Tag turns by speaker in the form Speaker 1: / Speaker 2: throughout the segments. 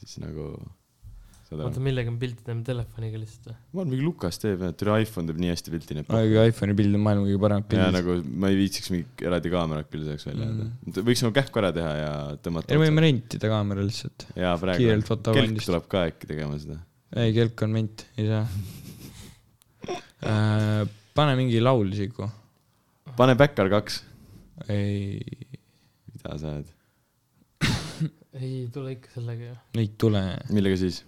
Speaker 1: siis nagu saad
Speaker 2: oota ,
Speaker 1: aru .
Speaker 2: millega me pilti teeme , telefoniga lihtsalt või ?
Speaker 1: ma arvan , mingi Lukas teeb , türa iPhone teeb nii hästi pilti , nii et noh.
Speaker 3: aga iPhone'i pildid on maailma kõige paremad
Speaker 1: ja
Speaker 3: pildid .
Speaker 1: nagu ma ei viitsiks mingit eraldi kaamerat küll selleks välja
Speaker 3: Mhm.
Speaker 1: jääda mm. . võiks nagu kähku ära teha ja tõmmata
Speaker 3: ei , me . võime rentida kaamera lihtsalt .
Speaker 1: jaa , praegu .
Speaker 3: kiirelt foto
Speaker 1: kelk
Speaker 3: pandist .
Speaker 1: tuleb ka äkki tegema seda .
Speaker 3: ei , kelk on mint , ei saa äh, . pane mingi laul isiku .
Speaker 1: pane Backar kaks .
Speaker 3: ei ,
Speaker 1: mida sa ajad ?
Speaker 2: ei tule ikka sellega ju .
Speaker 3: ei tule .
Speaker 1: millega siis ?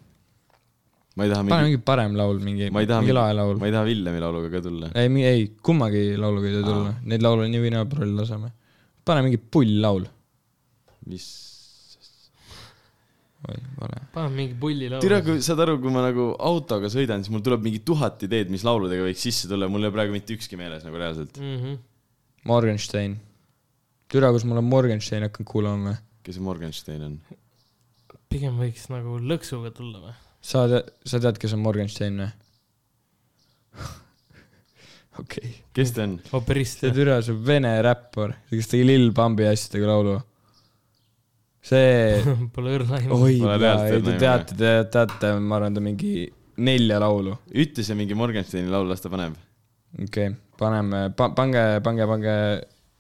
Speaker 1: ma ei taha
Speaker 3: pane
Speaker 1: mingi ,
Speaker 3: mingi parem laul , mingi ,
Speaker 1: Ma ei taha
Speaker 3: mingi
Speaker 1: mingi-
Speaker 3: lae laul .
Speaker 1: ma ei taha Villemi lauluga ka tulla .
Speaker 3: ei , ei , kummagi lauluga ei tohi tulla , neid laule on nii või naa prolli laseme . pane mingi pull laul .
Speaker 1: mis ?
Speaker 3: oi , vale .
Speaker 2: paneme mingi pulli laulu .
Speaker 1: türa , kui saad aru , kui ma nagu autoga sõidan , siis mul tuleb mingi tuhat ideed , mis lauludega võiks sisse tulla , mul ei ole praegu mitte ükski meeles nagu reaalselt .
Speaker 2: mm . -hmm.
Speaker 3: Morgenstein . türa , kus ma olen Morgensteini hakanud kuulama või ?
Speaker 1: kes see Morgenstein on ?
Speaker 2: pigem võiks nagu lõksuga tulla või ?
Speaker 3: sa tead , sa tead , kes on Morgenstein või ? okei .
Speaker 1: kes ta on ?
Speaker 2: operist
Speaker 3: see
Speaker 2: või ?
Speaker 3: türa , see vene räppar , kes tegi Lil Pambi asjadega laulu . see ,
Speaker 2: Pole õrna aimu .
Speaker 3: oi ,
Speaker 1: Pole reaalselt
Speaker 3: ei
Speaker 1: näinud,
Speaker 3: te
Speaker 1: jah.
Speaker 3: teate , te teate , ma arvan , ta mingi nelja laulu .
Speaker 1: ütle see mingi Morgensteini laul , las ta paneb .
Speaker 3: okei okay, , paneme pa, , pange , pange , pange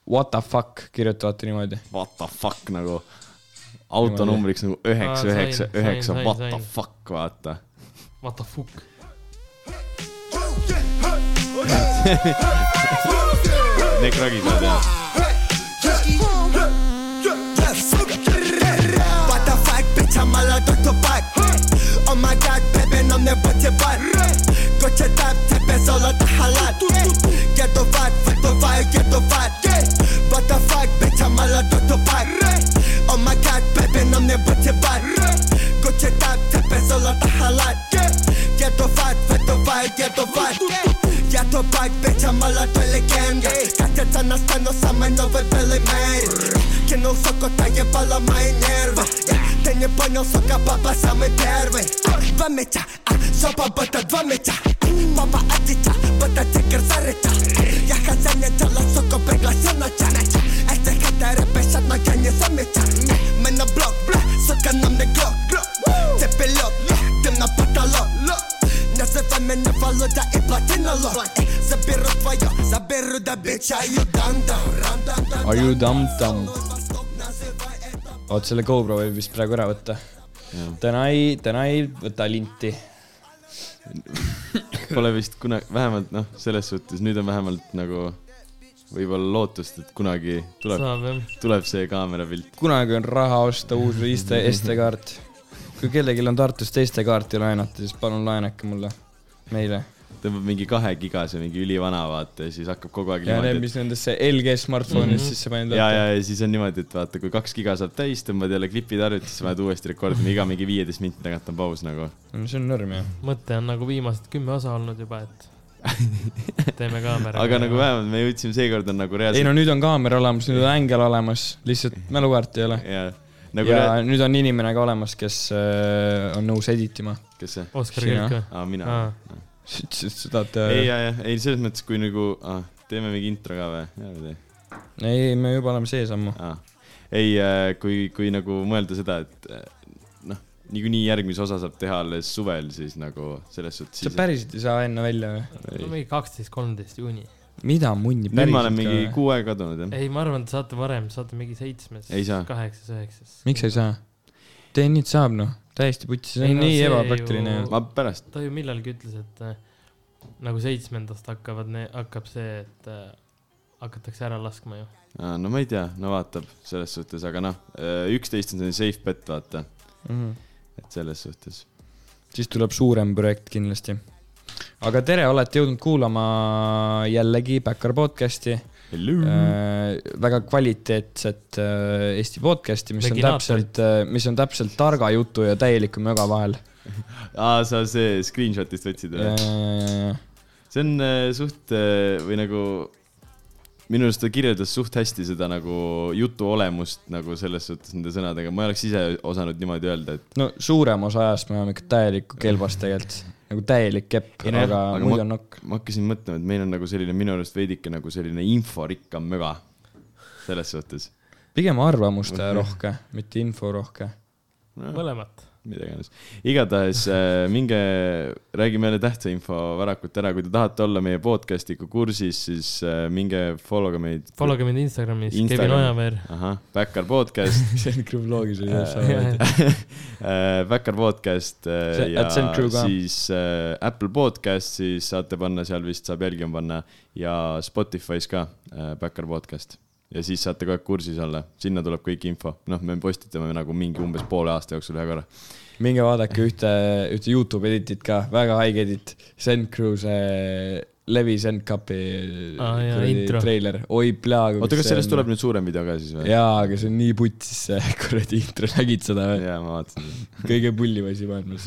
Speaker 3: What the fuck kirjutavate niimoodi .
Speaker 1: What the fuck nagu . auto numbriks nagu üheksa ,
Speaker 2: Aa, sain,
Speaker 1: üheksa ,
Speaker 2: sain,
Speaker 1: üheksa ,
Speaker 2: sain,
Speaker 1: what
Speaker 2: sain.
Speaker 1: the fuck , vaata .
Speaker 2: What the fuck ?
Speaker 1: Need kragid on jah .
Speaker 4: What the fuck, bitch, I'm all out of the back. Oh my god, baby, I'm never to back. Got your top, tap it's all out the halat. Get the vibe, fuck the vibe, get the vibe. What the fuck, bitch, I'm all out of the back. Oh my god, baby, I'm never to back. Got your top, tap it's all out the halat. Get the vibe, fuck the vibe, get the vibe. Ja to bike, bitch, I'm all out of legenda Kateta nastanu same nowe wylemery Kienął soko, ta jebala ma nerwa Ten nie poniósł oka, baba same derwy Dwa mycia, a ah, sopa, bo to dwa mycia Baba adicia, bo to tygier zarycia Ja chadzenie ciała soko, pegla się na cianecie Este hater, pesat, no ja nie zamycia My na blok, bla, soka na mnie glock, glock Cepy lot, lot, tym na patalot, lot Nazywa mnie waluta i platyna lot Zabierę twoją, zabierę da bycia i dam dam, ram dam dam
Speaker 3: Are you dumb dumb ? oot , selle GoPro võib vist praegu ära võtta . täna ei , täna ei võta linti .
Speaker 1: Pole vist kunagi , vähemalt noh , selles suhtes nüüd on vähemalt nagu võib-olla lootust , et kunagi tuleb ,
Speaker 2: saab jah .
Speaker 1: tuleb see kaamerapilt .
Speaker 3: kunagi on raha osta uus riiste- , SD-kaart . kui kellelgi on Tartust SD-kaarti laenata , siis palun laenake mulle , meile .
Speaker 1: tõmbab mingi kahe gigase , mingi ülivana vaata ja siis hakkab kogu aeg
Speaker 3: ja need ,
Speaker 1: niimoodi ,
Speaker 3: mis nendesse LG smartphone'idesse sisse
Speaker 1: et
Speaker 3: panid
Speaker 1: Mhm. ja , ja , ja siis on niimoodi , et vaata , kui kaks giga saab täis , tõmbad jälle klipid arvutisse , paned uuesti rekordima , iga mingi viieteist minti tagant on paus nagu .
Speaker 3: no see on norm ju .
Speaker 2: mõte on nagu viimased kümme osa olnud juba , et teeme kaamera .
Speaker 1: aga nagu . vähemalt me jõudsime , seekord on nagu
Speaker 3: ei
Speaker 1: reaalselt
Speaker 3: no nüüd on kaamera olemas , nüüd on ängel olemas , lihtsalt mälukaarti ei ole .
Speaker 1: ja nagu
Speaker 3: ja
Speaker 1: rea- ,
Speaker 3: nüüd on inimene ka olemas , kes äh, on nõus editima .
Speaker 1: kes see ?
Speaker 2: Oskar
Speaker 3: Sina.
Speaker 2: Kelk või ?
Speaker 1: aa , mina
Speaker 2: Aa. .
Speaker 3: sa äh, ütlesid seda , et
Speaker 1: ei ,
Speaker 3: ei ,
Speaker 1: ja , ja , ei selles mõttes , kui nagu , teeme mingi intro ka või ? jaa , või tee ?
Speaker 3: ei , me juba oleme sees ammu .
Speaker 1: ah. . ei , kui , kui nagu mõelda seda , et äh, noh , niikuinii järgmise osa saab teha alles suvel , siis nagu selles suhtes
Speaker 3: sa
Speaker 1: siis .
Speaker 3: päriselt ei saa enne välja või ?
Speaker 2: no mingi kaksteist , kolmteist juuni .
Speaker 3: mida munni
Speaker 1: nüüd ma
Speaker 3: päriselt
Speaker 1: olen
Speaker 3: ka
Speaker 1: mingi
Speaker 3: või ?
Speaker 1: kuu aega kadunud jah .
Speaker 2: ei , ma arvan , et saate varem , saate mingi seitsmes ,
Speaker 1: Mm. Ei saa.
Speaker 2: kaheksas , üheksas .
Speaker 3: miks ei saa ? tee nüüd saab noh , täiesti putsi , see
Speaker 2: Ei
Speaker 3: on
Speaker 2: no
Speaker 3: nii
Speaker 2: see
Speaker 3: ebapraktiline
Speaker 2: ju-
Speaker 3: ju .
Speaker 1: ma pärast ,
Speaker 2: ta ju millalgi ütles , et äh, nagu seitsmendast hakkavad , hakkab see , et äh, hakatakse ära laskma ju .
Speaker 1: no ma ei tea , no vaatab selles suhtes , aga noh , üksteist on selline safe bet , vaata , et selles suhtes .
Speaker 3: Mhm. siis tuleb suurem projekt kindlasti . aga tere , olete jõudnud kuulama jällegi Backyard podcast'i .
Speaker 1: Mhm.
Speaker 3: Äh, väga kvaliteetset äh, Eesti podcast'i , mis on
Speaker 2: Veginaatorit.
Speaker 3: täpselt , mis on täpselt targa jutu ja täieliku möga vahel .
Speaker 1: aa , sa see screenshot'ist võtsid või ? see on äh, suht äh, või nagu minu arust ta kirjeldas suht hästi seda nagu jutu olemust nagu selles suhtes nende sõnadega , ma ei oleks ise osanud niimoodi öelda , et
Speaker 3: no suurem osa ajast me oleme ikka täielikku kelbast tegelikult , nagu täielik kepp ,
Speaker 1: Ei
Speaker 3: aga,
Speaker 1: nojah,
Speaker 3: aga
Speaker 1: aga
Speaker 3: muidu
Speaker 1: ma-
Speaker 3: on nokk .
Speaker 1: ma hakkasin mõtlema , et meil on nagu selline minu arust veidike nagu selline inforikkam möga selles suhtes .
Speaker 3: pigem arvamuste rohke , mitte info rohke .
Speaker 2: mõlemat .
Speaker 1: mida iganes . igatahes äh, minge , räägime jälle tähtsa info varakult ära , kui te tahate olla meie podcast'iga kursis , siis äh, minge follow ge meid .
Speaker 2: Follow ge mind Instagramis ,
Speaker 1: Instagram.
Speaker 2: Kevin Ojaveer .
Speaker 1: ahah , Backyard Podcast ,
Speaker 3: see on krüpoloogis oli
Speaker 1: Äh, Backyard Podcast äh,
Speaker 3: See-
Speaker 1: ja
Speaker 3: at Send Crew ka.
Speaker 1: siis äh, Apple Podcast , siis saate panna , seal vist saab jälgima panna ja Spotify's ka äh, Backyard Podcast ja siis saate kogu aeg kursis olla , sinna tuleb kõik info , noh , me postitame nagu mingi umbes poole aasta jooksul ühe korra .
Speaker 3: minge vaadake ühte , ühte Youtube editit ka , väga haige edit , Send Cruise , Levi Send Cupi
Speaker 2: Aa, jaa, intro.
Speaker 3: treiler , oi plea .
Speaker 1: oota , kas sellest tuleb nüüd suurem video ka siis või ?
Speaker 3: jaa , aga see on nii putsis see kuradi intro , nägid seda või ?
Speaker 1: jaa , ma vaatasin .
Speaker 3: kõige pullim asi maailmas .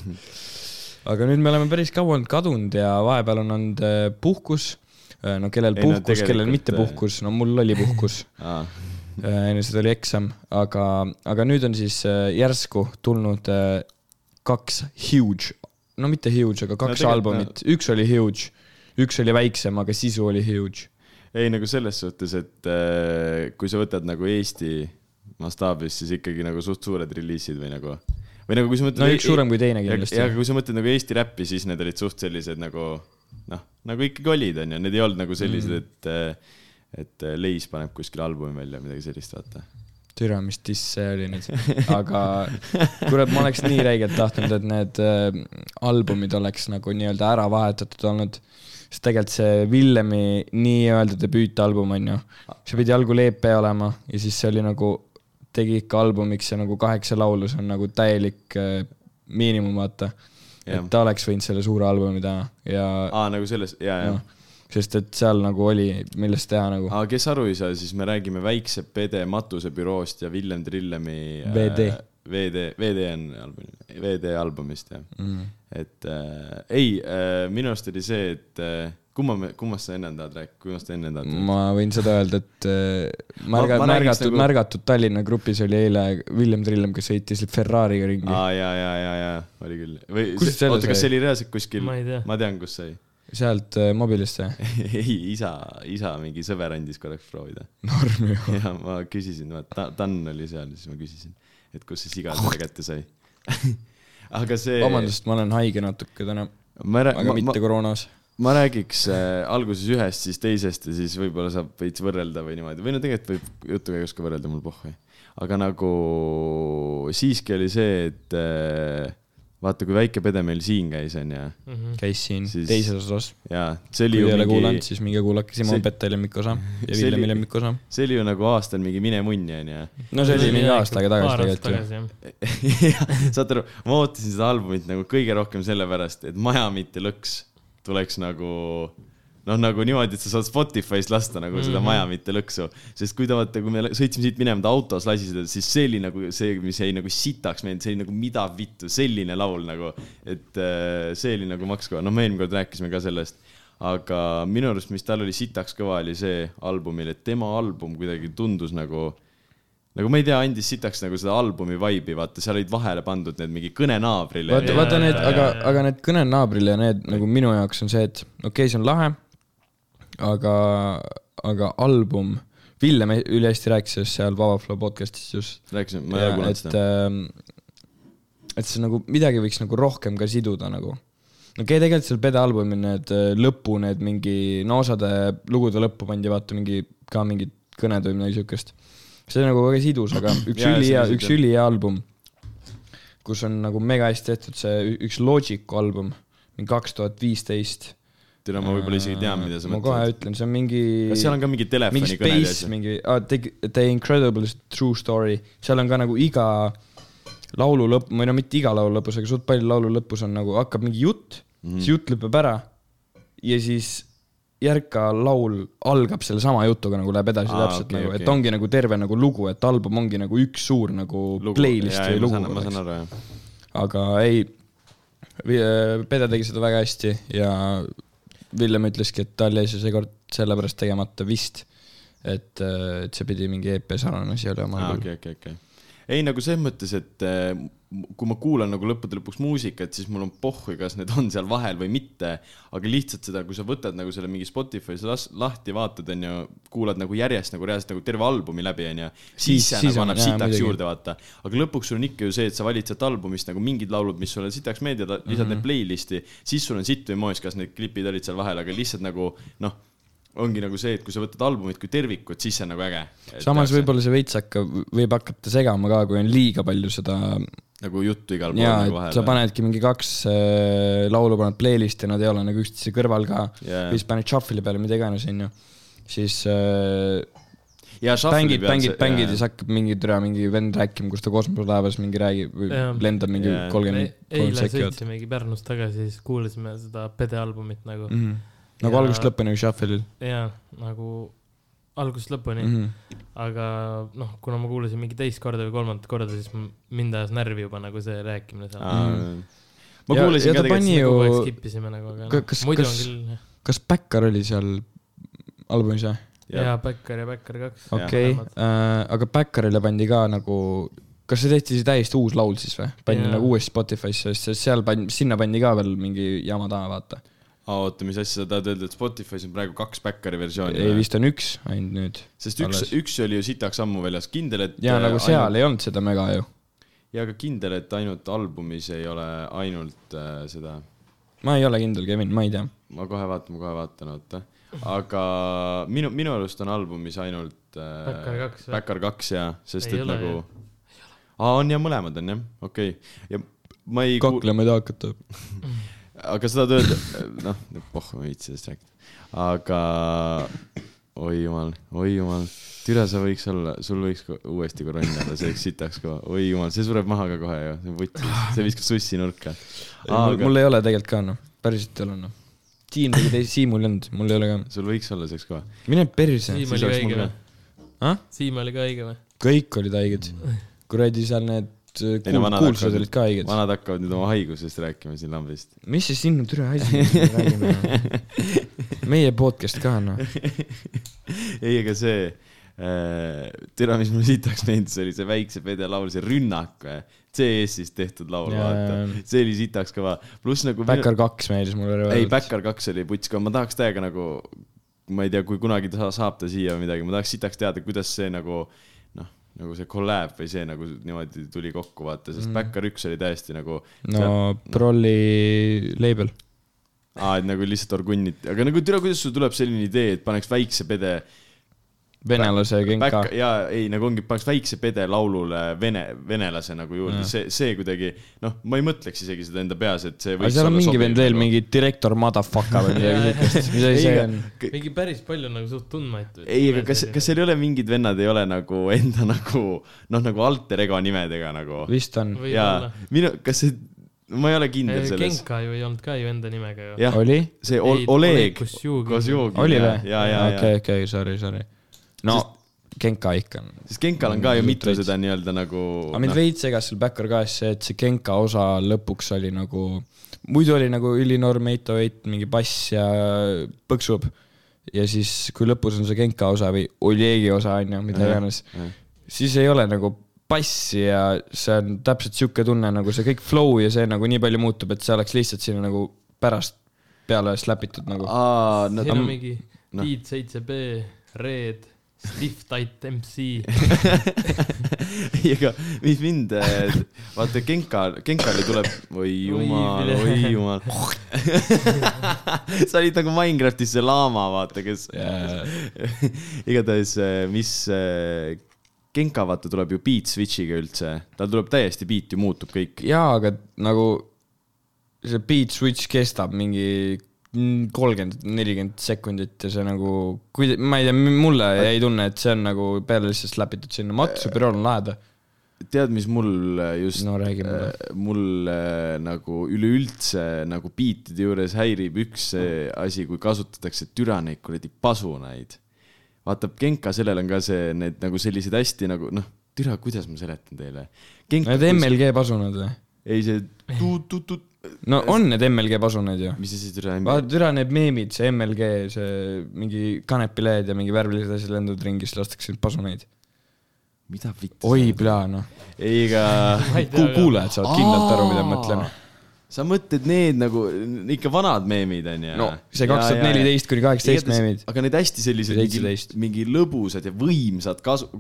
Speaker 3: aga nüüd me oleme päris kaua olnud kadunud ja vahepeal on olnud äh, puhkus . no kellel
Speaker 1: Ei, no
Speaker 3: puhkus , kellel
Speaker 1: tegelikult,
Speaker 3: mitte
Speaker 1: äh,
Speaker 3: puhkus , no mul oli puhkus .
Speaker 1: aa ,
Speaker 3: Äh, enne seda oli eksam , aga , aga nüüd on siis äh, järsku tulnud äh, kaks huge , no mitte huge , aga kaks
Speaker 1: tegelikult,
Speaker 3: no, albumit , üks oli huge , üks oli väiksem , aga sisu oli huge .
Speaker 1: ei nagu selles suhtes , et äh, kui sa võtad nagu Eesti mastaabis , siis ikkagi nagu suht suured reliisid või nagu , või nagu kui sa mõtled .
Speaker 3: no üks suurem kui teine
Speaker 1: kindlasti . ja
Speaker 3: kindlasti .
Speaker 1: aga kui sa mõtled nagu Eesti räppi , siis need olid suht sellised nagu noh , nagu ikkagi olid , onju , need ei olnud nagu sellised mm. , et äh, et äh, Leis paneb kuskil albumi välja , midagi sellist , vaata .
Speaker 3: türa , mis diss see oli nüüd , aga kurat , ma oleks nii räigelt tahtnud , et need äh, albumid oleks nagu nii-öelda ära vahetatud olnud . sest tegelikult see Villemi nii-öelda debüütalbum on ju , see pidi algul EP olema ja siis see oli nagu , tegi ikka albumiks ja nagu kaheksa laulu , see on nagu täielik äh, miinimum , vaata .
Speaker 1: Jah.
Speaker 3: et ta oleks võinud selle suure albumi teha ja
Speaker 1: aa , nagu selles , ja , ja
Speaker 3: noh , sest et seal nagu oli , millest teha nagu .
Speaker 1: aga kes aru ei saa , siis me räägime Väikse Pede matusebüroost ja Villem Trillemi äh,
Speaker 3: VD.
Speaker 1: VD , VD on albumi , VD albumist jah mm. . et äh, ei äh, , minu arust oli see , et äh, kumma , kummast sa ennem tahad rääkida , kummast sa ennem tahad rääkida ?
Speaker 3: ma võin seda öelda , et äh,
Speaker 1: Ma-
Speaker 3: märga- ,
Speaker 1: ma räägiks
Speaker 3: märgatud
Speaker 1: nagu-
Speaker 3: nagu... , märgatud Tallinna grupis oli eile Villem Trillem , kes sõitis Ferrari'ga ringi ah. .
Speaker 1: aa ja , ja , ja , ja oli küll . või
Speaker 3: Kust
Speaker 1: see-
Speaker 3: selle
Speaker 1: oota , kas
Speaker 3: sai?
Speaker 1: see oli reaalselt kuskil ,
Speaker 2: Ma ei tea.
Speaker 1: ma tean , kus sai .
Speaker 3: sealt äh, mobilist või ?
Speaker 1: ei , isa , isa mingi sõber andis korraks proovida .
Speaker 3: norm ju .
Speaker 1: ja ma küsisin , vaata , Dan oli seal , siis ma küsisin , et kus see siga selle kätte sai . aga see .
Speaker 3: vabandust , ma olen haige natuke täna ,
Speaker 1: ma ei
Speaker 3: aga Äh, ma,
Speaker 1: räägi , ma,
Speaker 3: mitte ma... koroonas .
Speaker 1: ma räägiks äh, alguses ühest , siis teisest ja siis võib-olla saab veits võrrelda või niimoodi , või no tegelikult võib jutu käigus ka võrrelda , mul pohhu . aga nagu siiski oli see , et äh, vaata , kui väike pede meil siin käis , onju ,
Speaker 2: Mhm.
Speaker 3: käis siin
Speaker 1: Siis-
Speaker 3: siis... teises osas .
Speaker 1: ja see oli
Speaker 3: kui ei ole
Speaker 1: ju
Speaker 3: kuulanud ,
Speaker 1: mingi ,
Speaker 3: siis minge kuulake Simon
Speaker 1: see-
Speaker 3: see... Petta lemmikosa ja
Speaker 1: see oli-
Speaker 3: Villemi lemmikosa .
Speaker 1: see oli ju nagu aastal mingi mine munni , onju .
Speaker 3: no see oli mingi aasta aega tagasi tegelikult ju .
Speaker 2: ju .
Speaker 1: saate aru , ma ootasin seda albumit nagu kõige rohkem sellepärast , et Maja mitte lõks tuleks nagu noh , nagu niimoodi , et sa saad Spotify's lasta nagu seda mm -hmm. Maja mitte lõksu , sest kui ta vaata , kui me lä- sõitsime siit minema , ta autos lasi seda , siis see oli nagu see , mis jäi nagu sitaks meelde , see oli nagu mida vittu , selline laul nagu , et äh, see oli nagu maks kõva , noh , me eelmine kord rääkisime ka sellest , aga minu arust , mis tal oli sitaks kõva , oli see albumil , et tema album kuidagi tundus nagu nagu ma ei tea , andis sitaks nagu seda albumi vibe'i , vaata , seal olid vahele pandud need mingi kõne naabrile .
Speaker 3: vaata ,
Speaker 2: Jaa,
Speaker 3: vaata need ,
Speaker 2: jaa,
Speaker 3: aga
Speaker 2: jaa. ,
Speaker 3: aga need kõned naabrile ja need nagu minu jaoks on see , et okei okay, , see on lahe , aga , aga album , Villem üle Eesti rääkis sellest seal Vaba Flow podcast'is just ,
Speaker 1: rääkisin , ma ei ole kuulnud
Speaker 3: et
Speaker 1: seda .,
Speaker 3: et see nagu midagi võiks nagu rohkem ka siduda nagu . no okei okay, , tegelikult seal Pede albumil need äh, lõpu , need mingi , no osade lugude lõppu pandi vaata mingi ka mingid kõned või midagi siukest . see on nagu väga sidus , aga üks
Speaker 1: Jaa, see ,
Speaker 3: ülihea
Speaker 1: on
Speaker 3: üks
Speaker 1: siuke-
Speaker 3: ülihea album kus on nagu mega hästi tehtud see ü- üks Logicu album , mingi kaks tuhat viisteist .
Speaker 1: tere , ma võib-olla isegi tean , mida sa
Speaker 3: äh, ma kohe
Speaker 1: mõtled .
Speaker 3: ütlen , see on mingi .
Speaker 1: kas seal on ka mingi
Speaker 3: mingi
Speaker 1: telefonikõne ja
Speaker 3: Space ,
Speaker 1: asju ?
Speaker 3: mingi ah, the, the Incredible True Story , seal on ka nagu iga laulu lõpp , või no mitte iga laulu lõpus , aga suht palju laulu lõpus on nagu hakkab mingi jutt
Speaker 1: Mhm.
Speaker 3: mm , -hmm. see jutt lõpeb ära ja siis järka laul algab sellesama jutuga nagu läheb edasi
Speaker 1: Aa,
Speaker 3: Aa, täpselt
Speaker 1: okei,
Speaker 3: okay, nagu okay. ,
Speaker 1: okei.
Speaker 3: et ongi nagu terve nagu lugu , et album ongi nagu üks suur nagu lugu. playlist või lugu .
Speaker 1: ma saan aru , jah .
Speaker 3: aga ei , Pede tegi seda väga hästi ja Villem ütleski , et tal jäi see seekord sellepärast tegemata vist , et , et see pidi mingi EP sarnane asi olema
Speaker 1: aa ,
Speaker 3: ah, . Okay.
Speaker 1: okei , okei , okei . ei nagu selles mõttes , et äh, kui ma kuulan nagu lõppude lõpuks muusikat , siis mul on pohhu , kas need on seal vahel või mitte . aga lihtsalt seda , kui sa võtad nagu selle mingi Spotify's las- lahti , vaatad , onju , kuulad nagu järjest nagu reaalselt nagu terve albumi läbi , onju .
Speaker 3: Siis-
Speaker 1: siis see
Speaker 3: siis
Speaker 1: nagu
Speaker 3: on,
Speaker 1: annab
Speaker 3: jaa,
Speaker 1: sitaks
Speaker 3: muidugi.
Speaker 1: juurde , vaata . aga lõpuks sul on ikka ju see , et sa valid sealt albumist nagu mingid laulud , mis sulle sitaks meeldivad , lisad mm -hmm.
Speaker 3: Mhm.
Speaker 1: need playlist'i , siis sul on sitt või moes , kas need klipid olid seal vahel , aga lihtsalt nagu noh , ongi nagu see , et kui sa võtad albumit kui tervikut , siis see on nagu äge .
Speaker 3: samas . võib-olla see veits hakkab , võib hakata segama ka , kui on liiga palju seda
Speaker 1: nagu juttu igal pool
Speaker 3: ja
Speaker 1: nagu
Speaker 3: et
Speaker 1: vahel .
Speaker 3: sa panedki mingi kaks äh, laulu paned playlist'i , nad ei ole nagu üksteise kõrval ka
Speaker 1: Jaa.
Speaker 3: yeah. , siis paned shuffle'i peale , mida iganes , onju . siis äh,
Speaker 1: ja
Speaker 3: bängid , bängid , bängid ja siis hakkab mingi türa mingi vend rääkima , kus ta kosmoselaevas mingi räägib või
Speaker 2: Jah.
Speaker 3: lendab mingi
Speaker 1: Jaa.
Speaker 3: kolmkümmend , kolmkümmend
Speaker 2: eile
Speaker 3: sekki vaata .
Speaker 2: sõitsimegi Pärnust tagasi , siis kuulasime seda Pede albumit nagu mm.
Speaker 3: nagu
Speaker 2: Ja-
Speaker 3: algusest lõpuni või shuffle'il
Speaker 2: ja nagu algusest lõpuni mm ,
Speaker 3: Mhm.
Speaker 2: -hmm. aga noh , kuna ma kuulasin mingi teist korda või kolmandat korda , siis m- mind ajas närvi juba nagu see rääkimine seal .
Speaker 1: ma
Speaker 3: Mm. Ja-
Speaker 1: kuulasin
Speaker 3: ja
Speaker 1: ka
Speaker 3: ta pani
Speaker 1: tegelikult .
Speaker 3: ju-
Speaker 2: kogu aeg skip isime nagu , aga
Speaker 3: Ka-
Speaker 2: noh,
Speaker 3: kas-
Speaker 2: muidu
Speaker 3: kas-
Speaker 2: on küll jah.
Speaker 3: kas Bäkkar oli seal albumis või ?
Speaker 2: ja Bäkkar ja Bäkkar kaks .
Speaker 3: okei , aga Bäkkarile pandi ka nagu , kas see tehti siis täiesti uus laul siis või ? pandi
Speaker 2: Jaa.
Speaker 3: nagu uuesti Spotify'sse , sest seal pandi , sinna pandi ka veel mingi jama taha , vaata .
Speaker 1: oota , mis asja sa tahad öelda , et Spotify's on praegu kaks backeri versiooni
Speaker 3: ei ,? vist on üks ainult nüüd .
Speaker 1: sest üks , üks oli ju sitaks ammu väljas , kindel , et .
Speaker 3: ja nagu seal
Speaker 1: ainult... .
Speaker 3: ei olnud seda mega ju .
Speaker 1: ja ka kindel , et ainult albumis ei ole ainult äh, seda .
Speaker 3: ma ei ole kindel , Kevin , ma ei tea .
Speaker 1: ma kohe vaatan , ma kohe vaatan , oota . aga minu , minu arust on albumis ainult äh, .
Speaker 2: Bäkkar kaks või?
Speaker 1: Backeri kaks jaa , sest
Speaker 2: Ei
Speaker 1: ei et
Speaker 2: ole,
Speaker 1: ole, nagu . aa , on ja mõlemad on jah , okei okay. . ja ma ei .
Speaker 3: kaklema ei taha hakata .
Speaker 1: aga seda tööd , noh , pohhu , ma ei viitsi sellest rääkida . aga oi jumal , oi jumal , türa sa võiks olla , sul võiks ko- uuesti korona olla , see oleks sitaks kõva , oi jumal , see sureb maha ka kohe ju , see vutt , see viskab sussi nurka . aga
Speaker 3: mul ei ole tegelikult ka noh , päriselt ei ole noh . Siim tegi teise , Siimul ei olnud , mul ei ole ka .
Speaker 1: sul võiks olla see oleks kõva .
Speaker 3: mine perse .
Speaker 2: Siim
Speaker 1: siis
Speaker 2: oli ka
Speaker 1: oleks mul
Speaker 2: õige
Speaker 1: ka.
Speaker 2: või ? Siim oli ka õige või ?
Speaker 3: kõik olid haiged . kuradi seal need äh,
Speaker 1: Ei no
Speaker 3: kuul-
Speaker 1: vanad
Speaker 3: kuulsused
Speaker 1: hakkavad-
Speaker 3: olid ka haiged .
Speaker 1: vanad hakkavad nüüd oma haigusest rääkima siin lambist .
Speaker 3: mis see sinu türa asi on ? meie podcast ka noh .
Speaker 1: ei , aga see äh, türa , mis mulle sitaks meeldis , oli see Väikse Pede laul , see Rünnak või , CS-ist tehtud laul ,
Speaker 3: Jaa, jaa,
Speaker 1: vaata , see oli sitaks kõva , pluss nagu minu-
Speaker 3: Backer kaks meeldis mulle
Speaker 1: ei ,
Speaker 3: väga .
Speaker 1: Backer kaks oli puts ka , ma tahaks täiega nagu , ma ei tea , kui kunagi ta sa- saab ta siia või midagi , ma tahaks sitaks teada , kuidas see nagu noh , nagu see kolläb või see nagu niimoodi tuli kokku , vaata , sest mm. Backer üks oli täiesti nagu
Speaker 3: no Prolli label .
Speaker 1: aa , et nagu lihtsalt orgunnit , aga nagu türa , kuidas sul tuleb selline idee , et paneks väikse pede ,
Speaker 3: venelase genka .
Speaker 1: ja ei , nagu ongi , paneks väikse pede laulule vene , venelase nagu juurde , see , see kuidagi noh , ma ei mõtleks isegi seda enda peas , et see
Speaker 3: aga
Speaker 1: võiks
Speaker 3: seal on
Speaker 1: olla
Speaker 3: mingi
Speaker 1: sobiv
Speaker 3: vend veel ,
Speaker 1: nagu.
Speaker 3: mingi direktor motherfucker või midagi siukest . mis asi see on ?
Speaker 1: Ei,
Speaker 2: mingi päris palju nagu suht tundmatuid .
Speaker 1: ei , aga kas , kas seal ei ole mingid vennad ei ole nagu enda nagu noh , nagu alter ego nimedega nagu
Speaker 3: vist on .
Speaker 2: Või-
Speaker 1: ja
Speaker 2: olla.
Speaker 1: minu , kas see , ma ei ole kindel selles .
Speaker 2: Genka ju ei olnud ka ju enda nimega ju .
Speaker 1: jah ,
Speaker 3: oli ?
Speaker 1: see Ol-
Speaker 2: Ei, Oleg
Speaker 1: Oleg
Speaker 2: Kosjugin.
Speaker 1: Kosjugin .
Speaker 3: oli või ?
Speaker 1: ja , ja , ja
Speaker 3: okei ,, okei , sorry , sorry . no genka ikka on
Speaker 1: sest Genkal on ka ju
Speaker 3: Mind
Speaker 1: mitu
Speaker 3: veits-
Speaker 1: seda nii-öelda nagu .
Speaker 3: aga mind veits segas seal Backer kahes see , et see Genka osa lõpuks oli nagu , muidu oli nagu ülinorm eight oh eight , mingi bass ja põksub . ja siis , kui lõpus on see Genka osa või Oljegi osa onju , mida
Speaker 1: Jah,
Speaker 3: iganes
Speaker 1: jah. ,
Speaker 3: siis ei ole nagu bassi ja see on täpselt sihuke tunne nagu see kõik flow ja see nagu nii palju muutub , et see oleks lihtsalt sinna nagu pärast peale slap itud nagu .
Speaker 1: aa , no
Speaker 2: siin
Speaker 1: ta
Speaker 2: on mingi
Speaker 1: noh.
Speaker 2: Tiit seitse B , Red , Stiff Tight MC .
Speaker 1: ei , aga mis mind , vaata Genka , Genkale tuleb , oi jumal ,
Speaker 2: Oi,
Speaker 1: oi jumal . sa olid nagu Minecraftis see laama , vaata , kes
Speaker 3: Jaa.
Speaker 1: igatahes , mis äh, Genka , vaata , tuleb ju beat switch'iga üldse , tal tuleb täiesti beat ju muutub kõik .
Speaker 3: jaa , aga nagu see beat switch kestab mingi kolmkümmend , nelikümmend sekundit ja see nagu , kui , ma ei tea , mulle
Speaker 1: Äh.
Speaker 3: jäi tunne , et see on nagu peale lihtsalt läpitud sinna , Matsu bürool on laheda .
Speaker 1: tead , mis mul Äh, just
Speaker 3: no räägi mulle .
Speaker 1: Äh, mul äh, nagu üleüldse nagu biitide juures häirib üks äh, asi , kui kasutatakse türa neid kuradi pasunaid . vaata , Genka , sellel on ka see , need nagu sellised hästi nagu noh , türa , kuidas ma seletan teile .
Speaker 3: Need MLG pasunad või ?
Speaker 1: ei , see tu-tu-tu ,
Speaker 3: no on need MLG pasunad ju .
Speaker 1: Äh, mis asi türa on ?
Speaker 3: vaata , türa need meemid , see MLG , see mingi kanepilehed ja mingi värvilised asjad lendavad ringi , siis lastakse neid pasunaid .
Speaker 1: mida vittu ?
Speaker 3: oi , pea noh .
Speaker 1: ei , aga
Speaker 2: Ma ei tea, aga-
Speaker 3: kuulajad saavad kindlalt aru , mida ma mõtlen .
Speaker 1: sa mõtled need nagu n- ikka vanad meemid onju ?
Speaker 3: no see kaks tuhat neliteist kuni kaheksateist meemid .
Speaker 1: aga need hästi sellised mingi,
Speaker 3: 17.
Speaker 1: mingi lõbusad ja võimsad kasu- ,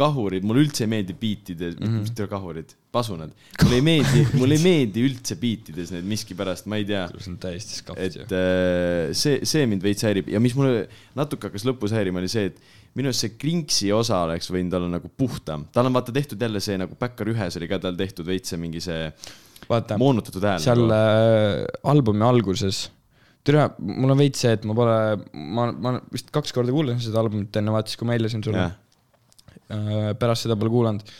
Speaker 1: kahurid , mulle üldse ei meeldi biitide mm ,
Speaker 3: Mhm.
Speaker 1: -hmm. mis teil kahurid , pasunad . mulle ei meeldi , mulle ei meeldi üldse biitides need miskipärast , ma ei tea .
Speaker 3: see on täiesti skaft ju
Speaker 1: et . äh, see , see mind veits häirib ja mis mulle natuke hakkas lõpus häirima , oli see , et minu arust see Krinksi osa oleks võinud olla nagu puhtam . tal on vaata tehtud jälle see nagu Backer ühes oli ka tal tehtud veits see mingi see
Speaker 3: vaata ,
Speaker 1: moonutatud hääl . nagu.
Speaker 3: seal äh, albumi alguses , türa , mul on veits see , et ma pole , ma , ma vist kaks korda kuulasin seda albumit enne , vaata siis kui ma helistasin sulle Äh,
Speaker 1: Jah. .
Speaker 3: pärast seda pole kuulanud ,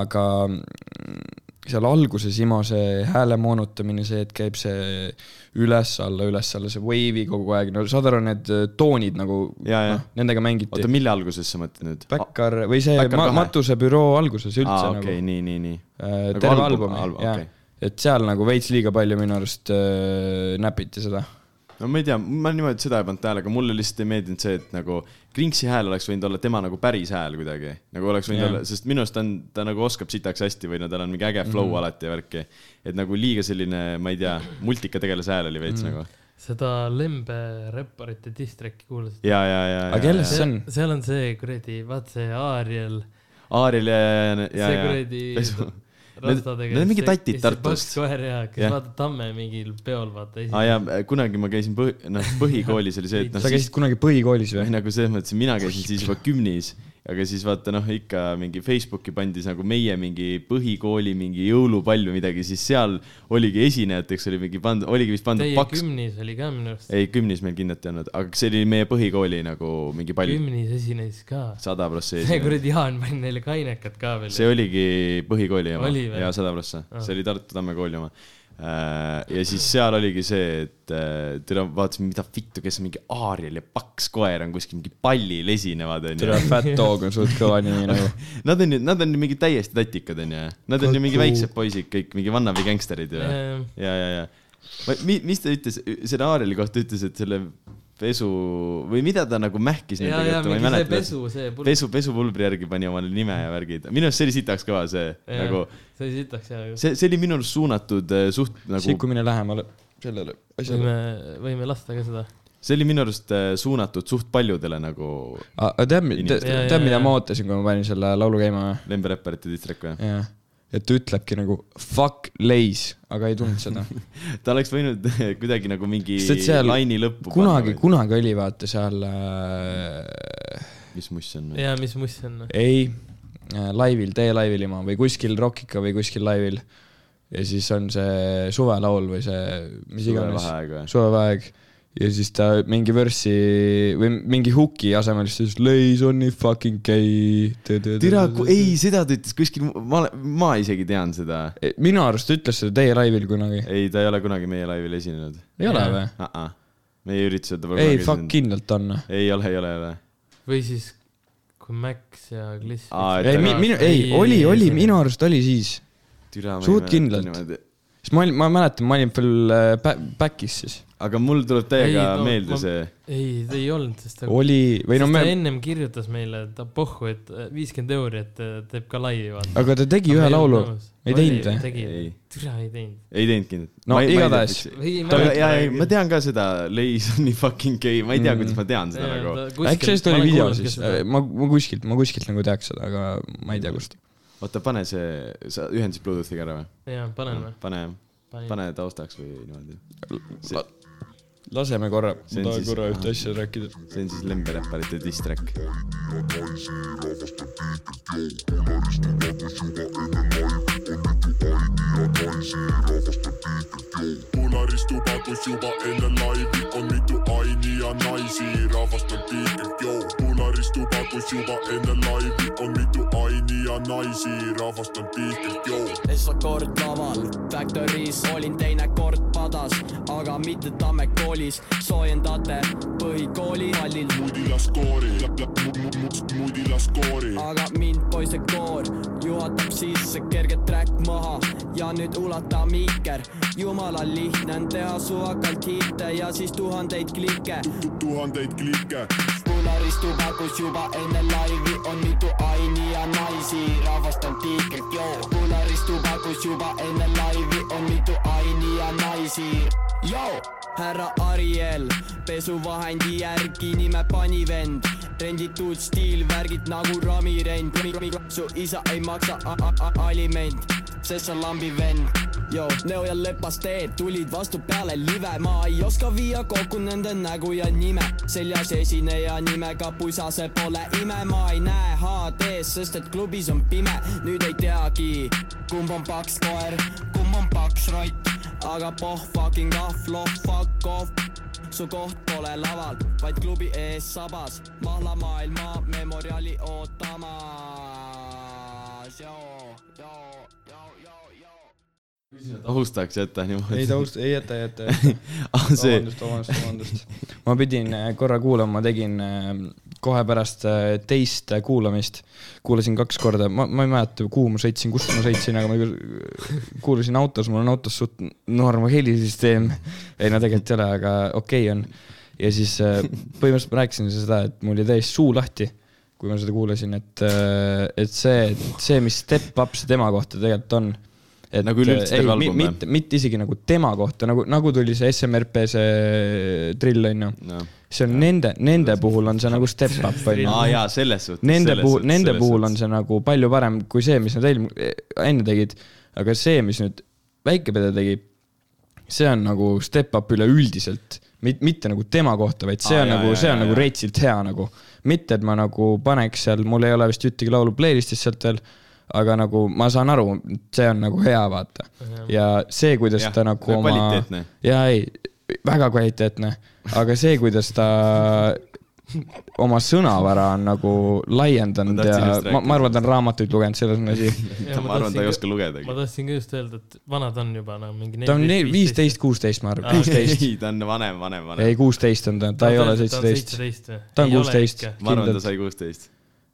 Speaker 3: aga mm, seal alguses Imo see hääle moonutamine , see , et käib see üles-alla , üles-alla , see wave'i kogu aeg , no saad aru , need äh, toonid nagu ,
Speaker 1: Jaa, jaa.
Speaker 3: nendega mängiti
Speaker 1: oota ,. mille alguses sa mõtled nüüd ?
Speaker 3: Backyard või see
Speaker 1: Backyard
Speaker 3: ma,
Speaker 1: kahe.
Speaker 3: matusebüroo alguses üldse
Speaker 1: aa ,
Speaker 3: nagu
Speaker 1: okei , nii , nii , nii .
Speaker 3: Äh,
Speaker 1: Nagu
Speaker 3: terve
Speaker 1: album-
Speaker 3: album,
Speaker 1: album,
Speaker 3: album , jah
Speaker 1: okei.
Speaker 3: okay. . et seal nagu veits liiga palju minu arust äh, näpiti seda .
Speaker 1: no ma ei tea , ma niimoodi seda ei pannud tähele , aga mulle lihtsalt ei meeldinud see , et nagu Kringsi hääl oleks võinud olla tema nagu päris hääl kuidagi . nagu oleks võinud
Speaker 3: Jah.
Speaker 1: olla , sest minu arust ta on , ta nagu oskab sitaks hästi või no tal on mingi äge flow mm
Speaker 3: Mhm.
Speaker 1: -hmm. alati ja värki . et nagu liiga selline , ma ei tea , multikategelase hääl oli
Speaker 3: Mhm.
Speaker 1: veits mm -hmm. nagu .
Speaker 2: seda Lembe räpparite distract'i kuulasid ?
Speaker 1: ja , ja , ja .
Speaker 3: Aga kellest see on?
Speaker 2: seal on see kuradi , vaat see Aariel ,
Speaker 1: Aaril ja , ja , ja ,
Speaker 2: see
Speaker 1: ja ,
Speaker 2: kuradi
Speaker 1: ja . Need-
Speaker 2: rastadega .
Speaker 1: need on mingid tatid Tartust.
Speaker 2: koer ja ,
Speaker 1: Jah.
Speaker 2: kes yeah. vaatab Tamme mingil peol , vaata .
Speaker 1: aa Ah, jaa , kunagi ma käisin põhi , noh , põhikoolis oli see , et noh ,
Speaker 3: sa käisid kunagi põhikoolis
Speaker 1: või
Speaker 3: või ?
Speaker 1: nagu selles mõttes , et mina käisin siis juba kümnis , aga siis vaata noh , ikka mingi Facebooki pandi nagu meie mingi põhikooli mingi jõulupall või midagi , siis seal oligi esinejateks oli mingi pandud , oligi vist pandud
Speaker 2: Teie
Speaker 1: paks ,
Speaker 2: kümnis oli ka minu arust ,
Speaker 1: ei kümnis meil kindlalt ei olnud , aga see oli meie põhikooli nagu mingi pall ,
Speaker 2: kümnis esines ka .
Speaker 1: sada prossa
Speaker 2: see
Speaker 1: esinejad .
Speaker 2: kuradi Jaan pani neile kainekad ka veel .
Speaker 1: see oligi põhikooli oma
Speaker 2: Oli või?
Speaker 1: ja sada prossa , see oli Tartu Tamme kooli oma . ja siis seal oligi see , et äh, türa vaatasime , mida vittu , kes mingi Aariel ja paks koer on kuskil mingi pallil esinevad onju
Speaker 3: tere , Fat Dog on suht kõva nimi nagu .
Speaker 1: Nad on ju , nad on ju mingi täiesti tatikad , onju . Nad on ju mingi
Speaker 3: Kutu.
Speaker 1: väiksed poisid kõik , mingi vannabi gängsterid ju . ja ,
Speaker 2: Ehm,
Speaker 1: ja , ja . või mis ta ütles , selle Aareli kohta ütles , et selle pesu või mida ta nagu mähkis
Speaker 2: ja ,
Speaker 1: nende
Speaker 2: ja
Speaker 1: kohta , ma ei
Speaker 2: mingi see
Speaker 1: mäleta .
Speaker 2: pesu , see pul-
Speaker 1: pesu , pesupulbri järgi pani omale nime ja värgid . minu arust see oli sitaks kõva , see
Speaker 2: Jah,
Speaker 1: nagu ,
Speaker 2: see oli sitaks ja
Speaker 1: see , see oli minu arust suunatud eh, suht nagu ,
Speaker 3: sikkumine lähemale sellele asjale .
Speaker 2: võime , võime lasta ka seda .
Speaker 1: see oli minu arust eh, suunatud suht paljudele nagu
Speaker 3: Ah, tead ,
Speaker 1: Inimestele.
Speaker 2: Jaa,
Speaker 3: tead ,
Speaker 2: jaa,
Speaker 3: mida
Speaker 2: jaa.
Speaker 3: ma ootasin , kui ma panin selle laulu käima või ?
Speaker 1: lemberäpparite distrik või ?
Speaker 3: jah , et ta ütlebki nagu fuck lays , aga ei tulnud seda .
Speaker 1: ta oleks võinud kuidagi nagu mingi
Speaker 3: Sest seal
Speaker 1: laini lõppu
Speaker 3: kunagi ,
Speaker 1: panna .
Speaker 3: kunagi oli vaata seal äh,
Speaker 1: mis must see on ?
Speaker 2: ja mis must see on ? noh.
Speaker 3: ei , laivil , tee laivil ima või kuskil Rockika või kuskil laivil . ja siis on see suvelaul või see , mis iganes ,
Speaker 1: suvevaheaeg või ?
Speaker 3: suvevaheaeg . ja siis ta mingi vörssi või mingi huki asemel siis ütles Lays on nii fucking gay .
Speaker 1: türa , ei , seda ta ütles kuskil , ma , ma isegi tean seda .
Speaker 3: E, minu arust ta ütles seda Tee laivil kunagi ,
Speaker 1: ei , ta ei ole kunagi meie laivil esinenud
Speaker 3: ei ole
Speaker 2: Jaa.
Speaker 3: või ?
Speaker 1: uh . -uh. meie üritused ta
Speaker 3: ei , fuck . kindlalt on . noh.
Speaker 1: ei ole , ei ole , ei ole .
Speaker 2: või siis , kui Max ja Gliss
Speaker 1: Aa, et
Speaker 3: ei ,
Speaker 1: ta-
Speaker 3: minu , ei , oli , oli , minu arust oli siis ,
Speaker 1: türa .
Speaker 3: Suht kindlalt. sest ma olin , ma mäletan , ma olin veel äh, pä- back'is siis ,
Speaker 1: aga mul tuleb täiega
Speaker 2: Ei, no,
Speaker 1: meelde
Speaker 2: ma-
Speaker 1: see ,
Speaker 2: ei , ta ei olnud , sest ta ,
Speaker 3: oli või
Speaker 2: sest
Speaker 3: no
Speaker 2: ta
Speaker 3: me ,
Speaker 2: ennem kirjutas meile , ta pohhu , et viiskümmend euri , et äh, teeb ka laivi , vaata .
Speaker 3: aga ta tegi ühe laulu , ei teinud või ?
Speaker 2: tegi
Speaker 1: Ei. ,
Speaker 2: türa ei teinud .
Speaker 1: ei teinud kindlalt .
Speaker 3: No igatahes.
Speaker 2: või ei
Speaker 1: aga jaa , ei ,
Speaker 2: Mm.
Speaker 1: ma tean ka seda , Lays on nii fucking gay , ma ei tea , kuidas ma tean seda nagu .
Speaker 3: äkki sellest oli video siis , ma , ma kuskilt , ma kuskilt nagu teaks seda , aga ma ei tea , kust .
Speaker 1: oota , pane see , sa ühendasid Bluetoothiga ära või ?
Speaker 2: jaa , panen või ?
Speaker 1: pane , pane taustaks või niimoodi . See-
Speaker 3: laseme korra ,
Speaker 1: See on
Speaker 3: ma tahan
Speaker 1: siis-
Speaker 3: korra ühte asja rääkida .
Speaker 1: see on siis lemberäpparite distrack .
Speaker 5: Kularis tubakus juba enne laivi on mitu aini ja naisi , rahvast on tiigrib , joo . kularis tubakus juba enne laivi on mitu aini ja naisi , rahvast on tiigrib , joo .
Speaker 6: esmakord laval , Factory's olin teine kord padas , aga mitte Tamme koolis , soojendate põhikooli hallil ,
Speaker 5: mudilas koori , mudilas koori .
Speaker 6: aga mind poiste koor juhatab sisse kerge track maha ja nüüd ulata miiker , jumala lihtne on teha suvakalt hiite ja siis tuhandeid klikke
Speaker 5: tuhandeid klikke ,
Speaker 6: puularistu pakus juba enne laivi on mitu aini ja naisi , rahvast on tiigrit , joo . puularistu pakus juba enne laivi on mitu aini ja naisi , joo . härra Ariel , pesuvahendi järgi nime panivend , renditud stiilvärgid nagu ramirend , su isa ei maksa a- a- a- aliment sest sa lambi vend . Joo , Neo ja Lepas teed tulid vastu peale live , ma ei oska viia kokku nende nägu ja nime . seljas esineja nimega pusa , see pole ime , ma ei näe HD-s , sest et klubis on pime . nüüd ei teagi , kumb on paks koer , kumb on paks rott , aga poh fucking off , loh fuck off . su koht pole laval , vaid klubi ees sabas , mahlamaailma memoriali ootamas . joo , joo , joo , joo , joo .
Speaker 1: tahustaks jätta
Speaker 3: ei
Speaker 1: niimoodi .
Speaker 3: taust , ei jäta , jäta , jäta .
Speaker 1: see ,
Speaker 3: vabandust , vabandust , vabandust . ma pidin äh, korra kuulama , ma tegin äh, kohe pärast äh, teist äh, kuulamist , kuulasin kaks korda , ma , ma ei mäleta , kuhu ma sõitsin , kus ma sõitsin , aga ma ju- äh, kuulasin autos , mul on autos suht norm helisüsteem . ei no tegelikult ei ole , aga okei okay on . ja siis äh, põhimõtteliselt ma rääkisin seda , et mul jäi täiesti suu lahti , kui ma seda kuulasin , et , et see , see , mis Step Up see tema kohta tegelikult on . Et,
Speaker 1: Nagu üleüldse
Speaker 3: äh, ei,
Speaker 1: terve
Speaker 3: mi-
Speaker 1: album või?
Speaker 3: mitte , mitte isegi nagu tema kohta , nagu , nagu tuli see SMRP see drill onju .
Speaker 1: noh .
Speaker 3: see on nende , nende puhul on see nagu step up onju .
Speaker 1: aa jaa , selles suhtes .
Speaker 3: Nende puhul , nende puhul on see nagu palju parem kui see , mis nad eelm- , enne tegid . aga see , mis nüüd Väike-Pede tegi , see on nagu step up üleüldiselt . Mit- , mitte nagu tema kohta , vaid see
Speaker 1: Aa,
Speaker 3: on
Speaker 1: jaa,
Speaker 3: nagu ,
Speaker 1: jaa,
Speaker 3: see on
Speaker 1: jaa,
Speaker 3: nagu
Speaker 1: jaa.
Speaker 3: reitsilt hea nagu . mitte , et ma nagu paneks seal , mul ei ole vist ühtegi laulu playlist'is sealt veel , aga nagu ma saan aru , see on nagu hea , vaata . ja see , kuidas
Speaker 1: Jah,
Speaker 3: ta nagu oma .
Speaker 1: kvaliteetne.
Speaker 3: jaa , ei , väga kvaliteetne , aga see , kuidas ta oma sõnavara on nagu laiendanud
Speaker 1: Ma tahtsin
Speaker 3: ja
Speaker 1: just
Speaker 3: ma,
Speaker 1: rääkida
Speaker 3: ma arvan , et ta on raamatuid lugenud , selles on asi .
Speaker 1: ma arvan, ta ei oska lugedagi.
Speaker 2: ma tahtsin ka just öelda , et vanad on juba nagu mingi .
Speaker 3: ta on neil viisteist , kuusteist , ma arvan , kuusteist .
Speaker 1: ei , ta on vanem , vanem ,
Speaker 3: ei ,
Speaker 1: vanem .
Speaker 3: kuusteist on ta , ta ei ole seitseteist .
Speaker 2: seitseteist või ?
Speaker 3: Ta on 16.
Speaker 1: ma arvan , ta
Speaker 3: kindlalt.
Speaker 1: sai kuusteist .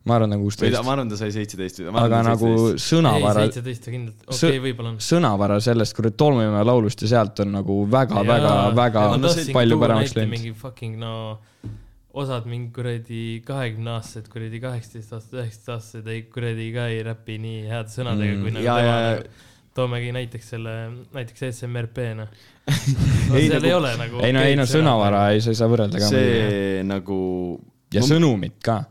Speaker 3: ma arvan , ta
Speaker 1: või
Speaker 3: on
Speaker 1: ta ,
Speaker 3: kuusteist
Speaker 1: ma . arvan , ta sai seitseteist .
Speaker 3: aga nagu
Speaker 2: ei ,
Speaker 3: sõnavara ,
Speaker 2: seitseteist ta kindlalt , okei , võib-olla on .
Speaker 3: sõnavara sellest kuradi Tolmimäe laulust ja sealt on nagu
Speaker 2: Jaa,
Speaker 3: väga-väga-väga
Speaker 2: ja ma tahtsin
Speaker 3: palju
Speaker 2: tuua
Speaker 3: paremaks
Speaker 2: näite
Speaker 3: läinud .
Speaker 2: mingi fucking no osad mingi kuradi kahekümne aastased , kuradi kaheksateist aastased , üheksateist aastased ei kuradi ka ei räpi nii heade sõnadega
Speaker 3: Mm,
Speaker 2: mm, kui nagu
Speaker 1: jaa,
Speaker 2: tema
Speaker 1: jaa.
Speaker 2: nagu. toomegi näiteks selle , näiteks SMRP noh .
Speaker 1: Ei,
Speaker 2: seal
Speaker 1: nagu-
Speaker 2: nagu, ei ole nagu .
Speaker 3: ei no , ei no sõnavara ei , sa ei saa võrrelda ka .
Speaker 1: see nagu .
Speaker 3: ja no, sõnumit ka .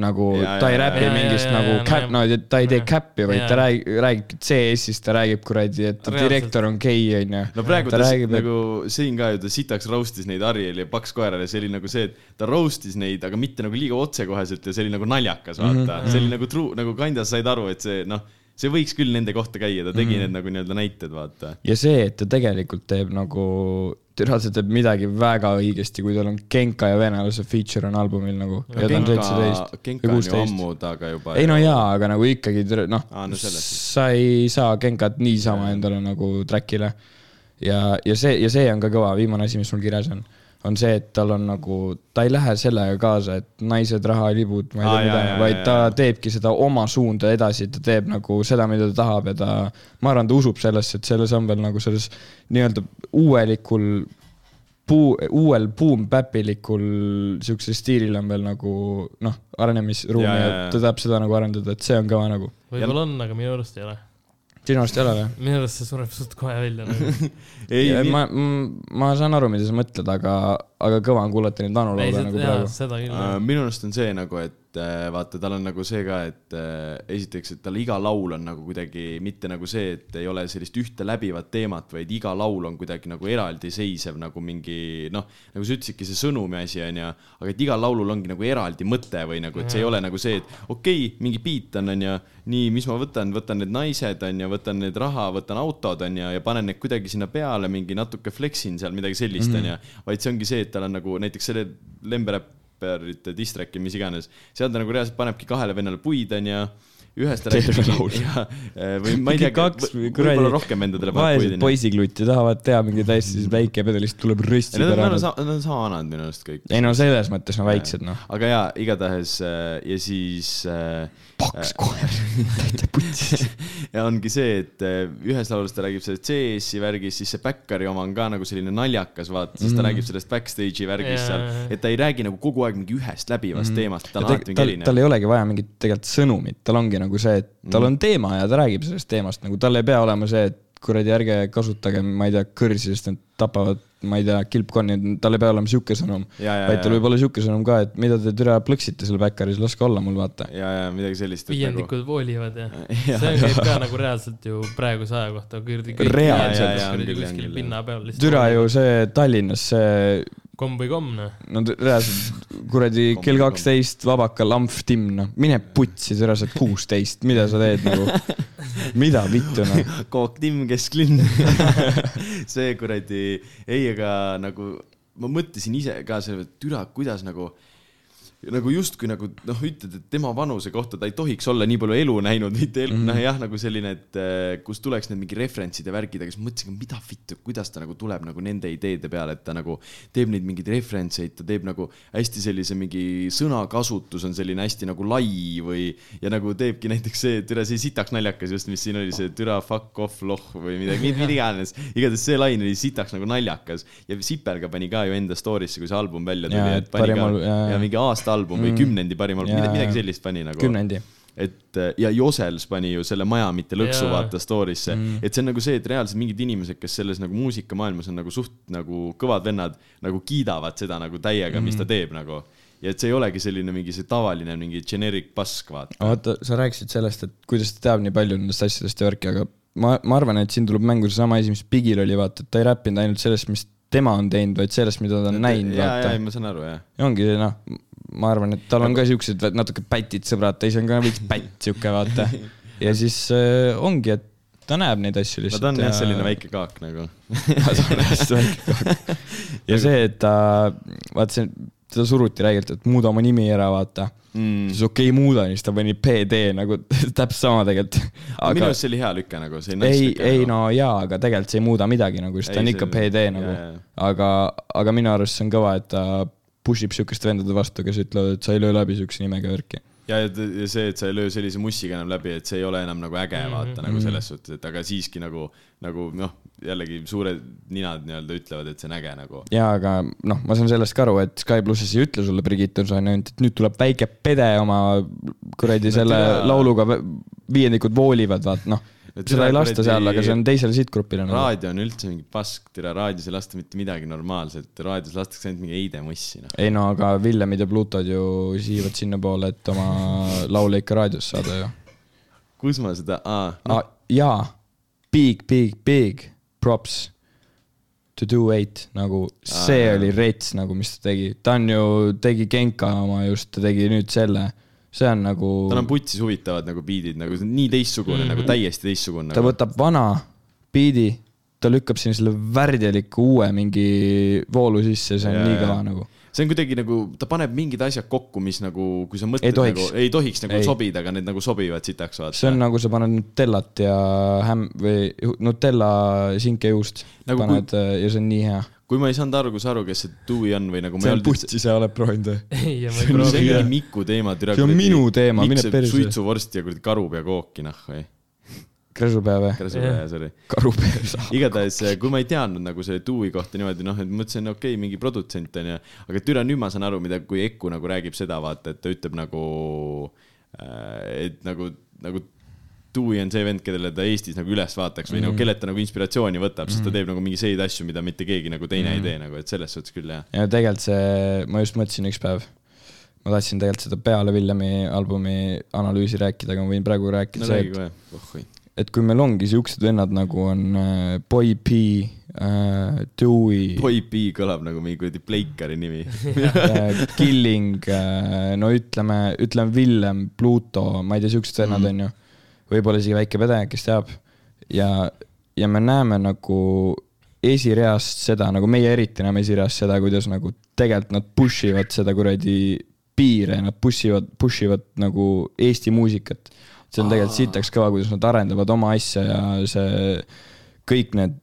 Speaker 3: nagu ja,
Speaker 1: Jaa,
Speaker 3: ta ei
Speaker 1: jaa,
Speaker 3: räpi
Speaker 2: jaa.
Speaker 3: mingist
Speaker 2: Jaa, jaa,
Speaker 3: nagu
Speaker 2: jaa,
Speaker 3: cap , no
Speaker 2: no jah.
Speaker 3: ta ei tee
Speaker 2: Nojah.
Speaker 3: cap'i , vaid ta
Speaker 2: Jaa.
Speaker 3: räägib , räägib CS-ist , ta räägib kuradi , et
Speaker 2: Reaalselt.
Speaker 3: direktor on gei , onju .
Speaker 1: no praegu ta,
Speaker 3: ta
Speaker 1: ta
Speaker 3: räägib,
Speaker 1: räägib,
Speaker 3: et-
Speaker 1: nagu siin ka ju ta sitaks roast'is neid Arieli ja Paks koerale , see oli nagu see , et ta roast'is neid , aga mitte nagu liiga otsekoheselt ja see oli nagu naljakas , vaata
Speaker 3: Mhm,
Speaker 1: mm . -hmm. see oli nagu true , nagu kandjas said aru , et see noh , see võiks küll nende kohta käia , ta
Speaker 3: Mhm.
Speaker 1: tegi mm -hmm. need nagu nii-öelda näited , vaata .
Speaker 3: ja see , et ta tegelikult teeb nagu , türa , ta teeb midagi väga õigesti , kui tal on Genka ja venelase feature on albumil nagu . ja ta on seitseteist
Speaker 1: Genka on ju
Speaker 3: ja kuusteist
Speaker 1: ammu taga juba .
Speaker 3: ei no jaa , aga nagu ikkagi türa- noh
Speaker 1: Aa, no , selles
Speaker 3: sa ei saa Genkat niisama endale nagu track'ile . ja , ja see , ja see on ka kõva , viimane asi , mis mul kirjas on , on see , et tal on nagu , ta ei lähe sellega kaasa , et naised , raha , libud , ma ei
Speaker 1: Aa,
Speaker 3: tea
Speaker 1: jaa,
Speaker 3: mida
Speaker 1: jaa, ,
Speaker 3: vaid
Speaker 1: jaa,
Speaker 3: ta
Speaker 1: jaa.
Speaker 3: teebki seda oma suunda edasi , ta teeb nagu seda , mida ta tahab ja ta , ma arvan , ta usub sellesse , et selles on veel nagu selles nii-öelda uuelikul puu , uuel boom-päpilikul siuksel stiilil on veel nagu noh , arenemisruumi
Speaker 1: Jaa,
Speaker 3: ja,
Speaker 1: jaa,
Speaker 3: ja
Speaker 1: jaa.
Speaker 3: ta tahab seda nagu arendada , et see on kõva nagu .
Speaker 2: võib-olla on , aga minu arust ei ole .
Speaker 3: sinu arust ei ole või ?
Speaker 2: minu arust see sureb suht kohe välja nagu .
Speaker 1: ei
Speaker 3: Ja ,
Speaker 1: ma...
Speaker 3: ma , ma saan aru , mida sa mõtled , aga , aga kõva on kuulata neid Anu
Speaker 2: ei ,
Speaker 3: laule nagu
Speaker 2: seda , jaa ,
Speaker 3: praegu .
Speaker 2: seda küll
Speaker 1: äh,
Speaker 2: jah .
Speaker 1: minu arust on see nagu , et äh, vaata , tal on nagu see ka , et äh, esiteks , et tal iga laul on nagu kuidagi mitte nagu see , et ei ole sellist ühte läbivat teemat , vaid iga laul on kuidagi nagu eraldiseisev nagu mingi noh , nagu sa ütlesidki , see sõnumi asi on ju , aga et igal laulul ongi nagu eraldi mõte või nagu , et see ei ole nagu see , et okei okay, , mingi beat on , on ju , nii , mis ma võtan , võtan need naised , on ju , võtan need raha , võtan autod , on ju , ja panen need kuidagi sinna peale , mingi natuke flexin seal midagi sellist , on ju , vaid see ongi see , et tal on nagu näiteks selle Lemberäpp räpparite distracki , mis iganes , seal ta nagu reaalselt panebki kahele vennale puid , onju . ühest
Speaker 3: Terve laul.
Speaker 1: ja või ma ei tea ,
Speaker 3: Kaks või kuradi-
Speaker 1: võib-olla rohkem vendadele paneb
Speaker 3: vaesed
Speaker 1: puid , onju .
Speaker 3: poisikluti tahavad teha mingeid asju , siis väike pedelist tuleb
Speaker 1: Need
Speaker 3: röstida
Speaker 1: on , nad
Speaker 3: ära
Speaker 1: on . sama , nad on sama vanad minu arust kõik .
Speaker 3: ei no selles mõttes no väiksed noh .
Speaker 1: aga jaa , igatahes äh, ja siis äh,
Speaker 3: paks koer , täitsa putsis .
Speaker 1: ja ongi see , et äh, ühes laulus ta räägib sellest CS-i värgist , siis see Backari oma on ka nagu selline naljakas , vaata , siis
Speaker 3: Mhm.
Speaker 1: ta räägib sellest backstage'i värgist seal
Speaker 2: Jaa. ,
Speaker 1: et ta ei räägi nagu kogu aeg mingi ühest läbivast teemast , tal on alati mingi
Speaker 3: Mhm. tal ,
Speaker 1: erinev . Mm.
Speaker 3: tal ei olegi vaja mingit tegelikult sõnumit , tal ongi nagu see , et tal on teema ja ta räägib sellest teemast , nagu tal ei pea olema see , et kuradi , ärge kasutage , ma ei tea , kõrsi , sest nad tapavad , ma ei tea , kilpkonni , tal ei pea olema sihuke sõnum .
Speaker 1: Jaa, jaa,
Speaker 3: vaid tal
Speaker 1: jaa.
Speaker 3: võib olla sihuke sõnum ka , et mida te türa plõksite seal backeris , laske olla mul , vaata .
Speaker 1: ja , ja midagi sellist . nagu-
Speaker 2: viiendikud voolivad ja
Speaker 1: Jaa,
Speaker 2: see on- käib ka nagu reaalselt ju praeguse aja kohta .
Speaker 3: Reaalselt,
Speaker 1: jaa, on küll, on
Speaker 2: kuskil
Speaker 1: küll,
Speaker 2: pinna peal lihtsalt .
Speaker 3: türa ju see Tallinnas , see ,
Speaker 2: komm või komm noh .
Speaker 3: nad reaalselt kuradi kell kaksteist vabaka lamp timm , noh , mine putsi , türa , sa oled kuusteist , mida sa teed nagu , mida vittu noh .
Speaker 1: Kook Timm kesklinn . see kuradi , ei , aga nagu ma mõtlesin ise ka selle , et türa , kuidas nagu , nagu justkui nagu noh , ütled , et tema vanuse kohta ta ei tohiks olla nii palju elu näinud , mitte
Speaker 3: Mhm.
Speaker 1: elu mm -hmm. , noh jah , nagu selline , et eh, kus tuleks need mingi referentsid ja värgid , aga siis ma mõtlesin , mida vittu , kuidas ta nagu tuleb nagu nende ideede peale , et ta nagu teeb neid mingeid referentseid , ta teeb nagu hästi sellise mingi sõnakasutus on selline hästi nagu lai või ja nagu teebki näiteks see türa , see sitaks naljakas just , mis siin oli see türa fuck off loh või midagi , mida iganes . igatahes see lain oli sitaks nagu naljakas ja Sipelga pani ka ju enda story'sse , kui see album välja tuli
Speaker 3: Jaa, ,
Speaker 1: et pani
Speaker 3: parimal-
Speaker 1: ka
Speaker 3: jaa,
Speaker 1: ja
Speaker 3: jaa.
Speaker 1: mingi aasta album või kümnendi parim album ,
Speaker 3: Mm. Jaa, jaa.
Speaker 1: midagi sellist pani nagu .
Speaker 3: kümnendi .
Speaker 1: et äh, ja Josels pani ju selle Maja mitte lõksu
Speaker 2: Jaa.
Speaker 1: vaata story'sse mm. , et see on nagu see , et reaalselt mingid inimesed , kes selles nagu muusikamaailmas on nagu suht nagu kõvad vennad , nagu kiidavad seda nagu täiega mm. , mis ta teeb nagu . ja et see ei olegi selline mingi see tavaline mingi generic pask , vaata .
Speaker 3: oota , sa rääkisid sellest , et kuidas ta teab nii palju nendest asjadest ja värki , aga ma , ma arvan , et siin tuleb mängu seesama asi , mis Bigil oli , vaata , et ta ei räppinud ainult sellest , mis tema on teinud , vaid sellest , mida ta on näinud ,
Speaker 1: ja , ja
Speaker 3: vaata .
Speaker 1: ma saan aru , jah .
Speaker 3: ja ongi noh , ma arvan , et tal on ka siuksed vä- natuke pätid sõbrad , ta ise on ka veits pätt siuke , vaata . ja siis äh, ongi , et ta näeb neid asju
Speaker 1: no
Speaker 3: lihtsalt .
Speaker 1: ta on jah selline . väike kaak nagu .
Speaker 3: ta on hästi väike kogu aeg . ja see , et ta , vaat see , seda suruti räigelt , et muuda oma nimi ära , vaata
Speaker 1: Mm.
Speaker 3: siis okei okay, , muuda , siis ta pani PD nagu täpselt sama tegelikult .
Speaker 1: Aga... minu
Speaker 3: aga
Speaker 1: arust see oli hea lüke nagu .
Speaker 3: ei , ei . no jaa , aga tegelikult see ei muuda midagi nagu , sest ta
Speaker 1: Ei,
Speaker 3: on
Speaker 1: see-
Speaker 3: ikka PD
Speaker 1: jaa,
Speaker 3: nagu
Speaker 1: jaa. .
Speaker 3: aga , aga minu arust see on kõva , et ta push ib siukeste vendade vastu , kes ütlevad , et sa ei löö läbi siukse nimega värki .
Speaker 1: ja , ja see , et sa ei löö sellise mussiga enam läbi , et see ei ole enam nagu äge mm
Speaker 3: Mhm.
Speaker 1: -hmm. vaata nagu selles suhtes , et aga siiski nagu , nagu noh , jällegi suured ninad nii-öelda ütlevad , et see on äge nagu .
Speaker 3: jaa , aga noh , ma saan sellest ka aru , et Sky plussis ei ütle sulle , Brigitte , on ainult , et nüüd tuleb väike pede oma kuradi selle
Speaker 1: tea.
Speaker 3: lauluga , viiendikud voolivad , vaat noh ,
Speaker 1: No tea,
Speaker 3: seda ei lasta
Speaker 1: kuradi-
Speaker 3: seal , aga see on teisele sihtgrupile nagu .
Speaker 1: raadio on üldse mingi pask , tere , raadios ei lasta mitte midagi normaalset , raadios lastakse ainult mingi heidemussi noh .
Speaker 3: ei no aga Villemid ja Plutod ju sihivad sinnapoole , et oma laule ikka raadiosse saada ju
Speaker 1: kus ma seda , aa noh,
Speaker 3: ah, . jaa , big , big , big props to do eight nagu ,
Speaker 1: Aa,
Speaker 3: see ah,
Speaker 1: jah.
Speaker 3: oli rets nagu , mis ta tegi , ta on ju , tegi Genka oma just , ta tegi nüüd selle , see on nagu ,
Speaker 1: tal on putsis huvitavad nagu biidid nagu , see on nii teistsugune mm -hmm. nagu täiesti teistsugune
Speaker 3: Mhm. ta
Speaker 1: nagu. .
Speaker 3: võtab vana biidi , ta lükkab sinna selle värdjaliku uue mingi voolu sisse , see on
Speaker 1: Jaa,
Speaker 3: ja, nii
Speaker 1: jaa.
Speaker 3: kõva nagu .
Speaker 1: see on kuidagi nagu , ta paneb mingid asjad kokku , mis nagu , kui sa mõtled
Speaker 3: Ei tohiks.
Speaker 1: nagu , ei tohiks nagu
Speaker 3: Ei.
Speaker 1: ei. sobida , aga need nagu sobivad sitaks vaata .
Speaker 3: see on nagu sa paned Nutellat ja hämm- või Nutella sinkejuust
Speaker 1: Nagu
Speaker 3: nagu
Speaker 1: kui-
Speaker 3: paned kui... ja see on nii hea .
Speaker 1: kui ma ei saanud aru , kui sa aru , kes see Dewey on või nagu ma ei olnud üldse ,
Speaker 3: sa oled proovinud või ?
Speaker 2: ei , ma ei
Speaker 1: see on nagu
Speaker 2: proovi .
Speaker 1: mingi Miku teema , türa .
Speaker 3: See on minu teema, mine perse.
Speaker 1: suitsuvorst ja kuradi karupea kooki , noh , või .
Speaker 3: Kresupea või ?
Speaker 1: kärsupea , sorry .
Speaker 3: karupea saab .
Speaker 1: igatahes , kui ma ei teadnud nagu selle Dewey kohta niimoodi , noh , et mõtlesin , okei okay, , mingi produtsent on ju , aga türa , nüüd ma saan aru , mida , kui Eku nagu räägib seda , vaata , et ta ütleb nagu , et nagu , nagu Dewey on see vend , kellele ta Eestis nagu üles vaataks või mm. nagu kellelt ta nagu inspiratsiooni võtab , sest ta teeb nagu mingeid asju , mida mitte keegi nagu teine mm. ei tee nagu , et selles suhtes küll jah .
Speaker 3: ja tegelikult see , ma just mõtlesin üks päev , ma tahtsin tegelikult seda peale Villemi albumi analüüsi rääkida , aga ma võin praegu rääkida
Speaker 1: no
Speaker 3: no,
Speaker 1: räägi
Speaker 3: see ,
Speaker 1: kohe , oh oi .
Speaker 3: et , et kui meil ongi siuksed vennad nagu on äh, Boy P äh, , Dewey ,
Speaker 1: Boy B kõlab nagu mingi kuradi Pleikari nimi .
Speaker 3: äh, Killing äh, , no ütleme , ütleme Villem , Pluto , ma ei tea , siuksed
Speaker 1: Mhm.
Speaker 3: vennad mm. on ju . võib-olla isegi Väike Pede , kes teab . ja , ja me näeme nagu esireast seda , nagu meie eriti näeme esireast seda , kuidas nagu tegelikult nad push ivad seda kuradi piire , nad push ivad , push ivad nagu Eesti muusikat . see on tegelikult sitaks kõva , kuidas nad arendavad oma asja ja see , kõik need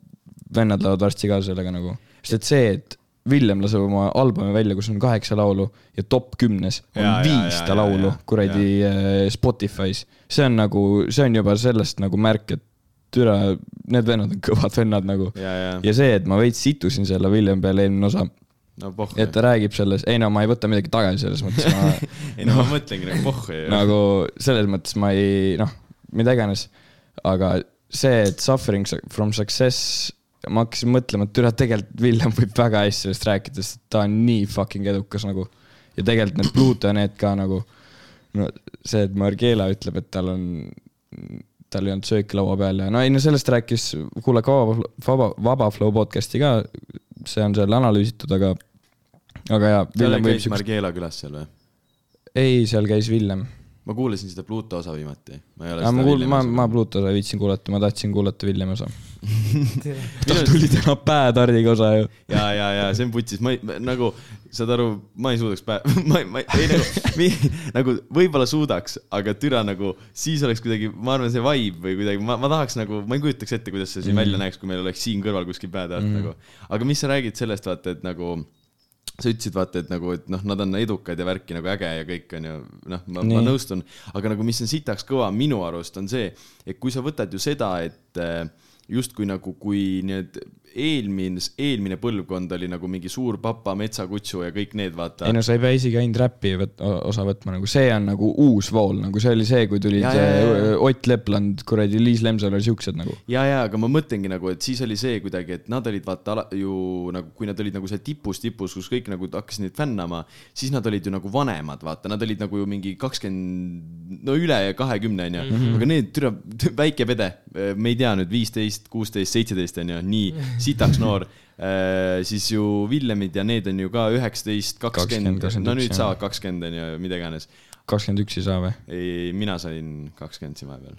Speaker 3: vennad laulavad varsti ka sellega nagu . sest et see , et Villem laseb oma albumi välja , kus on kaheksa laulu ja top kümnes
Speaker 1: Jaa,
Speaker 3: on
Speaker 1: jaa, jaa,
Speaker 3: viis
Speaker 1: jaa,
Speaker 3: ta laulu
Speaker 1: jaa.
Speaker 3: kuradi eh, Spotify's . see on nagu , see on juba sellest nagu märk , et türa , need vennad on kõvad vennad nagu .
Speaker 1: ja , ja
Speaker 3: ja see , et ma veits situsin selle Villem peale eelmine osa ,
Speaker 1: no pohhu .
Speaker 3: et ta räägib selles , ei no ma ei võta midagi tagasi selles mõttes , ma
Speaker 1: ei no ma mõtlengi nagu pohhu ju .
Speaker 3: nagu selles mõttes ma ei noh , mida iganes , aga see , et suffering su- from success , ma hakkasin mõtlema , et türa , tegelikult Villem võib väga hästi sellest rääkida , sest ta on nii fucking edukas nagu . ja tegelikult need Pluto ja need ka nagu , no see , et Margiela ütleb , et tal on , tal ei olnud sööki laua peal ja no ei no sellest rääkis , kuulake Vaba , Vaba , Vaba Flow podcast'i ka , see on seal analüüsitud , aga , aga jaa ,
Speaker 1: Villem
Speaker 3: Villem võib
Speaker 1: käis
Speaker 3: siukest ,
Speaker 1: Margiela külas seal või ?
Speaker 3: ei , seal käis Villem
Speaker 1: ma kuulasin seda Pluto osa viimati . ma ei ole
Speaker 3: aga ma kuul- ,
Speaker 1: Villemi
Speaker 3: ma ,
Speaker 1: osa
Speaker 3: ma
Speaker 1: kuulnud.
Speaker 3: Pluutole viitsin kuulata , ma tahtsin kuulata Villemi osa . tal tuli täna päetardiga osa ju .
Speaker 1: ja , ja , ja see on putsis , ma ei , nagu saad aru , ma ei suudaks päev , ma ei , ma ei , ei nagu , mi, nagu võib-olla suudaks , aga türa nagu siis oleks kuidagi , ma arvan , see vibe või kuidagi , ma , ma tahaks nagu , ma ei kujutaks ette , kuidas see siin mm. välja näeks , kui meil oleks siin kõrval kuskil päev tagant mm. nagu . aga mis sa räägid sellest , vaata , et nagu sa ütlesid , vaata , et nagu , et noh , nad on edukad ja värki nagu äge ja kõik on ju , noh , ma, ma
Speaker 3: Nii.
Speaker 1: nõustun , aga nagu , mis on sitaks kõva minu arust , on see , et kui sa võtad ju seda , et äh, justkui nagu , kui need eelmine , eelmine põlvkond oli nagu mingi suur papa , metsakutsu ja kõik need , vaata
Speaker 3: ei . no sa ei pea isegi ainult räppi võt- , osa võtma , nagu see on nagu uus vool , nagu see oli see , kui tulid
Speaker 1: Ja, ja, ja, ja.
Speaker 3: see Ott Lepland , kuradi Liis Lemsalu ja siuksed nagu .
Speaker 1: ja , ja , aga ma mõtlengi nagu , et siis oli see kuidagi , et nad olid vaata ala- ju nagu , kui nad olid nagu seal tipus , tipus , kus kõik nagu hakkasid neid fännama , siis nad olid ju nagu vanemad , vaata , nad olid nagu ju mingi kakskümmend , no üle kahekümne onju , aga need türa , väike pede , me ei tea nüüd viisteist , kuusteist , seitseteist onju , nii sitaks noor . siis ju Villemid ja need on ju ka üheksateist ,
Speaker 3: 20,
Speaker 1: kakskümmend , no
Speaker 3: 21,
Speaker 1: nüüd
Speaker 3: jah.
Speaker 1: saavad kakskümmend onju , mida iganes .
Speaker 3: kakskümmend üks ei saa või ?
Speaker 1: ei , mina sain kakskümmend siin vahepeal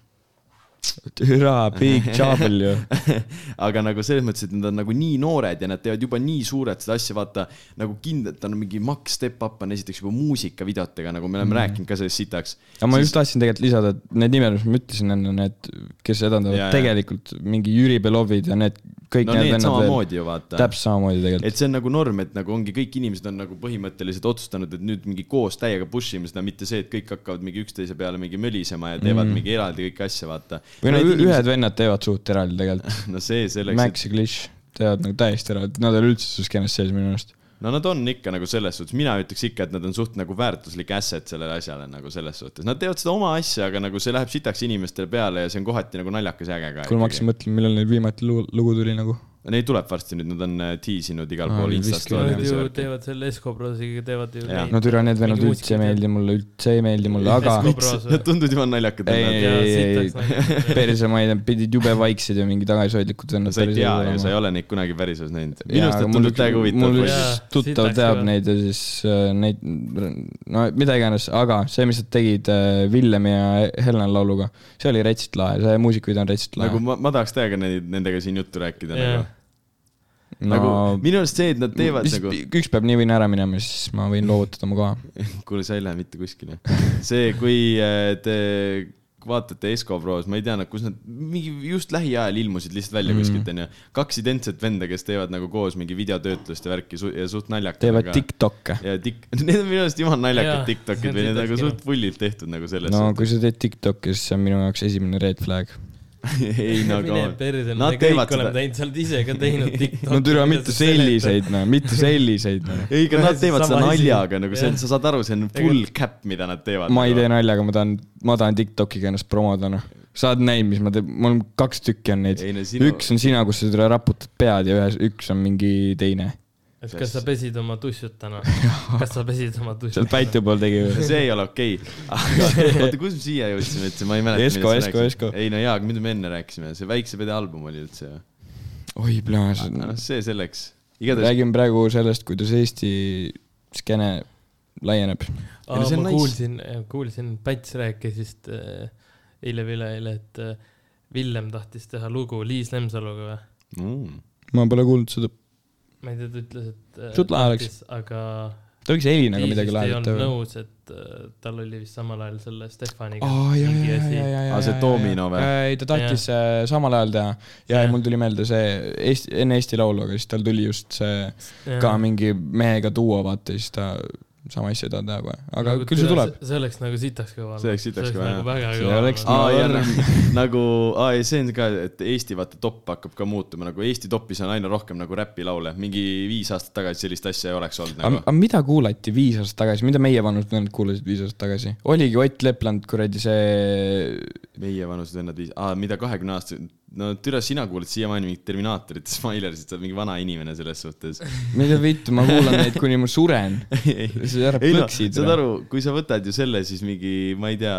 Speaker 3: türa , big trouble ju .
Speaker 1: aga nagu selles mõttes , et nad on nagu nii noored ja nad teevad juba nii suured seda asja , vaata nagu kindlalt on mingi Max Step Up on esiteks juba muusikavideotega , nagu me oleme
Speaker 3: Mhm.
Speaker 1: mm. rääkinud ka sellest sitaks .
Speaker 3: aga ma just tahtsin tegelikult lisada , et need nimed , mis ma ütlesin enne , need , kes edendavad
Speaker 1: Ja, ja.
Speaker 3: tegelikult mingi Jüri Belovid ja need kõik
Speaker 1: no
Speaker 3: need,
Speaker 1: need
Speaker 3: vennad veel .
Speaker 1: samamoodi ju vaata .
Speaker 3: täpselt samamoodi tegelikult .
Speaker 1: et see on nagu norm , et nagu ongi kõik inimesed on nagu põhimõtteliselt otsustanud , et nüüd mingi koos täiega push ime seda , mitte see , et kõik hakkavad mingi üksteise peale mingi mölisema ja teevad mm. mingi eraldi kõiki asju , vaata .
Speaker 3: Mhm. või no ü- ühed vennad teevad suht eraldi tegelikult .
Speaker 1: no see selleks , et
Speaker 3: Max ja Glitch teevad nagu täiesti ära , nad ei ole üldse selles skeenes sees minu arust .
Speaker 1: no nad on ikka nagu selles suhtes , mina ütleks ikka , et nad on suht nagu väärtuslik asset sellele asjale nagu selles suhtes , nad teevad seda oma asja , aga nagu see läheb sitaks inimestele peale ja see on kohati nagu naljakas ja äge ka .
Speaker 3: kuule , ma hakkasin . mõtlema , millal neil viimati lugu, lugu tuli nagu .
Speaker 1: Neid tuleb varsti nüüd , nad on äh, tiisinud igal
Speaker 3: Aa,
Speaker 1: pool
Speaker 3: oli
Speaker 1: Insta
Speaker 3: vist küll,
Speaker 2: Nad
Speaker 1: story'des
Speaker 2: ju
Speaker 1: ja värki.
Speaker 2: teevad selle Escobrosiga , teevad ju
Speaker 1: Jah.
Speaker 2: neid-
Speaker 3: no türa , need vennad
Speaker 2: Mingi
Speaker 3: üldse ei
Speaker 2: muusika-
Speaker 3: meeldi mulle , üldse ei meeldi mulle , aga
Speaker 2: Esco- Escobros või?
Speaker 1: Nad tunduvad juba naljakad .
Speaker 3: ei ,
Speaker 1: Nad
Speaker 3: ei ,
Speaker 2: Ja
Speaker 3: ei ,
Speaker 2: sitaks
Speaker 3: ei ,
Speaker 2: nagu-
Speaker 3: päris ma ei tea , pidid jube vaiksed ja mingi tagasihoidlikud vennad
Speaker 1: sa ei tea ju , sa ei
Speaker 3: ole .
Speaker 1: ole neid kunagi päriselt näinud . minu arust nad tunduvad täiega
Speaker 3: mul
Speaker 1: huvitavad .
Speaker 3: üks
Speaker 2: Jaa,
Speaker 3: tuttav
Speaker 2: sitaks
Speaker 3: teab
Speaker 2: juba.
Speaker 3: neid ja siis äh, neid , no mida iganes , aga see , mis nad tegid äh, Villemi ja Helena lauluga , see oli rätsit lahe , see muusikavideo on rätsit lahe
Speaker 1: nagu . ma , ma tahaks täiega neid , nendega siin juttu rääkida
Speaker 2: Jah.
Speaker 1: nagu . nagu minu arust see , et nad teevad nagu .
Speaker 3: üks peab nii või naa ära minema , siis ma võin loovutada oma koha .
Speaker 1: kuule , sa ei lähe mitte kuskile . see , kui äh, te vaatate Escobros , ma ei tea , kus nad mingi just lähiajal ilmusid lihtsalt välja mm. kuskilt onju . kaks identset venda , kes teevad nagu koos mingi videotöötlust ja värki su ja suht naljakad .
Speaker 3: teevad . TikTok'e .
Speaker 1: ja tik- , need on minu arust jumala naljakad
Speaker 2: Jaa, see
Speaker 1: Tiktokid
Speaker 2: on
Speaker 1: või need on
Speaker 2: TikTokis
Speaker 1: nagu
Speaker 2: kena.
Speaker 1: suht pullilt tehtud nagu selles
Speaker 3: no
Speaker 1: suhtes .
Speaker 3: kui sa teed TikTok'i , siis see on minu jaoks esimene red flag .
Speaker 1: ei no aga
Speaker 2: mine . perse , me
Speaker 1: Nad teevad
Speaker 2: kõik oleme
Speaker 1: seda ,
Speaker 2: teinud , sa oled ise ka teinud TikTok'i .
Speaker 3: no türa , mitte selliseid , noh , mitte selliseid , noh .
Speaker 1: ei , aga nad teevad seda
Speaker 2: Sama asi.
Speaker 1: naljaga nagu see on ,
Speaker 2: Jah.
Speaker 1: sa saad aru , see on full cap , mida nad teevad . nagu.
Speaker 3: ma ei tee naljaga , ma tahan , ma tahan TikTok'iga ennast promoda , noh . sa oled näinud , mis ma teen , mul on kaks tükki on neid
Speaker 1: Ei, no . sinu-
Speaker 3: üks on sina , kus sa türa raputad pead ja ühes , üks on mingi teine .
Speaker 2: et kas sa pesid oma tussud täna ? kas sa pesid oma tussud
Speaker 3: seal ? Päitu pool tegi ju .
Speaker 1: see ei ole okei okay. . oota , kus me siia jõudsime üldse , ma ei mäleta .
Speaker 3: Esko, Esko, Esko.
Speaker 1: ei no jaa , aga mida me enne rääkisime , see Väikse Pede album oli üldse ju .
Speaker 3: oi , plaas .
Speaker 1: noh , see selleks . igatahes ,
Speaker 3: räägime praegu sellest , kuidas Eesti skeene laieneb .
Speaker 1: Ei
Speaker 2: aa
Speaker 1: no , see on
Speaker 2: ma
Speaker 1: nice.
Speaker 2: kuulsin , kuulsin , Päts rääkis vist äh, eile või üleeile , et äh, Villem tahtis teha lugu Liis Lemsaluga või ?
Speaker 1: mm.
Speaker 3: ma pole kuulnud seda .
Speaker 2: ma ei tea , ta ütles , et äh,
Speaker 3: Suht lahe oleks.
Speaker 2: tahtis, aga
Speaker 3: ta võiks Elinaga
Speaker 2: Tiisist
Speaker 3: midagi
Speaker 2: ei olnud
Speaker 3: lahendada .
Speaker 2: nõus , et äh, tal oli vist samal ajal selle Stefaniga
Speaker 3: aa , ja , ja , ja , ja , ja , ja .
Speaker 1: Aa, Ah, see domino või?
Speaker 3: ei , ta tahtis äh, samal ajal teha ja, ja
Speaker 2: Jah.
Speaker 3: mul tuli meelde see Eesti , enne Eesti Laulu , aga siis tal tuli just see
Speaker 2: Jah.
Speaker 3: ka mingi mehega duo , vaata , siis ta sama asja ei taha teha kohe , aga nagu küll see tuleb ..
Speaker 2: see oleks nagu sitaks kõva .
Speaker 1: See oleks sitaks kõva, jah.
Speaker 2: nagu väga
Speaker 3: See
Speaker 2: kõva
Speaker 3: oleks-
Speaker 2: olnud.
Speaker 1: aa ja
Speaker 3: Norm.
Speaker 1: nagu- nagu , aa ja see on ka , et Eesti vaata top hakkab ka muutuma , nagu Eesti topis on aina rohkem nagu räpilaule , mingi viis aastat tagasi sellist asja ei oleks olnud nagu .
Speaker 3: aga mida kuulati viis aastat tagasi , mida meie vanused vennad kuulasid viis aastat tagasi ? oligi Ott Lepland , kuradi see ,
Speaker 1: meie vanused vennad viis , aa mida kahekümne aastased , no türa , sina kuuled siiamaani mingit Terminaatorit , Smilersit , sa oled mingi vana inimene selles suhtes .
Speaker 3: mida vittu , ma kuulan neid , kuni ma suren . sa ära
Speaker 1: ei no ,
Speaker 3: plõksid .
Speaker 1: saad aru , kui sa võtad ju selle , siis mingi , ma ei tea ,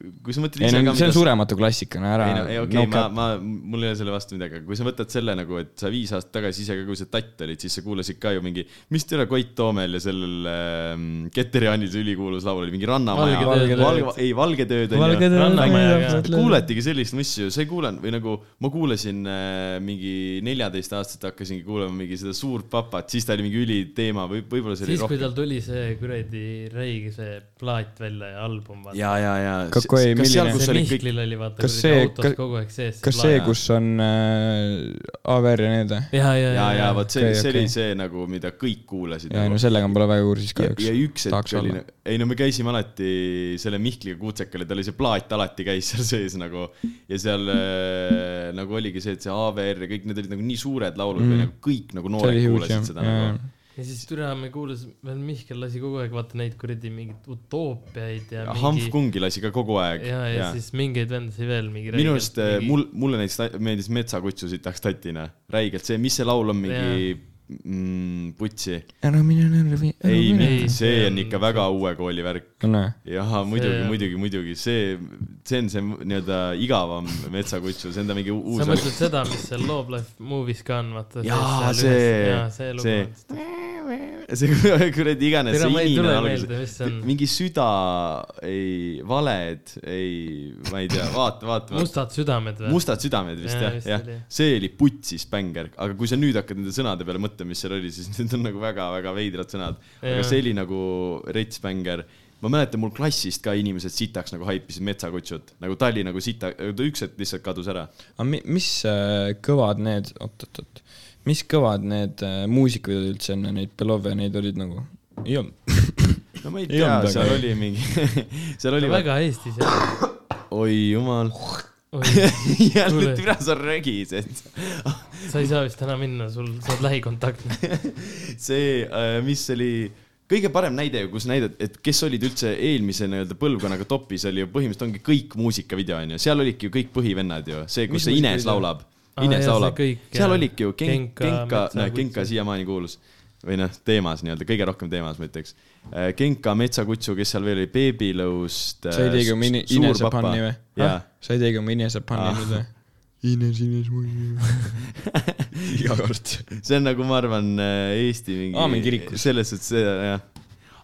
Speaker 1: kui sa mõtled
Speaker 3: ei
Speaker 1: ise
Speaker 3: no
Speaker 1: ka
Speaker 3: see on surematu klassikana , ära
Speaker 1: ei no , ei okei okay, , ma , ma , mul ei ole selle vastu midagi , aga kui sa võtad selle nagu , et sa viis aastat tagasi ise ka , kui sa tatt olid , siis sa kuulasid ka ju mingi , mis teil oli Koit Toomel ja sellel ähm, Keteri Annil see ülikõulus laul oli , mingi Rannamaja .
Speaker 2: Valged ööd.
Speaker 1: Valge , ei , Valged ööd on ju .
Speaker 3: Valged ööd,
Speaker 2: Rannamaja ka.
Speaker 1: kuuletigi sellist asju , sa ei kuulanud või nagu ma kuulasin äh, mingi neljateist aastaselt hakkasingi kuulama mingi seda Suurt papat , siis ta oli mingi üliteema või võib-olla see oli
Speaker 2: siis , kui
Speaker 1: rohkem .
Speaker 2: tal tuli see kuradi Reigi see plaat välja ja album , vaata .
Speaker 1: ja , ja , ja .
Speaker 3: Kakoi, milline?
Speaker 1: kus
Speaker 2: see
Speaker 1: olid kõik ,
Speaker 2: Mihklil oli vaata
Speaker 3: Kas
Speaker 2: kuradi
Speaker 3: see-
Speaker 2: autos
Speaker 3: kas-
Speaker 2: kogu aeg sees .
Speaker 3: kas see , kus on äh, AVR ja need ?
Speaker 2: ja , ja ,
Speaker 1: ja , ja vot see ,
Speaker 3: Okei,
Speaker 1: see
Speaker 3: okei.
Speaker 1: oli see nagu , mida kõik kuulasid .
Speaker 3: ja ei no sellega ma pole väga kursis
Speaker 1: ja,
Speaker 3: kahjuks .
Speaker 1: ja üks hetk
Speaker 3: tahaks
Speaker 1: oli
Speaker 3: olla .,
Speaker 1: ei no me käisime alati selle Mihkliga Kutsekal ja tal oli see plaat alati käis seal sees nagu ja seal äh, nagu oligi see , et see AVR ja kõik need olid nagu nii suured laulud mm. või nagu kõik nagu noored
Speaker 3: oli huge, jah.
Speaker 1: kuulasid seda
Speaker 3: Jaa,
Speaker 1: nagu
Speaker 3: jaa. .
Speaker 2: ja siis türa me kuulasime , veel Mihkel lasi kogu aeg vaata neid kuradi mingeid utoopiaid ja
Speaker 1: Hanf
Speaker 2: mingi
Speaker 1: Kungi lasi ka kogu aeg .
Speaker 2: ja , ja siis mingeid vendasid veel mingi
Speaker 1: minu arust äh, mul , mulle näiteks meeldis Metsakutsu sitaks tatina , räigelt see , mis see laul on , mingi mm, Putsi .
Speaker 3: ära mine , ära mine .
Speaker 1: ei ,
Speaker 2: Ei,
Speaker 1: see
Speaker 2: see
Speaker 1: on
Speaker 2: on-
Speaker 1: ikka väga uue kooli värk .
Speaker 3: no näe .
Speaker 1: jaa , muidugi ,
Speaker 2: on-
Speaker 1: muidugi , muidugi , see , see on see nii-öelda igavam metsakutsu , see on ta mingi u- uus
Speaker 2: sa . mõtled seda , mis seal Love Life Movies ka on , vaata .
Speaker 1: jaa , see
Speaker 2: jaa , see , lugu
Speaker 1: see
Speaker 2: on ,
Speaker 1: see kuradi iganes ,
Speaker 2: Tere,
Speaker 1: see
Speaker 2: ma ei tule
Speaker 1: inimene
Speaker 2: meelde, mis see on.
Speaker 1: mingi süda , ei , valed , ei , ma ei tea , vaata , vaata .
Speaker 2: mustad südamed või ?
Speaker 1: mustad südamed vist
Speaker 2: Jaa,
Speaker 1: jah ,
Speaker 2: vist
Speaker 1: jah
Speaker 2: oli. ,
Speaker 1: see oli putsis bänger , aga kui sa nüüd hakkad nende sõnade peale mõtlema , mis seal oli , siis need on nagu väga-väga veidrad sõnad . aga
Speaker 2: Jaa.
Speaker 1: see oli nagu rets bänger . ma mäletan , mul klassist ka inimesed sitaks nagu haipisid metsakutsut , nagu ta oli nagu sita , ta üks hetk lihtsalt kadus ära .
Speaker 3: aga mi- mis äh, kõvad need , oot-oot-oot , mis kõvad need äh, muusikud olid üldse enne neid Belove , neid olid nagu ? ei
Speaker 1: Äh,
Speaker 3: olnud .
Speaker 1: no ma ei
Speaker 3: Ei
Speaker 1: tea
Speaker 3: olnud , väga
Speaker 1: seal
Speaker 3: hea.
Speaker 1: oli mingi , seal oli väga... ,
Speaker 2: väga Eestis jah .
Speaker 1: oi jumal , jälle
Speaker 2: Kuule.
Speaker 1: türa sa regised .
Speaker 2: sa ei saa vist täna minna , sul , sa oled lähikontaktne .
Speaker 1: see , mis oli kõige parem näide , kus näidati , et kes olid üldse eelmise nii-öelda põlvkonnaga topis , oli ju põhimõtteliselt ongi kõik muusikavideo onju , seal olidki ju kõik põhivennad ju , see ,
Speaker 3: Mis
Speaker 1: kus see Ines
Speaker 3: muusikavideo?
Speaker 1: laulab ,
Speaker 2: Aa,
Speaker 1: Ines
Speaker 2: jaa, see
Speaker 1: laulab
Speaker 2: kõik, ,
Speaker 1: seal
Speaker 2: jaa.
Speaker 1: olidki ju Genk-
Speaker 2: Genka,
Speaker 1: Genka , näe
Speaker 2: Metsakutsu.
Speaker 1: Genka siiamaani kuulus või noh , teemas nii-öelda kõige rohkem teemas ma ütleks . Äh, Genka , Metsakutsu , kes seal veel oli , äh, Beebilõust .
Speaker 3: sa ei teagi oma ine- , Inese panni või ?
Speaker 1: jaa ,
Speaker 3: sa ei teagi oma Inese panni
Speaker 1: Ah.
Speaker 3: nüüd või ? Ines , Ines , muidu . iga kord .
Speaker 1: see on nagu ma arvan Eesti mingi .
Speaker 3: Aamen kirikus.
Speaker 1: selles suhtes see jah .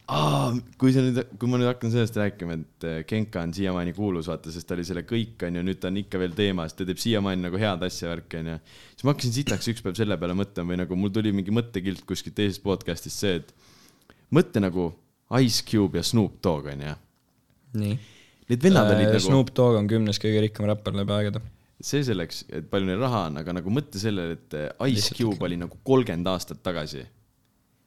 Speaker 1: Aa, kui sa nüüd , kui ma nüüd hakkan sellest rääkima , et äh, Genka on siiamaani kuulus , vaata , sest ta oli selle kõik , onju , nüüd ta on ikka veel teemas , ta teeb siiamaani nagu head asja värki , onju . siis ma hakkasin sitaks üks päev selle peale mõtlema või nagu mul tuli mingi mõttekild kuskilt teisest podcast'ist see , et mõtle nagu Ice Cube ja Snoop Dogg , onju .
Speaker 3: nii .
Speaker 1: Need vennad olid nagu .
Speaker 3: Äh, Snoop Dogg on kümnes kõige rikkam räppar läbi aegade .
Speaker 1: see selleks , et palju neil raha on , aga nagu mõtle sellele , et Ice
Speaker 3: Lihtsalt
Speaker 1: Cube oli nagu kolmkümmend aastat tagasi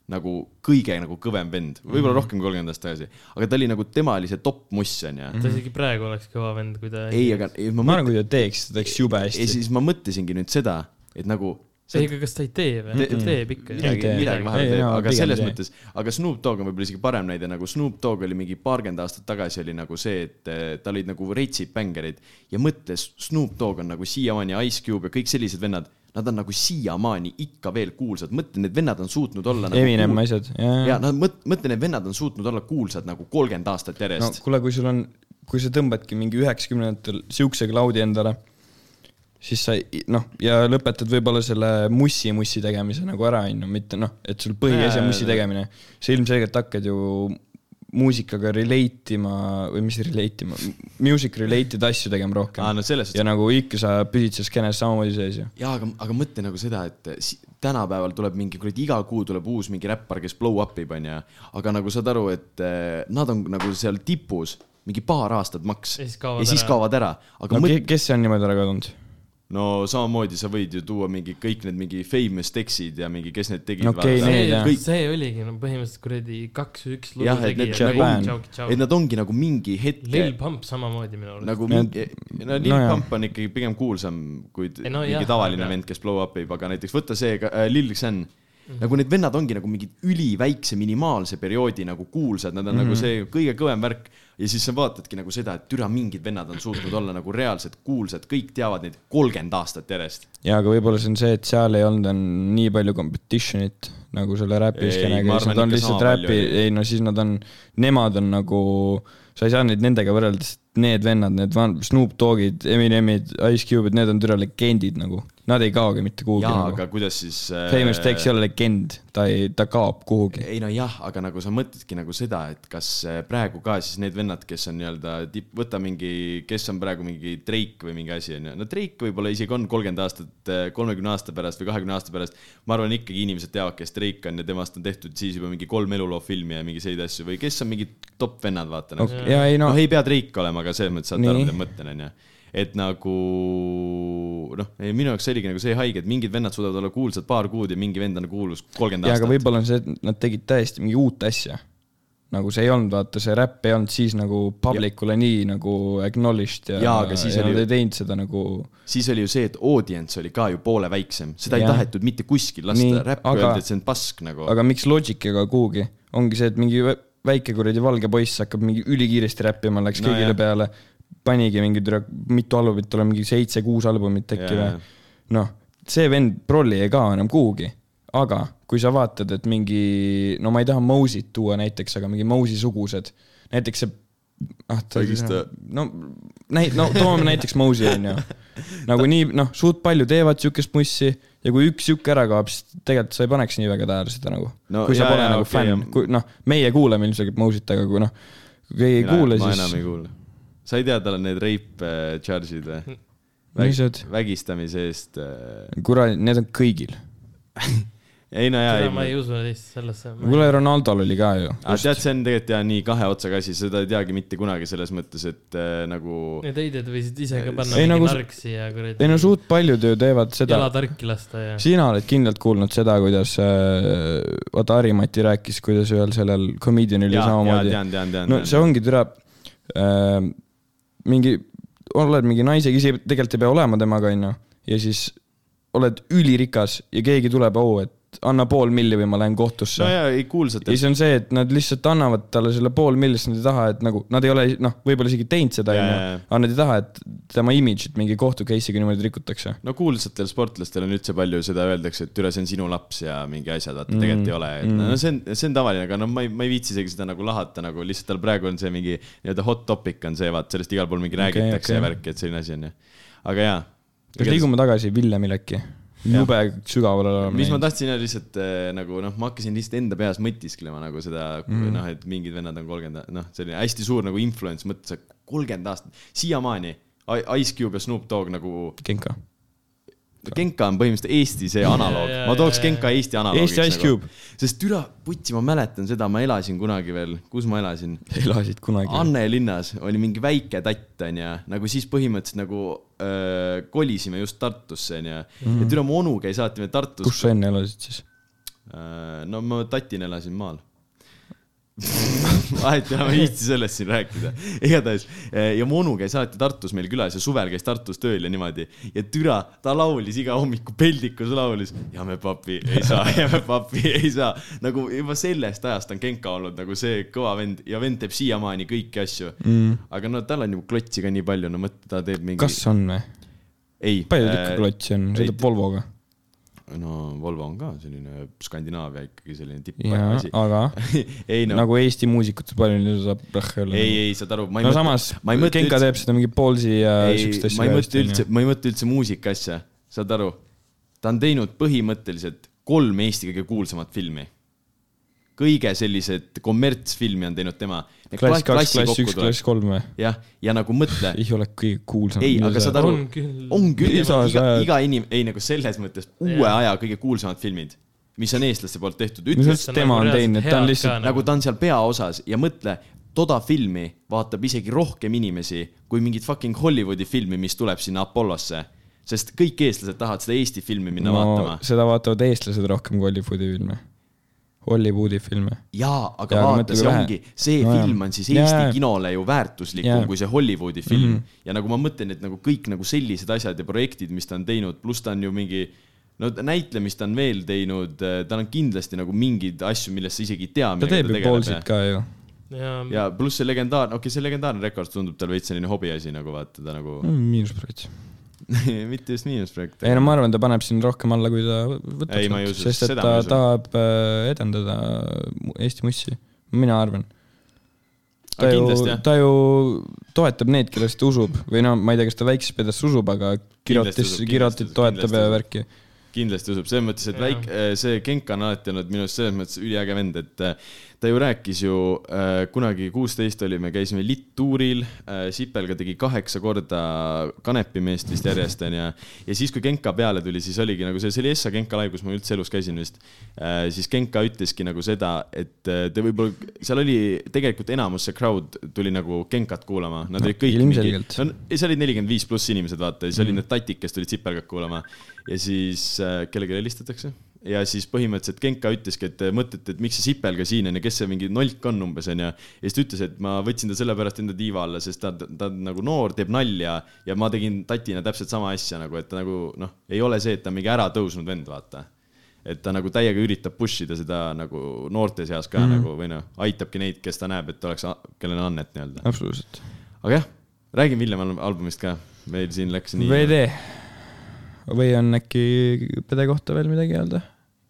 Speaker 1: nagu kõige nagu kõvem vend ,
Speaker 3: Mhm.
Speaker 1: võib-olla rohkem kui kolmkümmend aastat tagasi , aga ta oli nagu , tema oli see top muss onju .
Speaker 2: ta isegi praegu oleks kõva vend , kui ta .
Speaker 1: ei , aga ei, ma
Speaker 3: Mhm. ma arvan ,
Speaker 1: mõtlen ,
Speaker 3: kui ta teeks , ta teeks jube
Speaker 1: ja
Speaker 3: hästi .
Speaker 1: siis ma mõtlesingi nüüd seda , et nagu
Speaker 2: ei , aga kas ta ei tee või ? ta teeb ikka ju .
Speaker 1: Mm. midagi ,
Speaker 3: tee.
Speaker 1: midagi vahepeal
Speaker 3: Ei,
Speaker 1: teeb ,
Speaker 3: jaa,
Speaker 1: aga
Speaker 3: pigem
Speaker 1: selles
Speaker 3: tee.
Speaker 1: mõttes , aga Snoop Dogg on võib-olla isegi parem näide , nagu Snoop Dogg oli mingi paarkümmend aastat tagasi oli nagu see , et eh, tal olid nagu reitsid bängerid ja mõtle , Snoop Dogg on nagu siiamaani Ice Cube ja kõik sellised vennad , nad on nagu siiamaani ikka veel kuulsad , mõtle , need vennad on suutnud olla nagu
Speaker 3: Eminem asjad ,
Speaker 1: ja
Speaker 3: jaa .
Speaker 1: nad mõt- , mõtle , need vennad on suutnud olla kuulsad nagu kolmkümmend aastat
Speaker 3: no
Speaker 1: järjest .
Speaker 3: kuule , kui sul on , kui sa tõmbadki mingi üheksakümnendatel siukse klaudi endale , siis sa i- noh , ja lõpetad võib-olla selle mussi-mussi tegemise nagu ära , onju , mitte noh , et sul põhiasi
Speaker 1: Jaa,
Speaker 3: on mussi
Speaker 1: jaa, jaa.
Speaker 3: tegemine . sa ilmselgelt hakkad ju muusikaga relate ima või mis relate ima , music related asju tegema rohkem
Speaker 1: aa , no selles
Speaker 3: ja
Speaker 1: suhtes ,
Speaker 3: nagu ikka sa püsid seal skeenes samamoodi sees ju .
Speaker 1: jaa , aga , aga mõtle nagu seda , et si- tänapäeval tuleb mingi , kuradi iga kuu tuleb uus mingi räppar , kes blow up ib , onju . aga nagu saad aru , et eh, nad on nagu seal tipus mingi paar aastat maks
Speaker 2: Ja siis kaovad
Speaker 1: ja siis
Speaker 2: ära.
Speaker 1: kaovad ära . aga
Speaker 3: no
Speaker 1: mõtle
Speaker 3: ke- , kes see on niimoodi ära kadunud ?
Speaker 1: no samamoodi sa võid ju tuua mingi kõik need mingi famous teksid ja mingi , kes need tegid .
Speaker 3: No okei,
Speaker 2: see
Speaker 3: Neid, jah. ,
Speaker 1: kõik ,
Speaker 2: see oligi no põhimõtteliselt kuradi kaks-üks lugu
Speaker 1: Jah, et
Speaker 2: tegi
Speaker 1: need
Speaker 2: ja
Speaker 3: nagu-
Speaker 2: kõik tšau , tšau
Speaker 1: et . nad ongi nagu mingi hetke
Speaker 2: Lil Pump samamoodi minu arust nagu... .
Speaker 1: nagu
Speaker 3: Need-
Speaker 1: mingi , no Lil
Speaker 3: nojah.
Speaker 1: Pump on ikkagi pigem kuulsam kui t-
Speaker 2: Ei, no
Speaker 1: mingi
Speaker 2: jah,
Speaker 1: tavaline
Speaker 2: aga-
Speaker 1: vend , kes blow up ib , aga näiteks võta see ka- äh, Lil Xen .
Speaker 2: Mhm.
Speaker 1: nagu need vennad ongi nagu mingi üliväikse minimaalse perioodi nagu kuulsad , nad on mm -hmm. nagu
Speaker 3: Mhm.
Speaker 1: see kõige kõvem värk . ja siis sa vaatadki nagu seda , et türa mingid vennad on suutnud olla nagu reaalselt kuulsad , kõik teavad neid kolmkümmend aastat järjest .
Speaker 3: jaa , aga võib-olla see on see , et seal ei olnud on nii palju competition'it nagu selle räpi
Speaker 1: Ei,
Speaker 3: skeenega
Speaker 1: ma ,
Speaker 3: siis
Speaker 1: arvan,
Speaker 3: nad on
Speaker 1: ikka
Speaker 3: lihtsalt
Speaker 1: sama palju
Speaker 3: räpi ,
Speaker 1: oli.
Speaker 3: ei no siis nad on , nemad on nagu , sa ei saa neid nendega võrrelda , sest need vennad , need van- Snoop Doggid , Eminemid , Ice Cube'id , need on türa legendid nagu . Nad ei kaogi mitte kuhugi
Speaker 1: jaa ,
Speaker 3: nagu
Speaker 1: aga . kuidas siis äh,
Speaker 3: Famous Dex ei ole legend , ta ei , ta kaob kuhugi .
Speaker 1: ei no jah , aga nagu sa mõtledki nagu seda , et kas eh, praegu ka siis need vennad , kes on nii-öelda tipp , võta mingi , kes on praegu mingi Drake või mingi asi onju , no Drake võib-olla isegi on kolmkümmend aastat , kolmekümne aasta pärast või kahekümne aasta pärast . ma arvan ikkagi inimesed teavad , kes Drake on ja temast on tehtud siis juba mingi kolm eluloo filmi ja mingi selliseid asju või kes on mingid top vennad , vaata nagu
Speaker 3: jaa , ei
Speaker 1: no.
Speaker 3: no
Speaker 1: noh , ei pea Drake olema , aga selles mõttes saate aru ,
Speaker 3: Nii.
Speaker 1: mida ma mõtlen , onju . et nagu noh , minu jaoks oligi nagu see haige , et mingid vennad suudavad olla kuulsad paar kuud ja mingi vend on kuulus kolmkümmend
Speaker 3: jaa , aga
Speaker 1: aastat .
Speaker 3: võib-olla on see , et nad tegid täiesti mingi uut asja . nagu see ei olnud , vaata see räpp ei olnud siis nagu public'ule nii nagu acknowledged ja,
Speaker 1: Jaa, aga siis
Speaker 3: ja
Speaker 1: oli
Speaker 3: nad
Speaker 1: ju-
Speaker 3: ei teinud seda nagu .
Speaker 1: siis oli ju see , et audience oli ka ju poole väiksem , seda ja.
Speaker 3: Jah.
Speaker 1: ei tahetud mitte kuskil
Speaker 3: Nii,
Speaker 1: lasta , räpp
Speaker 3: aga-
Speaker 1: aga... öeldi , et see on pask nagu .
Speaker 3: aga miks Logiciga kuhugi , ongi see , et mingi vä- väike kuradi valge poiss hakkab mingi ülikiiresti räppima , läks
Speaker 1: No
Speaker 3: no, kõigile
Speaker 1: jah.
Speaker 3: peale , panigi mingi türa , mitu albumit , tal on mingi seitse-kuus albumit äkki
Speaker 1: Jaa,
Speaker 3: või
Speaker 1: jah. .
Speaker 3: noh , see vend prolli ei kao enam kuhugi aga kui sa vaatad , et mingi , no ma ei taha Mose'it tuua näiteks , aga mingi Mose'i sugused , näiteks see , ah ta
Speaker 1: Õigesti. ,
Speaker 3: no näi- , no toome näiteks Mose'i onju . nagu nii , noh , suht palju teevad siukest mussi ja kui üks siuke ära kaob , siis tegelikult sa ei paneks nii väga tähele seda nagu no, .
Speaker 1: No
Speaker 3: kui sa
Speaker 1: jaa,
Speaker 3: pole
Speaker 1: jaa,
Speaker 3: nagu
Speaker 1: okei,
Speaker 3: okay, fänn
Speaker 1: jah. ,
Speaker 3: kui noh , meie kuuleme ilmselgelt Mose'it , aga kui noh , kui keegi ei kuule ,
Speaker 1: ma enam ei
Speaker 3: siis
Speaker 1: kuule . sa ei tea , tal on need rape äh, charge'id või ?
Speaker 3: Mis need?
Speaker 1: vägistamise eest äh... .
Speaker 3: kuradi , need on kõigil .
Speaker 1: ei no jaa ,
Speaker 2: seda
Speaker 1: ei
Speaker 2: ma
Speaker 1: ma
Speaker 2: ei usu lihtsalt sellesse .
Speaker 3: kuule , Ronaldo'l oli ka ju .
Speaker 1: aga Ah, tead , see on tegelikult jaa nii kahe otsaga asi , seda ei teagi mitte kunagi selles mõttes , et äh, nagu
Speaker 2: Need heided võisid ise ka panna
Speaker 3: Ei,
Speaker 2: mingi
Speaker 3: nagu
Speaker 2: nagu...
Speaker 3: s-
Speaker 2: nark siia kuradi .
Speaker 3: ei no suht paljud ju teevad seda
Speaker 2: jala tarki lasta ja .
Speaker 3: sina oled kindlalt kuulnud seda , kuidas äh, vaata Harimati rääkis , kuidas ühel sellel komedianil oli
Speaker 1: Jaa, jaa,
Speaker 3: samamoodi .
Speaker 1: tean, tean, tean,
Speaker 3: no
Speaker 1: tean.
Speaker 3: see ongi türa äh, , mingi , oled mingi naisega , ise tegelikult ei pea olema temaga , onju , ja siis oled ülirikas ja keegi tuleb , au , et anna pool milli või ma lähen kohtusse
Speaker 1: no
Speaker 3: ja
Speaker 1: jaa , ei kuulsate
Speaker 3: siis on see , et nad lihtsalt annavad talle selle pool millist nad ei taha , et nagu nad ei ole , noh , võib-olla isegi teinud seda ,
Speaker 1: Jaa,
Speaker 3: onju
Speaker 1: jaa, jaa. ,
Speaker 3: aga nad ei taha , et tema imidžit mingi kohtu case'iga niimoodi rikutakse .
Speaker 1: no kuulsatel sportlastel on üldse palju seda öeldakse , et üle see on sinu laps ja mingi asjad , vaata mm. tegelikult ei ole , et no see on , see on tavaline , aga no ma ei , ma ei viitsi isegi seda nagu lahata nagu lihtsalt tal praegu on see mingi nii-öelda hot topic on see , vaata sellest igal pool mingi räägitakse okay, okay.
Speaker 3: okei.
Speaker 1: ja värki , et selline asi on ju . aga jaa .
Speaker 3: kas liigume tagasi Villemile äkki ? jube sügavale oleme
Speaker 1: mis ma . tahtsin öelda lihtsalt äh, nagu noh , ma hakkasin lihtsalt enda peas mõtisklema nagu seda mm. , noh , et mingid vennad on kolmkümmend , noh , selline hästi suur nagu influence mõttes , et kolmkümmend aastat , siiamaani I- Ice Cube ja Snoop Dogg nagu
Speaker 3: Genka .
Speaker 1: Genka on põhimõtteliselt Eesti see analoog
Speaker 2: jaa, ,
Speaker 1: ma tooks
Speaker 2: jaa,
Speaker 1: Genka Eesti analoogiks .
Speaker 3: Eesti Ice Cube. .
Speaker 1: sest türa , putsi , ma mäletan seda , ma elasin kunagi veel , kus ma elasin ?
Speaker 3: elasid kunagi .
Speaker 1: Anne linnas oli mingi väike tatt onju , nagu siis põhimõtteliselt nagu öö, kolisime just Tartusse onju .
Speaker 2: Mhm.
Speaker 1: ja türa mu onu käis alati meil Tartus .
Speaker 3: kus sa enne elasid siis ?
Speaker 1: Äh, no ma tatina elasin maal . vahet ei ole , ma ei viitsi sellest siin rääkida . igatahes eh, ja mu onu käis alati Tartus meil külas ja suvel käis Tartus tööl ja niimoodi . ja türa , ta laulis iga hommiku peldikus laulis . jääme papi , ei saa , jääme papi , ei saa . nagu juba sellest ajast on Genka olnud nagu see kõva vend ja vend teeb siiamaani kõiki asju mm. . aga no tal on ju klotsi ka nii palju , no mõtle , ta teeb mingi .
Speaker 3: kas on või ?
Speaker 1: ei .
Speaker 3: palju tükki klotsi on ,
Speaker 1: ei-
Speaker 3: sõidab Volvoga .
Speaker 1: no Volvo on ka selline Skandinaavia ikkagi selline tipp
Speaker 3: jaa , aga
Speaker 1: ei no nagu... ,
Speaker 3: nagu Eesti muusikutes palju neil saab rahva olla .
Speaker 1: ei , ei saad aru , ma ei
Speaker 3: no samas ,
Speaker 1: ma ei mõtle
Speaker 3: Genka
Speaker 1: üldse ,
Speaker 3: teeb seda mingi poolsi ja siukest
Speaker 1: ei ,
Speaker 3: asja .
Speaker 1: ma ei mõtle üldse , ma ei mõtle üldse muusika asja , saad aru . ta on teinud põhimõtteliselt kolm Eesti kõige kuulsamat filmi . kõige sellised kommertsfilmi on teinud tema .
Speaker 3: klass kaks , klass üks , klass kolm või ?
Speaker 1: jah , ja nagu mõtle ,
Speaker 3: ei ole kõige kuulsam .
Speaker 1: ei , aga saad aru
Speaker 2: On , küll.
Speaker 1: on küll ,
Speaker 3: Iga-
Speaker 1: iga
Speaker 3: ajad. ,
Speaker 1: iga inim- , ei nagu selles mõttes uue aja kõige kuulsamad filmid , mis on eestlaste poolt tehtud ,
Speaker 3: mis
Speaker 1: ütle ,
Speaker 3: mõttes
Speaker 2: nagu
Speaker 3: tema on teinud , ta on lihtsalt ,
Speaker 2: noh.
Speaker 1: nagu ta on seal peaosas ja mõtle , toda filmi vaatab isegi rohkem inimesi kui mingit fucking Hollywoodi filmi , mis tuleb sinna Apollosse , sest kõik eestlased tahavad seda Eesti filmi minna no,
Speaker 3: no
Speaker 1: vaatama .
Speaker 3: seda vaatavad eestlased rohkem kui Hollywoodi filme . Hollywoodi filme .
Speaker 1: jaa , aga
Speaker 3: Jaa,
Speaker 1: ja,
Speaker 3: aga
Speaker 1: vaata ,
Speaker 3: mõtle,
Speaker 1: see
Speaker 3: kui vähe.
Speaker 1: ongi , see
Speaker 3: No
Speaker 1: no,
Speaker 3: jaa.
Speaker 1: film on siis
Speaker 3: Jaa,
Speaker 1: Eesti
Speaker 3: jaa.
Speaker 1: kinole ju väärtuslikum
Speaker 3: Jaa. Mhm.
Speaker 1: yeah. kui see Hollywoodi film mm. ja nagu ma mõtlen , et nagu kõik nagu sellised asjad ja projektid , mis ta on teinud , pluss ta on ju mingi no ta- näitlemist ta on veel teinud , tal on kindlasti nagu mingeid asju , millest sa isegi ei tea .
Speaker 3: ta teeb ju poolsid ka ju .
Speaker 2: nagu- ja
Speaker 1: ja pluss see legendaarne , okei okay, , see legendaarne rekord tundub tal veits selline hobiasi nagu vaata ta nagu
Speaker 3: miinusprojekt .
Speaker 1: mitte just miinusprojekt .
Speaker 3: ei no ma arvan , ta paneb siin rohkem alla , kui ta võtab .
Speaker 1: Ei, ma ei usu,
Speaker 3: sest et
Speaker 1: seda
Speaker 3: ta
Speaker 1: ma ei usu.
Speaker 3: tahab äh, edendada mu- Eesti mussi , mina arvan . ta
Speaker 1: Aga
Speaker 3: ju
Speaker 1: kindlasti, jah. ,
Speaker 3: ta ju toetab need , kellest ta usub või no ma ei tea , kas ta väikses pedas usub , aga Girotis
Speaker 1: usub, , kindlasti
Speaker 3: Girotit
Speaker 1: usub,
Speaker 3: toetab
Speaker 1: kindlasti
Speaker 3: ja
Speaker 1: usub.
Speaker 3: värki .
Speaker 1: kindlasti usub , selles mõttes , et
Speaker 2: Jaa.
Speaker 1: väike , see Genka on alati olnud minu arust selles mõttes üliäge vend , et äh, ta ju rääkis ju äh, kunagi kuusteist olime , käisime littuuril äh, , Sipelga tegi kaheksa korda kanepimeest vist järjest onju . ja siis , kui Genka peale tuli , siis oligi nagu see , see oli Essa Genka live , kus ma üldse elus käisin vist äh, . siis Genka ütleski nagu seda , et äh, te võib-olla , seal oli tegelikult enamus see crowd tuli nagu Genkat kuulama , nad olid kõik
Speaker 3: ilmselgelt.
Speaker 1: mingi , no seal olid nelikümmend viis pluss inimesed , vaata , ja siis olid need tatid , kes tulid sipelgat kuulama ja siis äh, kellelegi helistatakse ja siis põhimõtteliselt Genka ütleski , et mõtlete , et miks see sipelga siin on ja kes see mingi nolk on umbes onju . ja siis ta ütles , et ma võtsin ta sellepärast enda tiiva alla , sest ta , ta on nagu noor , teeb nalja ja ma tegin tatina täpselt sama asja nagu , et ta nagu noh , ei ole see , et ta on mingi äratõusnud vend , vaata et ta nagu täiega üritab push ida seda nagu noorte seas ka mm. nagu või noh , aitabki neid , kes ta näeb , et oleks , kellel on annet nii-öelda .
Speaker 3: absoluutselt .
Speaker 1: aga jah , räägime hiljem al- albumist ka , meil siin läks nii .
Speaker 3: VD . või on äkki pede kohta veel midagi öelda ?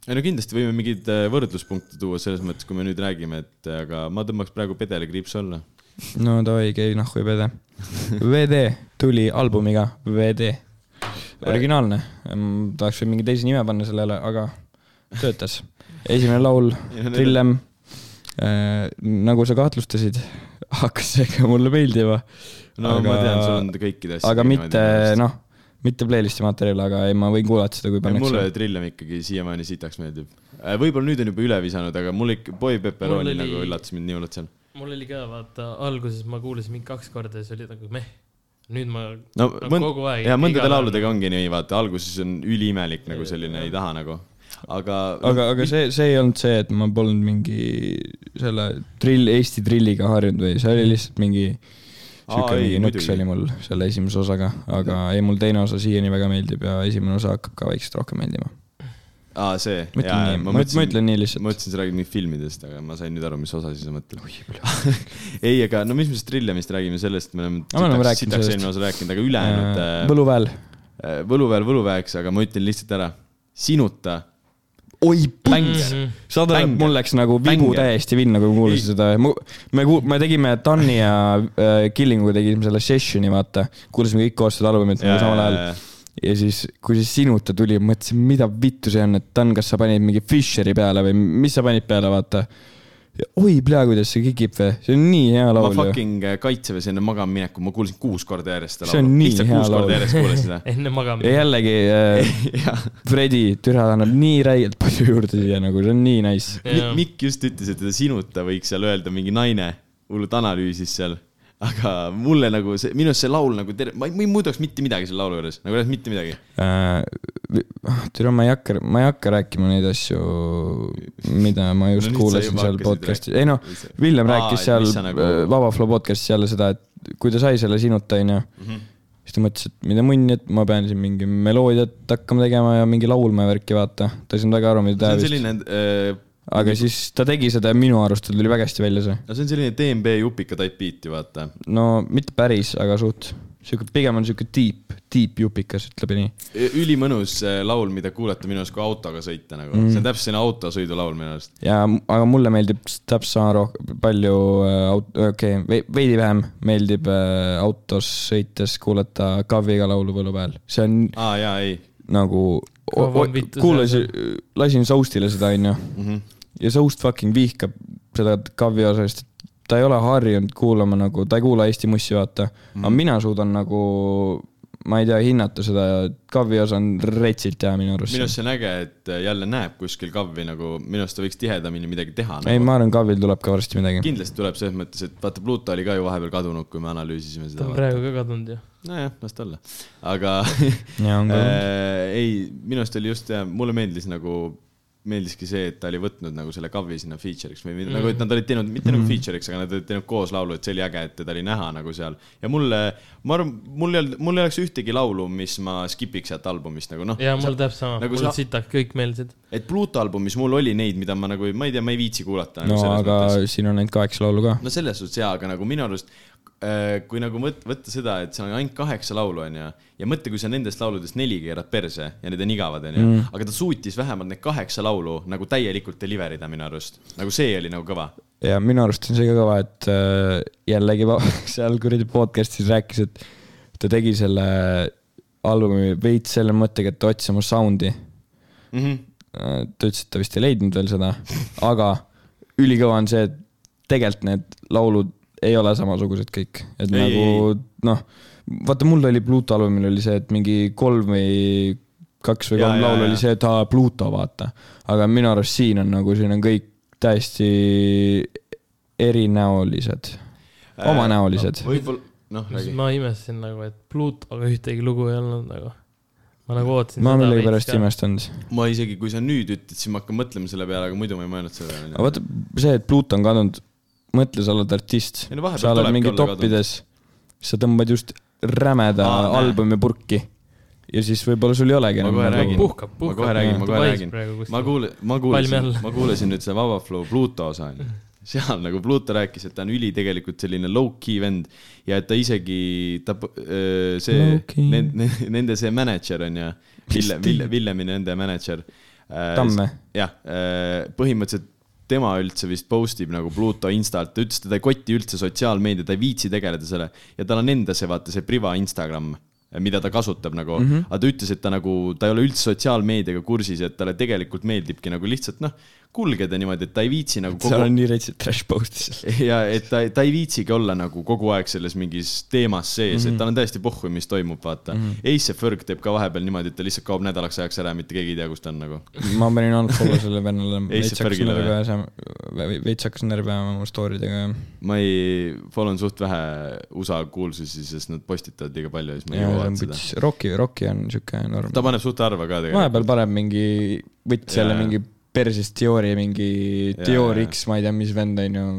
Speaker 1: ei no kindlasti võime mingeid äh, võrdluspunkte tuua selles mõttes , kui me nüüd räägime , et äh, aga ma tõmbaks praegu pedele kriipsu alla .
Speaker 3: no davai , käi nahku ja pede . VD tuli albumiga , VD . originaalne , tahaks veel mingi teise nime panna sellele , aga töötas . esimene laul , Trillem . nagu sa kahtlustasid , hakkas see ka mulle meeldima .
Speaker 1: no aga... ma tean , sul on kõikide asjade .
Speaker 3: aga mitte , noh , mitte playlist'i materjali , aga ei , ma võin kuulata seda , kui
Speaker 1: mulle
Speaker 3: pannakse .
Speaker 1: Trillem ikkagi siiamaani sitaks meeldib . võib-olla nüüd on juba üle visanud , aga mul ikka , Boy Pepperoni
Speaker 2: Mul oli-
Speaker 1: nagu üllatas mind nii hullult seal .
Speaker 2: mul oli ka vaata , alguses ma kuulasin mingi kaks korda ja siis oli nagu meh . nüüd ma
Speaker 1: no
Speaker 2: nagu
Speaker 1: mõnd- ,
Speaker 2: kogu aeg .
Speaker 1: ja mõndade lauludega ongi nii , vaata alguses on üliimelik nagu selline , ei taha nagu , aga .
Speaker 3: aga , aga see , see ei olnud see , et ma polnud mingi selle drill , Eesti drilliga harjunud või see oli lihtsalt mingi
Speaker 1: Aa,
Speaker 3: siuke
Speaker 1: ei,
Speaker 3: mingi nõks
Speaker 1: muidugi.
Speaker 3: oli mul selle esimese osaga , aga ei , mul teine osa siiani väga meeldib ja esimene osa hakkab ka vaikselt rohkem meeldima .
Speaker 1: aa , see .
Speaker 3: ma ütlen nii , ma ütlen , ma ütlen nii
Speaker 1: ma
Speaker 3: lihtsalt .
Speaker 1: mõtlesin , sa räägid mingit filmidest , aga ma sain nüüd aru , mis osa siis sa mõtled . ei , aga no mis me sellest Trillemist räägime , sellest me oleme
Speaker 3: Aa, me oleme rääkinud
Speaker 1: sitaks
Speaker 3: sellest.
Speaker 1: eelmine osa rääkinud , aga ülejäänud äh,
Speaker 3: Võluväel .
Speaker 1: äh, Võluväel võluväeks , aga ma ütlen lihtsalt ära , sinuta .
Speaker 3: oi , bäng . saad aru , et
Speaker 1: Bäng.
Speaker 3: mul läks nagu vibu
Speaker 1: Bäng.
Speaker 3: täiesti vinna , kui ma kuulasin seda . me , me tegime Tanni ja äh, Killinguga tegime selle sessioni , vaata . kuulasime kõik koos seda albumit nagu samal ajal . ja siis , kui see sinuta tuli , mõtlesin , mida vittu see on , et Dan , kas sa panid mingi Fisheri peale või mis sa panid peale , vaata . oi , pea , kuidas see kikib või , see on nii hea
Speaker 1: ma
Speaker 3: laul ju .
Speaker 1: fucking äh, kaitseväes enne magama minekut , ma kuulsin kuus korda järjest seda
Speaker 3: See on nii
Speaker 1: lihtsalt
Speaker 3: hea
Speaker 1: kuus
Speaker 3: laul.
Speaker 1: korda järjest kuulasin seda .
Speaker 2: enne
Speaker 3: ja
Speaker 2: magamist .
Speaker 3: jällegi äh,
Speaker 1: jah ,
Speaker 3: Fredi türa annab nii räigelt palju juurde siia nagu , see on nii nice .
Speaker 2: Jaa.
Speaker 1: Mikk just ütles , et seda sinuta võiks seal öelda mingi naine , hullult analüüsis seal . aga mulle nagu see , minu arust see laul nagu terve , ma ei , ma ei muudaks mitte midagi selle laulu juures , nagu reaalselt mitte midagi .
Speaker 3: Äh, türa , ma ei hakka , ma ei hakka rääkima neid asju , mida ma just
Speaker 1: nüüd sa
Speaker 3: no, kuulasin
Speaker 1: juba
Speaker 3: seal
Speaker 1: hakkasid
Speaker 3: podcast'i ,
Speaker 1: rääkima.
Speaker 3: ei noh , Villem
Speaker 1: Aa,
Speaker 3: rääkis
Speaker 1: et
Speaker 3: seal
Speaker 1: mis sa nagu-
Speaker 3: äh, Vaba Flow podcast'is jälle seda , et kui ta sai selle sinuta , onju
Speaker 1: Mhm.
Speaker 3: siis ta mõtles , et mida munni , et ma pean siin mingi meloodiat hakkama tegema ja mingi laulma ja värki vaata . ta ei saanud väga aru , mida
Speaker 1: see
Speaker 3: teha
Speaker 1: on
Speaker 3: vist selline... .
Speaker 1: selline äh,
Speaker 3: aga siis ta tegi seda ja minu arust tal tuli väga hästi välja see .
Speaker 1: no see on selline DMB jupika type beat ju vaata .
Speaker 3: no mitte päris , aga suht . sihuke , pigem on sihuke deep , deep jupikas , ütleme nii .
Speaker 1: ülimõnus äh, laul , mida kuulata minu arust , kui autoga sõita nagu mm. , see on täpselt selline autosõidulaul minu arust .
Speaker 3: ja , aga mulle meeldib s- täpselt sama rohkem , palju äh, aut- , okei okay, , veidi vähem meeldib äh, autos sõites kuulata Kaviga laulu põllu peal . see on
Speaker 1: aa jaa , ei .
Speaker 3: nagu ,
Speaker 2: Kavam vittu
Speaker 1: Mhm.
Speaker 3: kuulasin , lasin Soustile seda , onju . ja Soust fucking vihkab seda Kavi osa , sest ta ei ole harjunud kuulama nagu , ta ei kuula Eesti mussi , vaata mm. .
Speaker 1: Mhm.
Speaker 3: aga mina suudan nagu , ma ei tea , hinnata seda ja Kavi osa on retsilt hea minu arust .
Speaker 1: minu arust see on äge , et äh, jälle näeb kuskil kavvi nagu , minu arust ta võiks tihedamini midagi teha
Speaker 3: ei ,
Speaker 1: nagu. .
Speaker 3: ma arvan , Kavil tuleb ka varsti midagi .
Speaker 1: kindlasti tuleb selles mõttes , et vaata , Pluto oli ka ju vahepeal kadunud , kui me analüüsisime
Speaker 2: ta
Speaker 1: seda
Speaker 2: on . praegu ka kadunud ju .
Speaker 1: nojah , las ta olla , aga
Speaker 3: jaa , on ka .
Speaker 1: äh, ei , minu arust oli just , mulle meeldis nagu , meeldiski see , et ta oli võtnud nagu selle kavi sinna feature'iks või mm. nagu , et nad olid teinud , mitte mm. nagu feature'iks , aga nad olid teinud koos laulu , et see oli äge , et teda oli näha nagu seal . ja mulle , ma arvan , mul ei olnud , mul ei oleks ühtegi laulu , mis ma skip iks sealt albumist nagu noh ,
Speaker 2: ja mul täpselt sama
Speaker 1: nagu
Speaker 2: nagu , mul
Speaker 1: sa-
Speaker 2: sitad kõik meeldisid .
Speaker 1: et Pluto albumis mul oli neid , mida ma nagu , ma ei tea , ma ei viitsi kuulata nagu
Speaker 3: no
Speaker 1: selles
Speaker 3: aga
Speaker 1: mõttes.
Speaker 3: mõttes. siin on ainult kaheksa laulu ka .
Speaker 1: no selles suhtes jaa , aga nagu minu arust , kui nagu võt- , võtta seda , et seal on ainult kaheksa laulu , onju , ja mõtle , kui sa nendest lauludest neli keerad perse ja need on igavad , onju , aga ta suutis vähemalt need kaheksa laulu nagu täielikult deliver ida minu arust . nagu see oli nagu kõva .
Speaker 3: ja minu arust on see ka kõva , et äh, jällegi va- seal kuradi podcast'is rääkis , et ta tegi selle albumi veits selle mõttega , et ta otsis oma sound'i .
Speaker 1: Mm -hmm.
Speaker 3: Äh, ta ütles , et ta vist ei leidnud veel seda , aga ülikõva on see , et tegelikult need laulud ei ole samasugused kõik , et
Speaker 1: Ei,
Speaker 3: ei, nagu noh , vaata mul oli Pluto albumil oli see , et mingi kolm või kaks või
Speaker 1: Jaa,
Speaker 3: kolm
Speaker 1: jaa,
Speaker 3: laulu oli
Speaker 1: jaa.
Speaker 3: see , et aa , Pluto , vaata . aga minu arust siin on nagu , siin on kõik täiesti erinäolised , omanäolised .
Speaker 1: Äh, võib-olla , noh , räägi .
Speaker 2: ma imestasin nagu , et Plutoga ühtegi lugu ei olnud nagu . ma nagu ootasin .
Speaker 3: ma millegipärast ei . imestanud .
Speaker 1: ma isegi , kui sa nüüd ütled , siis ma hakkan mõtlema selle peale , aga muidu ma ei mõelnud selle
Speaker 3: aga
Speaker 1: peale .
Speaker 3: vaata , see , et Pluto on kadunud , mõtle , sa oled artist ,
Speaker 1: Ei no vahepeal
Speaker 3: sa oled
Speaker 1: tulebki
Speaker 3: mingi
Speaker 1: olla kadunud.
Speaker 3: toppides , sa tõmbad just rämeda
Speaker 1: Aa,
Speaker 3: ah,
Speaker 1: näe.
Speaker 3: albumi purki ja siis võib-olla sul ei olegi nagu
Speaker 1: ma kohe räägin ,
Speaker 2: puhkab,
Speaker 1: ma kohe
Speaker 2: puhkab.
Speaker 1: räägin , ma kohe
Speaker 2: Dubais
Speaker 1: räägin
Speaker 2: praegu . kuskil.
Speaker 1: ma kuule- , ma
Speaker 2: Palmi
Speaker 1: kuulasin
Speaker 2: all. ,
Speaker 1: ma kuulasin nüüd seda Vaba Flow Pluto osa onju . seal nagu Pluto rääkis , et ta on üli tegelikult selline low-key vend ja et ta isegi , ta p- öö, see
Speaker 3: Low-key. ,
Speaker 1: nende see mänedžer onju , Ville , Ville , Villemi nende mänedžer . äh,
Speaker 3: Tamme. .
Speaker 1: jah , põhimõtteliselt tema üldse vist post ib nagu Pluto instalt , ta ütles , teda ei koti üldse sotsiaalmeedia , ta ei viitsi tegeleda selle ja tal on enda see , vaata see priva Instagram , mida ta kasutab nagu mm ,
Speaker 3: Mhm.
Speaker 1: -hmm. aga ta ütles , et ta nagu , ta ei ole üldse sotsiaalmeediaga kursis , et talle tegelikult meeldibki nagu lihtsalt noh , kulgeda niimoodi , et ta ei viitsi nagu
Speaker 3: seal
Speaker 1: kogu
Speaker 3: on nii retsid trash post'is .
Speaker 1: ja et ta , ta ei viitsigi olla nagu kogu aeg selles mingis teemas sees mm ,
Speaker 3: Mhm.
Speaker 1: -hmm. et tal on täiesti pohhu , mis toimub , vaata mm . -hmm. Ace ja Ferg teeb ka vahepeal niimoodi , et ta lihtsalt kaob nädalaks ajaks ära , mitte keegi ei tea , kus ta on nagu .
Speaker 3: ma panin unfollow selle vennale ,
Speaker 1: Ei, see
Speaker 3: veits hakkas
Speaker 1: Fergile
Speaker 3: närvi ajama , veits hakkas närvi ajama oma story dega ja
Speaker 1: ma ei , follow on suht vähe USA kuulsusi , sest nad postitavad liiga palju ja siis ma ei
Speaker 3: ja
Speaker 1: jõua
Speaker 3: see on
Speaker 1: vaadata seda .
Speaker 3: võts , Rocki , Rocki on siuke norm .
Speaker 1: ta paneb suht harva ka tegelikult .
Speaker 3: vahepeal paneb mingi , võttis
Speaker 1: Jaa,
Speaker 3: jälle
Speaker 1: jaa.
Speaker 3: mingi persist Diori mingi
Speaker 1: Jaa,
Speaker 3: Dior
Speaker 1: jaa.
Speaker 3: X , ma ei tea , mis vend on ju ,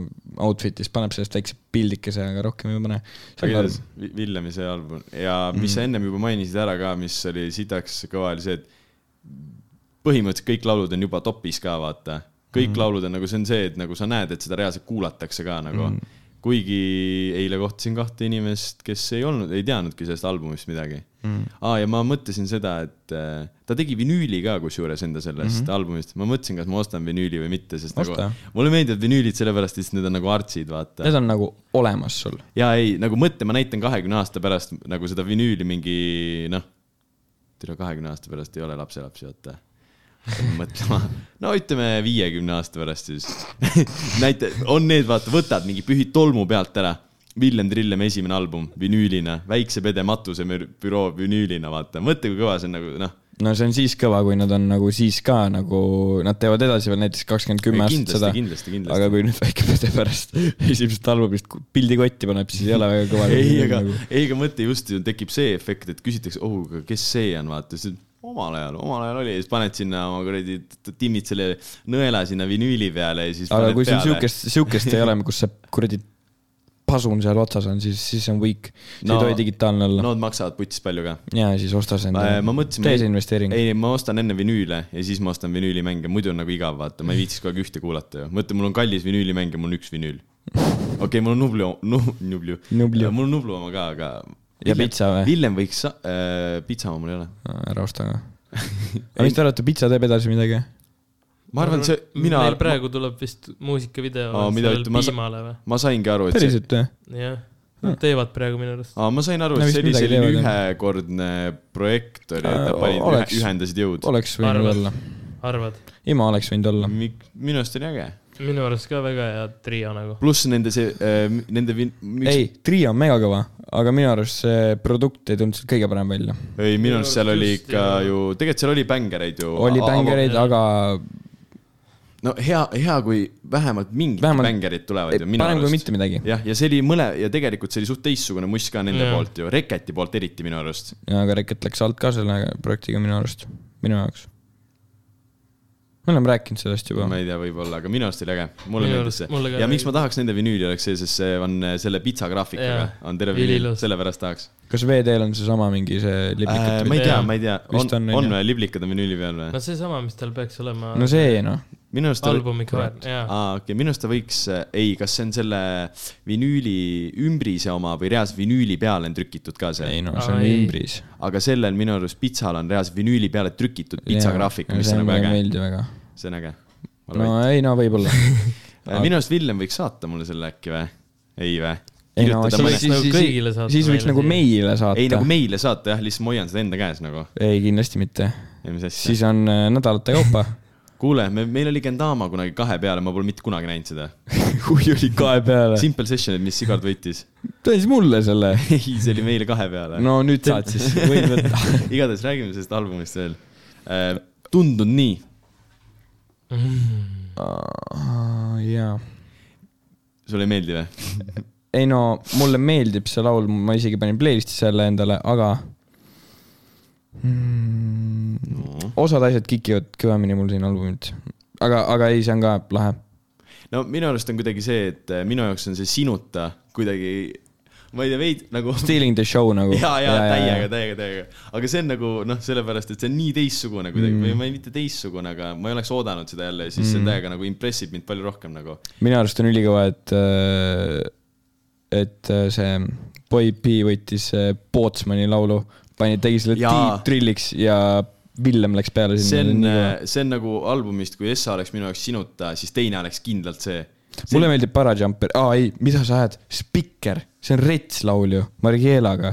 Speaker 3: outfit'is paneb sellest väikse pildikese , aga rohkem ei pane .
Speaker 1: aga igatahes Vi- Villemi see album ja mis sa ennem juba mainisid ära ka , mis oli sitaks kõva , oli see , et põhimõtteliselt kõik laulud on juba topis ka , vaata . kõik laulud on nagu , see on see , et nagu sa näed , et seda reaalselt kuulatakse ka nagu . kuigi eile kohtasin kahte inimest , kes ei olnud , ei teadnudki sellest albumist midagi mm. . aa , ja ma mõtlesin seda , et äh, ta tegi vinüüli ka kusjuures enda sellest mm -hmm. albumist , ma mõtlesin , kas ma ostan vinüüli või mitte , sest
Speaker 3: Osta.
Speaker 1: nagu mulle meeldivad vinüülid sellepärast , et siis need on nagu artsid , vaata .
Speaker 3: Need on nagu olemas sul .
Speaker 1: ja ei , nagu mõtle , ma näitan kahekümne aasta pärast nagu seda vinüüli mingi noh , tule kahekümne aasta pärast ei ole lapselapsi , oota . mõtlema , no ütleme viiekümne aasta pärast siis . näita , on need , vaata , võtad mingi pühid tolmu pealt ära . Villem Trillem esimene album vinüülina , Väikse Pede matuse mür- büroo vinüülina , vaata , mõtle , kui kõva see on nagu noh .
Speaker 3: no see on siis kõva , kui nad on nagu siis ka nagu , nad teevad edasi veel näiteks kakskümmend kümme aastat
Speaker 1: kindlasti ,
Speaker 3: seda .
Speaker 1: kindlasti , kindlasti .
Speaker 3: aga kui nüüd väike pede pärast esimesest albumist ku- pildi kotti paneb , siis ei ole väga kõva . nagu
Speaker 1: ei , aga , ei , aga mõtle just ju tekib see efekt , et küsitakse , oh , aga kes see on , vaata , siis omal ajal , omal ajal oli ja siis paned sinna oma kuradi , timmid selle nõela sinna vinüüli peale ja siis .
Speaker 3: aga kui sul siukest , siukest ei ole , kus see kuradi pasun seal otsas on , siis , siis on weak . see
Speaker 1: No-
Speaker 3: ei tohi digitaalne olla .
Speaker 1: Nad maksavad putsis palju ka .
Speaker 3: ja siis osta see endale .
Speaker 1: ma mõtlesin .
Speaker 3: tee see investeering .
Speaker 1: ei , ma ostan enne vinüüle ja siis ma ostan vinüülimänge , muidu on nagu igav , vaata , ma ei viitsiks kogu aeg ühte kuulata ju . mõtle , mul on kallis vinüülimäng ja mul on üks vinüül . okei okay, , mul on Nublu , Nublu ,
Speaker 3: Nublu.
Speaker 1: mul on Nublu oma ka , aga .
Speaker 3: Ja pitsa või?
Speaker 1: Villem võiks sa- äh, , pitsa oma mul ei ole
Speaker 3: ära osta ka . aga mis te arvate , pitsa teeb edasi midagi ?
Speaker 1: ma arvan , see , mina .
Speaker 2: meil praegu tuleb vist muusikavideo
Speaker 1: Aa, mida
Speaker 2: sellel
Speaker 1: ütleb- ma sa-
Speaker 2: Piimale või ?
Speaker 1: ma saingi aru , et see ,
Speaker 3: päriselt või ?
Speaker 2: jah , nad teevad praegu minu arust .
Speaker 1: aa , ma sain aru ,
Speaker 3: No
Speaker 1: et
Speaker 3: vist
Speaker 1: see oli
Speaker 3: midagi
Speaker 1: selline
Speaker 3: teevad, jah.
Speaker 1: ühekordne projekt oli , et nad
Speaker 3: Äh,
Speaker 1: panid ,
Speaker 3: oleks-
Speaker 1: ühendasid jõud .
Speaker 3: oleks võinud
Speaker 2: Arvad?
Speaker 3: olla .
Speaker 2: arvad ?
Speaker 3: Ima oleks võinud olla .
Speaker 1: minu arust oli äge .
Speaker 2: minu arust ka väga hea trio nagu .
Speaker 1: pluss nende see äh, , nende vin- ,
Speaker 3: ei , trio on megakõva , aga minu arust see produkt ei tulnud sealt kõige parem välja .
Speaker 1: ei , minu arust seal oli
Speaker 2: Just,
Speaker 1: ikka
Speaker 2: jah.
Speaker 1: ju , tegelikult seal oli bängereid ju .
Speaker 3: oli bängereid , aga
Speaker 1: no hea , hea , kui vähemalt mingid
Speaker 3: Vähemalt-
Speaker 1: bängerid tulevad ju minu
Speaker 3: parem kui
Speaker 1: arust .
Speaker 3: mitte midagi .
Speaker 1: jah , ja see oli mõle ja tegelikult see oli suht teistsugune muss ka nende
Speaker 2: Jah.
Speaker 1: poolt ju , Reketi poolt eriti minu arust .
Speaker 3: aga Reket läks alt ka selle projektiga minu arust , minu jaoks . me oleme rääkinud sellest juba
Speaker 1: ma . ei tea , võib-olla , aga minu arust oli äge , mulle
Speaker 2: Minu
Speaker 1: meeldis
Speaker 2: arust- mulle
Speaker 1: see
Speaker 2: ka .
Speaker 1: ja
Speaker 2: väga
Speaker 1: miks ma
Speaker 2: meeldis.
Speaker 1: tahaks nende vinüüli oleks see , sest see on äh, selle pitsa graafikaga
Speaker 2: Jah. ,
Speaker 1: on terve
Speaker 2: Üliilus.
Speaker 1: vinüül , sellepärast tahaks .
Speaker 3: kas VD-l on seesama mingi see
Speaker 1: Äh, ma
Speaker 3: liblikat
Speaker 1: ei
Speaker 3: äh, ?
Speaker 1: tea
Speaker 2: Jah. ,
Speaker 1: ma ei tea , on
Speaker 3: Vist , on,
Speaker 1: on,
Speaker 3: on
Speaker 1: on
Speaker 3: ju.
Speaker 1: või liblikad on vinüüli peal või
Speaker 2: no ? seesama , mis tal peaks olema
Speaker 3: no
Speaker 2: no,
Speaker 3: see Ah. noh ,
Speaker 1: minu arust ta võib ,
Speaker 2: albumi cover , jaa .
Speaker 1: aa okei , minu arust ta võiks , ei , kas see on selle vinüüli ümbrise oma või reaalselt vinüüli peale on trükitud ka
Speaker 3: ei
Speaker 1: see ?
Speaker 3: noh , see on
Speaker 2: Ai.
Speaker 3: ümbris .
Speaker 1: aga sellel minu arust pitsal on reaalselt vinüüli peale trükitud pitsagraafika , mis on nagu
Speaker 3: mulle
Speaker 1: äge ,
Speaker 3: meeldib väga .
Speaker 1: see on äge .
Speaker 3: no ei no võib-olla .
Speaker 1: Äh, minu arust Villem võiks saata mulle selle äkki või ? ei või ?
Speaker 3: Ei no
Speaker 1: kirjutada
Speaker 3: siis-
Speaker 1: mõne ,
Speaker 2: siis- nagu kõigile saata
Speaker 3: siis võiks
Speaker 2: meile
Speaker 3: nagu
Speaker 2: siia.
Speaker 3: meile saata .
Speaker 1: ei nagu meile saata jah , lihtsalt ma hoian seda enda käes nagu ,
Speaker 3: ei , kindlasti mitte .
Speaker 1: ei mis asja .
Speaker 3: siis on äh, nädalate kaupa
Speaker 1: kuule , me , meil oli Gendama kunagi kahe peale , ma pole mitte kunagi näinud seda .
Speaker 3: kui oli kae peale .
Speaker 1: Simple Sessionid , mis Sigard võitis .
Speaker 3: ta andis mulle selle .
Speaker 1: ei , see oli meile kahe peale .
Speaker 3: no nüüd saad siis , võid võtta .
Speaker 1: igatahes räägime sellest albumist veel . tundunud nii ,
Speaker 3: Oh, jaa .
Speaker 1: sulle ei meeldi või ?
Speaker 3: ei no mulle meeldib see laul , ma isegi panin playlist'i selle endale , aga mm, osad asjad kikivad kõvemini mul siin albumilt . aga , aga ei , see on ka lahe .
Speaker 1: no minu arust on kuidagi see , et äh, minu jaoks on see sinuta kuidagi , ma ei tea , veid nagu .
Speaker 3: Stealing the show nagu .
Speaker 1: ja , ja täiega ,. täiega , täiega , aga see on nagu noh , sellepärast , et see on nii teistsugune kuidagi mm. või ma ei , mitte teistsugune , aga ma ei oleks oodanud seda jälle ja siis mm. see täiega nagu impressib mind palju rohkem nagu .
Speaker 3: minu arust on ülikõva , et , et äh, see Boy B võttis äh, Pootsmani laulu , pani , tegi selle
Speaker 1: Jaa.
Speaker 3: deep trilliks ja Villem läks peale
Speaker 1: see on
Speaker 3: sinna .,
Speaker 1: see on nagu albumist , kui Essa oleks minu jaoks sinuta , siis teine oleks kindlalt see .
Speaker 3: mulle meeldib Parajumper , aa ei , mida sa ajad , Spikker , see on rets laul ju , Margielaga .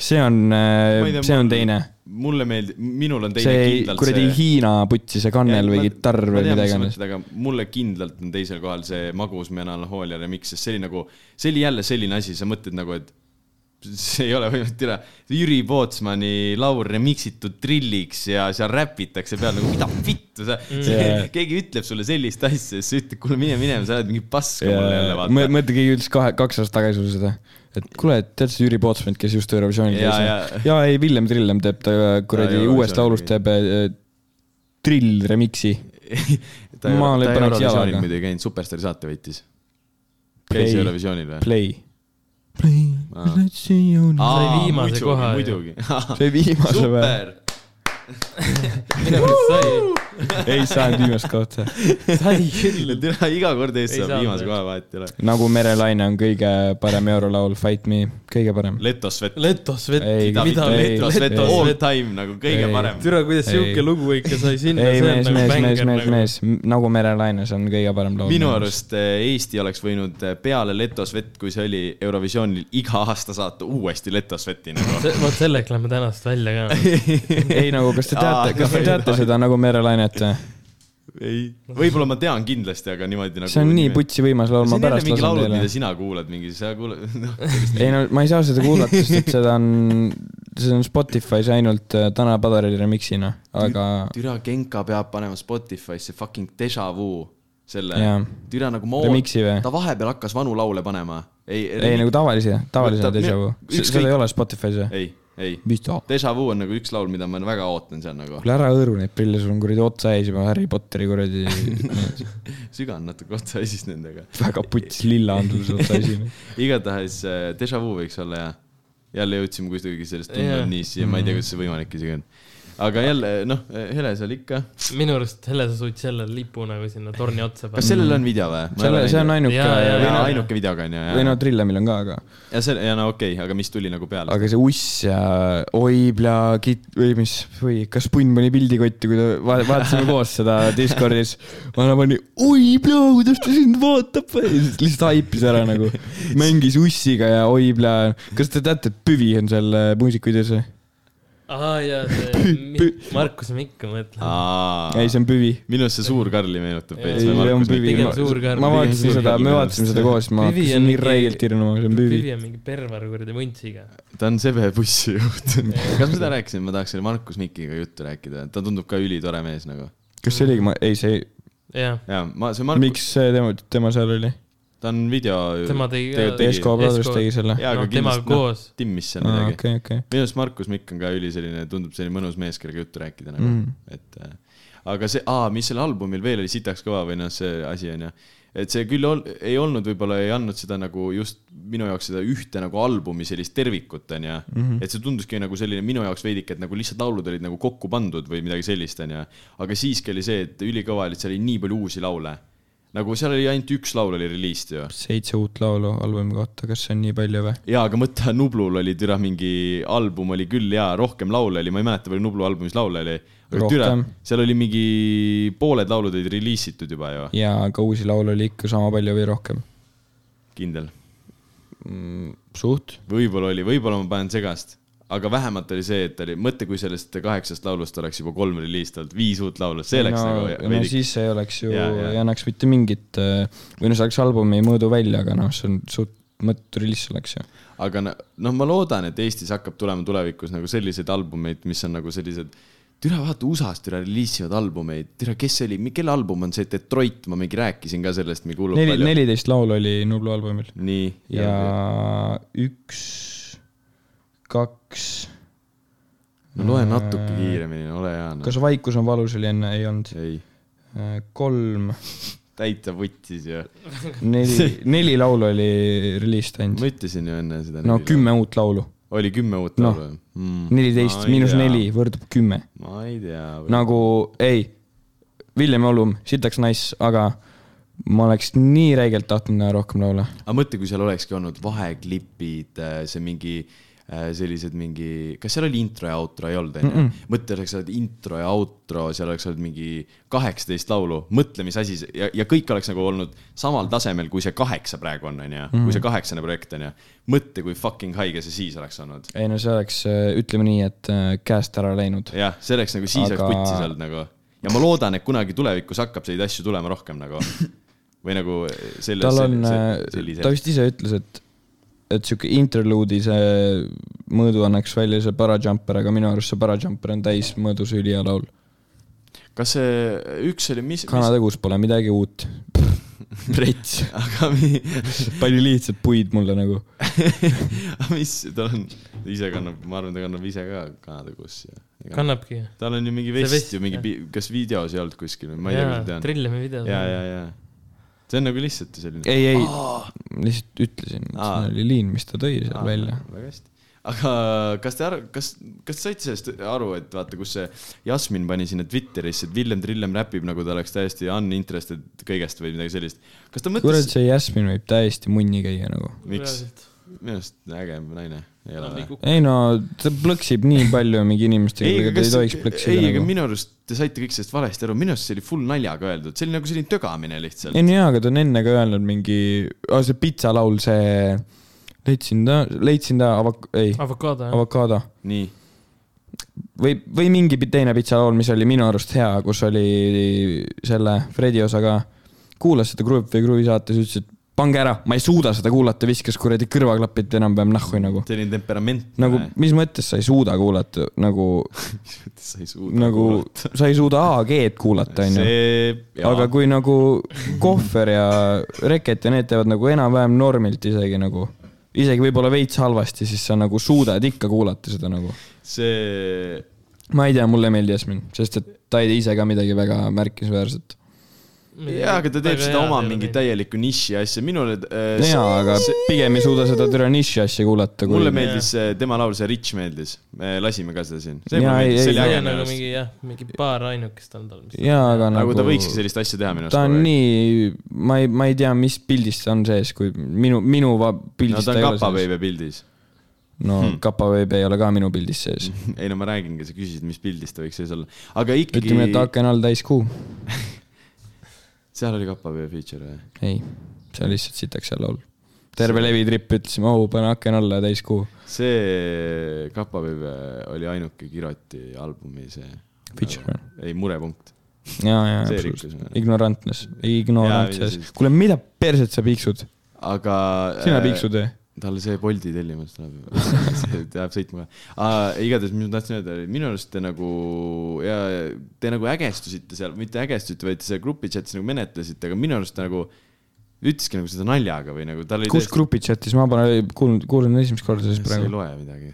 Speaker 3: see on , see on teine .
Speaker 1: mulle meeldib , minul on teine
Speaker 3: see
Speaker 1: kindlalt
Speaker 3: kuradi
Speaker 1: see .
Speaker 3: Hiina putsi , see kannel või kitarr või mida iganes ..
Speaker 1: aga mulle kindlalt on teisel kohal see magus melanhoolia remix , sest see oli nagu , see oli jälle selline asi , sa mõtled nagu , et see ei ole võimalik teha , Jüri Pootsmani laul remixitud trilliks ja seal räpitakse peal nagu mida vittu sa
Speaker 3: Jaa.
Speaker 1: yeah. , keegi ütleb sulle sellist asja , siis sa ütled , kuule mine minema , sa oled mingi paska mulle jälle vaata .
Speaker 3: mõtle , keegi ütles kahe , kaks aastat tagasi sulle seda , et kuule , tead see Jüri Pootsmann , kes just Eurovisioonil
Speaker 1: Jaa,
Speaker 3: käis
Speaker 1: jaa. ?
Speaker 3: ja ei , Villem Trillem teeb ta äh, kuradi
Speaker 1: Jaa,
Speaker 3: uuest
Speaker 1: Eurovisioonil
Speaker 3: laulust teeb äh, drill remix'i .
Speaker 1: ta ei
Speaker 3: Ma
Speaker 1: ole , ta ei ole
Speaker 3: lõpetan jalaga.
Speaker 1: Eurovisioonil muidugi käinud , Superstaari saate võitis . käis
Speaker 3: Play.
Speaker 1: Eurovisioonil või ?
Speaker 3: Play . Play , let's see you now .
Speaker 2: Sai viimase
Speaker 1: muidugi,
Speaker 2: koha ju.
Speaker 1: muidugi .
Speaker 3: see viimase päev ,
Speaker 1: Ah. super ,
Speaker 2: minu arust sai ,
Speaker 3: ei saanud viimast kohta .
Speaker 2: sai küll .
Speaker 1: tere , iga kord ees
Speaker 2: Ei
Speaker 1: saab
Speaker 2: saanud
Speaker 1: viimase
Speaker 2: veel.
Speaker 1: koha vahet ei ole .
Speaker 3: nagu Merelaine on kõige parem eurolaul , Fight me , kõige parem .
Speaker 1: Letosvet ,
Speaker 2: Letos vett ,
Speaker 3: Ei,
Speaker 2: mida
Speaker 3: ei,
Speaker 1: Letosvet
Speaker 3: ei.
Speaker 1: all
Speaker 2: Letos vett ,
Speaker 1: time nagu kõige
Speaker 3: Ei.
Speaker 1: parem .
Speaker 2: türa , kuidas
Speaker 3: Ei.
Speaker 2: sihuke lugu ikka sai sinna , see
Speaker 3: ei ,
Speaker 2: on
Speaker 3: mees ,
Speaker 2: nagu
Speaker 3: mees , mees ,
Speaker 2: bänger
Speaker 3: mees ,
Speaker 2: nagu .
Speaker 3: mees , nagu Merelaine , see on kõige parem laul .
Speaker 1: minu . arust eh, Eesti oleks võinud eh, peale Letosvet , kui see oli Eurovisioonil , iga aasta saata uuesti Letosveti nagu .
Speaker 2: vot selleks lähme tänast välja ka .
Speaker 3: ei nagu , kas te teate , kas te teate seda nagu Merelainet või ?
Speaker 1: ei , võib-olla ma tean kindlasti , aga niimoodi nagu .
Speaker 3: see on nii . putsi võimas laul ,
Speaker 1: see
Speaker 3: ma
Speaker 1: on jälle
Speaker 3: pärast
Speaker 1: mingi
Speaker 3: lasen
Speaker 1: laulud ,
Speaker 3: teile
Speaker 1: mida . sina kuulad , mingi sa kuulad , noh .
Speaker 3: ei no ma ei saa seda kuulata , sest et seda on , see on Spotify's ainult äh, Tana Padaril remix'ina , aga
Speaker 1: türa Genka peab panema Spotify'sse fucking Deja Vu selle
Speaker 3: Jaa.
Speaker 1: türa nagu ma
Speaker 3: Remixi või?
Speaker 1: ta vahepeal hakkas vanu laule panema . ei,
Speaker 3: ei nagu tavalise , tavalise
Speaker 1: Võta-
Speaker 3: on Deja Vu .
Speaker 1: ükskõik-
Speaker 3: seda ei ole Spotify's või ?
Speaker 1: ei , ei .
Speaker 3: mis ta ?
Speaker 1: Deja Vu on nagu üks laul , mida ma väga ootan seal nagu .
Speaker 3: kuule ära hõõru neid prille , sul on kuradi otsa ees juba Harry Potteri kuradi
Speaker 1: sügan natuke otsa ja siis nendega .
Speaker 3: väga puts lilla on sul see otsa ees .
Speaker 1: igatahes äh, Deja Vu võiks olla hea . jälle jõudsime kuidagi sellest
Speaker 2: Jaa.
Speaker 1: tundnud nii siia , ma ei tea , kuidas see võimalik isegi on . aga jälle noh , Hele seal ikka .
Speaker 2: minu arust Hele , sa suutsid selle lipu nagu sinna torni otsa
Speaker 1: kas
Speaker 2: panna .
Speaker 1: sellel on video või ?
Speaker 3: selle , Mm. see on ainuke
Speaker 2: Jaa, jaa,
Speaker 1: Jaa,
Speaker 2: jaa.
Speaker 3: või noh-
Speaker 1: ainuke videoga on ju ,
Speaker 3: või
Speaker 1: jah
Speaker 3: noh ,. Trillemil on ka , aga ,
Speaker 1: ja see , ja no okei okay, , aga mis tuli nagu peale ?
Speaker 3: aga see uss ja oi pla- , kit- või mis , või kas punn pani pildi kotti , kui ta , vaatasime koos seda Discordis . vana pani , oi pla , kuidas ta sind vaatab , lihtsalt haipis ära nagu . mängis ussiga ja oi pla , kas te teate , et Püvi on seal muusikavideos äh, või ?
Speaker 2: ahaa , ja see Markus Mikk on mõtlenud .
Speaker 3: ei , see on Püvi .
Speaker 1: minu arust see suur Karli meenutab
Speaker 2: Ei,
Speaker 1: veits
Speaker 3: ei ,
Speaker 2: see .
Speaker 3: see on Püvi .
Speaker 2: Pigem
Speaker 3: ma
Speaker 2: suur karm.
Speaker 3: ma vaatasin
Speaker 1: Pigem
Speaker 3: seda ,
Speaker 1: suur
Speaker 3: me
Speaker 1: karm.
Speaker 3: vaatasime seda koos , ma
Speaker 2: Püvi
Speaker 3: hakkasin
Speaker 2: on
Speaker 3: nii
Speaker 2: mingi-
Speaker 3: räigelt hirmuma , see on Püvi .
Speaker 2: Vivi on mingi pervar kuradi vuntsiga .
Speaker 1: ta on sebe bussijuht . kas ma seda rääkisin , ma tahaks selle Markus Mikiga juttu rääkida , ta tundub ka ülitore mees nagu .
Speaker 3: kas see oligi , ma , ei , see ,
Speaker 2: jah ,
Speaker 1: ja ma , see Markus ,
Speaker 3: miks see tema , tema seal oli ?
Speaker 1: ta on video .
Speaker 2: tema tegi
Speaker 1: Tegelikult
Speaker 2: ka
Speaker 1: tegi- .
Speaker 3: Esko Brothers
Speaker 2: Esko-
Speaker 3: tegi selle .
Speaker 1: jaa , aga
Speaker 2: noh ,
Speaker 1: kindlasti ,
Speaker 2: temaga
Speaker 1: noh ,
Speaker 2: koos .
Speaker 1: timmis seal midagi .
Speaker 3: okei , okei .
Speaker 1: minu arust Markus Mikk on ka üli selline , tundub selline mõnus mees , kellega juttu rääkida nagu
Speaker 3: Mm.
Speaker 1: mm. , et äh, aga see , aa , mis sellel albumil veel oli sitaks kõva või noh , see asi on ju , et see küll ol, ei olnud , võib-olla ei andnud seda nagu just minu jaoks seda ühte nagu albumi sellist tervikut , on ju mm . -hmm. et see tunduski nagu selline minu jaoks veidike , et nagu lihtsalt laulud olid nagu kokku pandud või midagi sellist , on ju . aga siiski oli see , et ülikõva oli , et seal oli nii palju uusi laule . nagu seal oli ainult üks laul oli reliist ju
Speaker 3: seitse uut laulu albumi kohta , kas see on nii palju või ?
Speaker 1: jaa , aga mõtle , Nublul oli türa mingi album oli küll ja rohkem laule oli , ma ei mäleta , palju Nublu albumis laule oli . aga türa
Speaker 3: Rohkem. ,
Speaker 1: seal oli mingi pooled laulud olid reliisitud juba ju ,
Speaker 3: jaa , aga uusi laule oli ikka sama palju või rohkem .
Speaker 1: kindel .
Speaker 3: suht .
Speaker 1: võib-olla oli , võib-olla ma panen segast , aga vähemalt oli see , et oli , mõtle , kui sellest kaheksast laulust oleks juba kolm reliist olnud , viis uut laulu , see oleks
Speaker 3: no,
Speaker 1: nagu
Speaker 3: no
Speaker 1: veidi-
Speaker 3: siis ei oleks ju ,
Speaker 1: Jaa, jaa.
Speaker 3: ei annaks mitte mingit , või noh , see oleks albumi mõõdu välja , aga noh , see on suht mõttetu reliis oleks ju .
Speaker 1: aga no- noh , ma loodan , et Eestis hakkab tulema tulevikus nagu selliseid albumeid , mis on nagu sellised , türa vaata USA-s türa reliisivad albumeid , türa , kes see oli , kelle album on see Detroit , ma mingi rääkisin ka sellest mingi hullult
Speaker 3: neli ,
Speaker 1: palju .
Speaker 3: neliteist laulu oli Nublu albumil
Speaker 1: nii ,
Speaker 3: ja üks , kaks ,
Speaker 1: no loe natuke kiiremini , ole hea no. .
Speaker 3: kas Vaikus on valus oli enne , ei olnud ,
Speaker 1: ei ,
Speaker 3: kolm ,
Speaker 1: täitsa võttis ju ,
Speaker 3: neli , neli laulu oli reliist ainult .
Speaker 1: ma ütlesin ju enne seda .
Speaker 3: no . kümme uut laulu ,
Speaker 1: oli kümme uut Hmm. laulu
Speaker 3: Noh,
Speaker 1: no.
Speaker 3: neliteist miinus neli . võrdub kümme
Speaker 1: ma ei tea .
Speaker 3: nagu ei , Villem Olum , sitaks nice , aga ma oleks nii räigelt tahtnud näha rohkem laule .
Speaker 1: aga mõtle , kui seal olekski olnud vaheklipid , see mingi äh, sellised mingi , kas seal oli intro ja outro , ei olnud , onju ? mõtle , oleks olnud intro ja outro , seal oleks olnud mingi kaheksateist laulu , mõtle , mis asi see ja , ja kõik oleks nagu olnud samal tasemel , kui see kaheksa praegu on , onju , kui see kaheksane projekt onju . mõtle , kui fucking haige see siis oleks olnud .
Speaker 3: ei no see oleks , ütleme nii , et äh, käest ära läinud .
Speaker 1: jah , see oleks nagu siis Aga...
Speaker 3: Aga-
Speaker 1: oleks putsis olnud nagu ja ma loodan , et kunagi tulevikus hakkab neid asju tulema rohkem nagu või nagu selle .
Speaker 3: tal on , äh, ta vist ise ütles , et , et sihuke interlude'i see mõõdu annaks välja see Parajumper , aga minu arust see Parajumper on täis mõõdus ülihea laul .
Speaker 1: kas see üks oli , mis , mis
Speaker 3: Kanatõgus pole midagi uut . rets ,
Speaker 1: aga mi-
Speaker 3: palju lihtsalt puid mulle nagu .
Speaker 1: aga mis tal on , ise kannab , ma arvan , ta kannab ise ka Kanada kussi .
Speaker 2: kannabki .
Speaker 1: tal on ju mingi
Speaker 2: See
Speaker 1: vest,
Speaker 2: vest,
Speaker 1: ju mingi
Speaker 2: jah. ,
Speaker 1: kas videos ei olnud kuskil või ma ei tea ,
Speaker 2: jaa
Speaker 1: kas ma , tean .
Speaker 2: trillime video .
Speaker 1: ja , ja , ja see on nagu lihtsalt ju selline .
Speaker 3: ei , ei , lihtsalt ütlesin ,
Speaker 1: Aa.
Speaker 3: see oli liin , mis ta tõi seal välja .
Speaker 1: väga hästi . aga kas te aru , kas , kas te saite sellest aru , et vaata , kus see Jasmin pani sinna Twitterisse , et Villem Trillem räpib nagu ta oleks täiesti uninterested kõigest või midagi sellist . kas ta
Speaker 3: kurat ,
Speaker 1: mõtles ,
Speaker 3: see Jasmin võib täiesti munni käia nagu .
Speaker 1: miks ,? minu arust äge naine ei
Speaker 2: Noh,
Speaker 1: ole või ?
Speaker 3: ei no , ta plõksib nii palju mingi inimestega , kellega ta ei tohiks plõksida
Speaker 1: ei , aga
Speaker 3: nagu .
Speaker 1: minu arust te saite kõik sellest valesti aru , minu arust see oli full naljaga öeldud , see oli nagu selline tögamine lihtsalt .
Speaker 3: ei no jaa , aga ta on enne ka öelnud mingi , see pitsalaul , see leidsin ta , leidsin ta avak- , ei ,
Speaker 2: avokaado , jah ?
Speaker 3: avokaado
Speaker 1: nii ,
Speaker 3: või , või mingi pi- teine pitsalaul , mis oli minu arust hea , kus oli selle Fredi osa ka . kuulas seda Gruup või Gruvi saates , ütles , et pange ära , ma ei suuda seda kuulata , viskas kuradi kõrvaklapid enam-vähem nahhu nagu .
Speaker 1: selline temperament .
Speaker 3: nagu , mis mõttes sa ei suuda kuulata , nagu ,
Speaker 1: sa ei suuda
Speaker 3: nagu
Speaker 1: kuulata.
Speaker 3: sa ei suuda AG-d kuulata , onju .
Speaker 1: see ,
Speaker 3: aga kui nagu Kohver ja Reket ja need teevad nagu enam-vähem normilt isegi nagu , isegi võib-olla veits halvasti , siis sa nagu suudad ikka kuulata seda nagu .
Speaker 1: see
Speaker 3: ma ei tea , mulle ei meeldi Jasmin , sest et ta ei tee ise ka midagi väga märkimisväärset .
Speaker 1: jaa , aga ta teeb seda oma mingi . täielikku niši asja , minule äh, see-
Speaker 3: jaa , aga pigem ei suuda seda türaniši asja kuulata , kui
Speaker 1: mulle meeldis see- tema laul , see Rich meeldis , me lasime ka seda siin . see
Speaker 3: Jaa,
Speaker 1: mulle
Speaker 3: ei,
Speaker 1: meeldis , see
Speaker 3: ei,
Speaker 1: oli
Speaker 2: see
Speaker 1: äge
Speaker 2: on
Speaker 1: minu
Speaker 2: nagu
Speaker 1: arust .
Speaker 2: mingi jah , mingi paar ainukest on tal , mis .
Speaker 3: jaa , aga
Speaker 1: aga
Speaker 3: nagu
Speaker 1: ta võikski sellist asja teha minu arust .
Speaker 3: ta on . nii , ma ei , ma ei tea , mis pildis ta on sees , kui minu , minu va-
Speaker 1: no
Speaker 3: pildis
Speaker 1: ta on Hmm. kapaveebe pildis .
Speaker 3: no kapaveeb ei ole ka minu pildis sees .
Speaker 1: ei no ma räägingi , sa küsisid , mis pildis ta võiks sees olla , aga ikkagi
Speaker 3: ütleme , et aken all täis kuu .
Speaker 1: seal oli kapaveebe feature või ?
Speaker 3: ei , see on lihtsalt sitaks hea laul . terve levitripp ütlesime , oh , pane aken alla ja täis kuu .
Speaker 1: see Kapapive oli ainuke Kiroti albumi see .
Speaker 3: Feature. .
Speaker 1: ei , murepunkt .
Speaker 3: ja , ja ,
Speaker 1: See
Speaker 3: absoluutselt
Speaker 1: rikkus. .
Speaker 3: ignorantnes ,
Speaker 1: Jaa,
Speaker 3: ignorantses
Speaker 1: ei, siis- .
Speaker 3: kuule , mida perset sa piiksud ?
Speaker 1: aga . Äh,
Speaker 3: sina piiksud või ?
Speaker 1: talle see Bolti tellimus tuleb , see läheb sõitma ka . igatahes , mis ma tahtsin öelda , minu arust te nagu ja te nagu ägestusite seal , mitte ägestusite , vaid te seal grupi chat'is nagu menetlesite , aga minu arust ta nagu ütleski nagu seda naljaga või nagu tal oli
Speaker 3: kus grupi chat'is , ma pole kuulnud , kuulen esimest korda siis
Speaker 1: praegu ? sa
Speaker 3: praegu
Speaker 1: ei . loe midagi .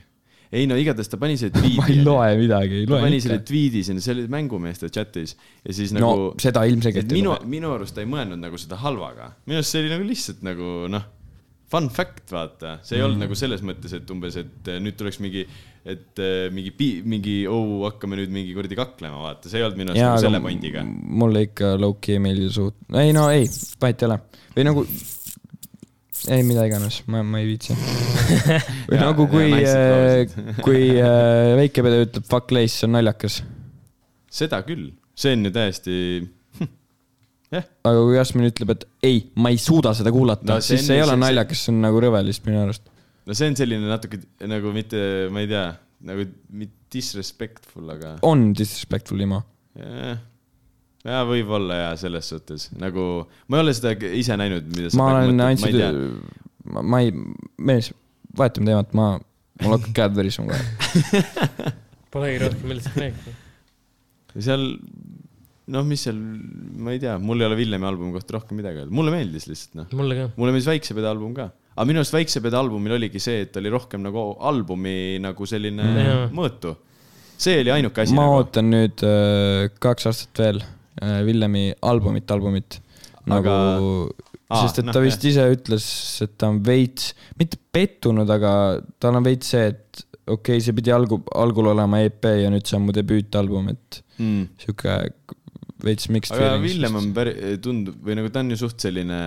Speaker 1: ei no igatahes ta pani selle
Speaker 3: ma ei
Speaker 1: tweet'i .
Speaker 3: loe midagi , ei
Speaker 1: ta
Speaker 3: loe
Speaker 1: pani selle
Speaker 3: ikka .
Speaker 1: tweet'i sinna , see oli mängumeeste chat'is ja siis
Speaker 3: no
Speaker 1: nagu
Speaker 3: seda ilmselgelt
Speaker 1: et
Speaker 3: ei
Speaker 1: minu
Speaker 3: loe .,
Speaker 1: minu arust ta ei mõelnud nagu seda halvaga , minu arust see oli nagu lihtsalt nagu noh , fun fact , vaata , see ei mm.
Speaker 3: Mhm.
Speaker 1: olnud nagu selles mõttes , et umbes , et eh, nüüd tuleks mingi , et eh, mingi , mingi oo , hakkame nüüd mingi kuradi kaklema , vaata , see ei olnud minu arust nagu selle pointiga .
Speaker 3: mulle ikka low-key ei meeldi suht- , ei no ei , vahet ei ole . või nagu , ei mida iganes , ma , ma ei viitsi . või
Speaker 1: Jaa,
Speaker 3: nagu
Speaker 1: jaa,
Speaker 3: kui
Speaker 1: naised ,
Speaker 3: kui äh, väikepede ütleb fuck lace , see on naljakas .
Speaker 1: seda küll , see on ju täiesti ,
Speaker 3: aga kui Jasmin ütleb , et ei , ma ei suuda seda kuulata
Speaker 1: No
Speaker 3: no, ,
Speaker 1: see
Speaker 3: siis
Speaker 1: on
Speaker 3: see ei
Speaker 1: ju
Speaker 3: ole
Speaker 1: see-
Speaker 3: naljakas , see on nagu rõve lihtsalt minu arust .
Speaker 1: no see on selline natuke nagu mitte , ma ei tea , nagu mit- disrespectful , aga
Speaker 3: on disrespectful imo .
Speaker 1: jah , ja võib-olla ja selles suhtes nagu ma ei ole seda ise näinud , mida sa
Speaker 3: ma
Speaker 1: praegu mõtled,
Speaker 3: olen
Speaker 1: ma ei
Speaker 3: andsid
Speaker 1: tea. ,
Speaker 3: ma ma ei , mees , vahetame teemat , ma , mul hakkab käed verisema kohe .
Speaker 2: Polegi rohkem millestki rääkida .
Speaker 1: ja seal , noh , mis seal , ma ei tea , mul ei ole Villemi albumi kohta rohkem midagi öelda , mulle meeldis lihtsalt noh .
Speaker 2: mulle ka .
Speaker 1: mulle meeldis Väikse Pede album ka , aga minu arust Väikse Pede albumil oligi see , et oli rohkem nagu albumi nagu selline
Speaker 2: Jaa.
Speaker 1: mm. mõõtu . see oli ainuke asi
Speaker 3: ma
Speaker 1: nagu.
Speaker 3: ootan nüüd äh, kaks aastat veel äh, Villemi albumit , albumit . nagu
Speaker 1: Aa,
Speaker 3: aga... , sest et
Speaker 1: noh,
Speaker 3: ta vist ise ütles , et ta on veits , mitte pettunud , aga tal on veits see , et okei okay, , see pidi algu- , algul olema EP ja nüüd see on mu debüütalbum , et
Speaker 1: mm. .
Speaker 3: sihuke veits mixed
Speaker 1: aga
Speaker 3: feelings
Speaker 1: Villem on
Speaker 3: vist.
Speaker 1: päris , tundub või nagu ta on ju suht selline ,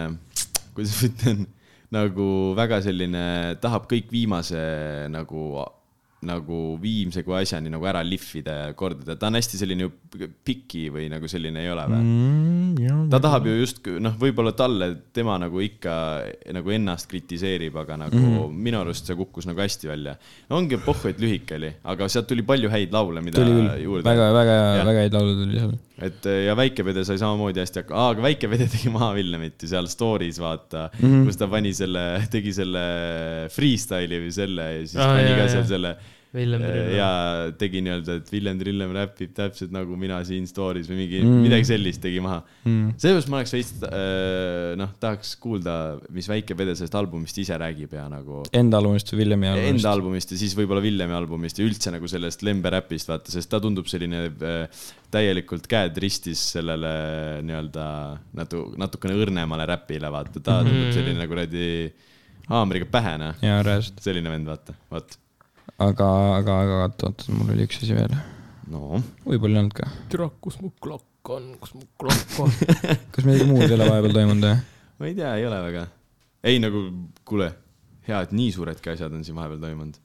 Speaker 1: kuidas ma ütlen , nagu väga selline , tahab kõik viimase nagu , nagu viimse kui asjani nagu ära lihvida ja kordada , ta on hästi selline ju piki või nagu selline ei ole või mm. ?
Speaker 3: mm, . jah.
Speaker 1: ta tahab ju justkui noh , võib-olla talle , tema nagu ikka nagu ennast kritiseerib , aga nagu mm -hmm. minu arust see kukkus nagu hästi välja . ongi pohhu , et lühike oli , aga sealt tuli palju häid laule , mida
Speaker 3: tuli küll ,
Speaker 1: juurde .
Speaker 3: väga , väga ,
Speaker 1: Jah.
Speaker 3: väga häid laule tuli seal .
Speaker 1: et eh, ja Väike-Pede sai samamoodi hästi hakka- , aa , aga Väike-Pede tegi maha Villemiti seal story's vaata mm , -hmm. kus ta pani selle , tegi selle freestyle'i või selle ja siis
Speaker 2: Aa,
Speaker 1: ah, pani
Speaker 2: jaa,
Speaker 1: ka
Speaker 2: jaa.
Speaker 1: seal selle .
Speaker 2: Villem Trillem.
Speaker 1: ja tegi nii-öelda , et Villem Trillem räpib täpselt nagu mina siin story's või mingi mm. , midagi sellist tegi maha mm. . seepärast ma oleks veits , noh , tahaks kuulda , mis Väike-Pede sellest albumist ise räägib ja nagu .
Speaker 3: Enda albumist või Villemi albumist
Speaker 1: Enda ? albumist ja siis võib-olla Villemi albumist ja üldse nagu sellest lemberäpist , vaata , sest ta tundub selline äh, täielikult käed ristis sellele nii-öelda natu- , natukene õrnemale räpile , vaata , ta tundub selline nagu kuradi haamriga pähe , noh .
Speaker 3: jaa , reaalselt .
Speaker 1: selline vend , vaata , vot .
Speaker 3: aga , aga , aga oot , oot , mul oli üks asi veel .
Speaker 1: no
Speaker 3: võib-olla ei olnud ka
Speaker 2: türa , kus mu klokk on , kus mu klokk on ?
Speaker 3: kas midagi muud ei ole vahepeal toimunud või ?
Speaker 1: ma ei tea , ei ole väga . ei nagu , kuule , hea , et nii suuredki asjad on siin vahepeal toimunud .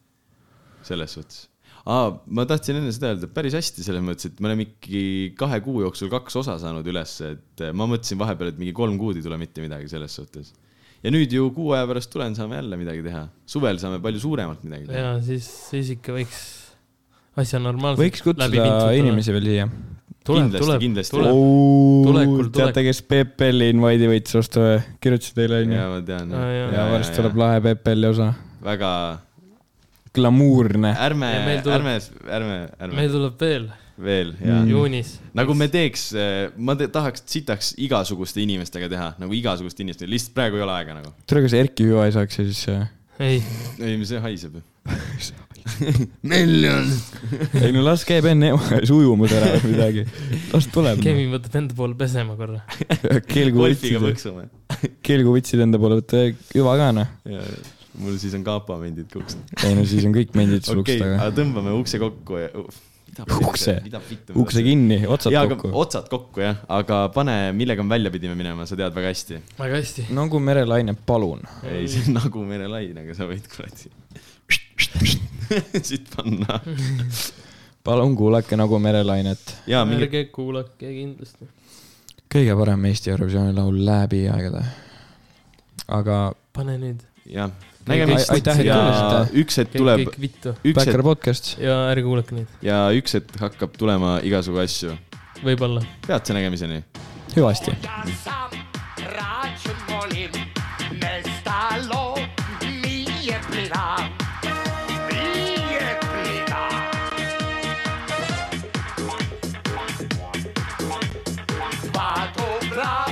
Speaker 1: selles suhtes . aa , ma tahtsin enne seda öelda , päris hästi selles mõttes , et me oleme ikkagi kahe kuu jooksul kaks osa saanud üles , et eh, ma mõtlesin vahepeal , et mingi kolm kuud ei tule mitte midagi selles suhtes . ja nüüd ju kuu aja pärast tulen , saame jälle midagi teha . suvel saame palju suuremalt midagi teha .
Speaker 2: ja siis , siis ikka võiks asja normaalselt .
Speaker 3: võiks kutsuda . inimesi veel siia .
Speaker 2: tuleb ,
Speaker 1: Kindlasti,
Speaker 2: tuleb ,
Speaker 1: kindlasti.
Speaker 2: tuleb . Tulekul,
Speaker 3: teate , kes PPL-i invite'i võitis vastu või ? kirjutasin teile onju .
Speaker 1: ja ma tean .
Speaker 2: Aa, jaa.
Speaker 3: ja varsti tuleb . lahe PPL-i osa .
Speaker 1: väga ,
Speaker 3: glamuurne .
Speaker 1: ärme
Speaker 2: Ja , meil tuleb-
Speaker 1: ärme , ärme , ärme
Speaker 2: meil tuleb veel
Speaker 1: veel ja
Speaker 2: juunis .
Speaker 1: nagu me teeks , ma te, tahaks , sitaks igasuguste inimestega teha , nagu igasuguste inimestega , lihtsalt praegu ei ole aega nagu .
Speaker 3: tule , kas Erki Hüva ei saaks siis äh, ?
Speaker 2: ei ,
Speaker 1: ei , mis see haiseb ju .
Speaker 3: ei no las käib enne emas ujumas ära või midagi . las tuleb .
Speaker 2: Kevin võtab enda poole pesema korra .
Speaker 3: kelgu
Speaker 1: golfiga
Speaker 3: võtsid ,
Speaker 1: põksume .
Speaker 3: kelgu võtsid enda poole , võta Hüva ka noh .
Speaker 1: mul siis on kaapamendid kukst .
Speaker 3: ei no siis on kõik mendid sul ukse
Speaker 1: okei ,
Speaker 3: taga .
Speaker 1: aga tõmbame ukse kokku ja .
Speaker 3: Ukse? ukse . kinni , otsad
Speaker 1: jaa , aga
Speaker 3: kokku .
Speaker 1: otsad kokku jah , aga pane , millega me välja pidime minema , sa tead väga hästi .
Speaker 2: väga hästi .
Speaker 3: nagu merelaine , palun .
Speaker 1: ei , see on nagu merelainega , sa võid kuradi siit panna .
Speaker 3: palun kuulake nagu merelainet
Speaker 1: jaa , Mm. mingi
Speaker 2: ärge kuulake kindlasti .
Speaker 3: kõige parem Eesti Eurovisiooni laul läbi aegade . aga
Speaker 2: pane nüüd .
Speaker 1: jah .
Speaker 2: Nägeme-
Speaker 3: aitäh , et
Speaker 1: ja
Speaker 3: kuulasite .
Speaker 1: üks hetk
Speaker 2: kõik ,
Speaker 1: tuleb ,
Speaker 2: kõik vittu
Speaker 1: üks
Speaker 3: Backer
Speaker 1: hetk
Speaker 3: podcast .
Speaker 2: ja ärge kuulake neid ,
Speaker 1: ja üks hetk hakkab tulema igasugu asju .
Speaker 2: võib-olla .
Speaker 1: peatse nägemiseni .
Speaker 3: hüvasti .
Speaker 7: sam račun volim, nestalo mi je plina. Mi je plina. Dva dobra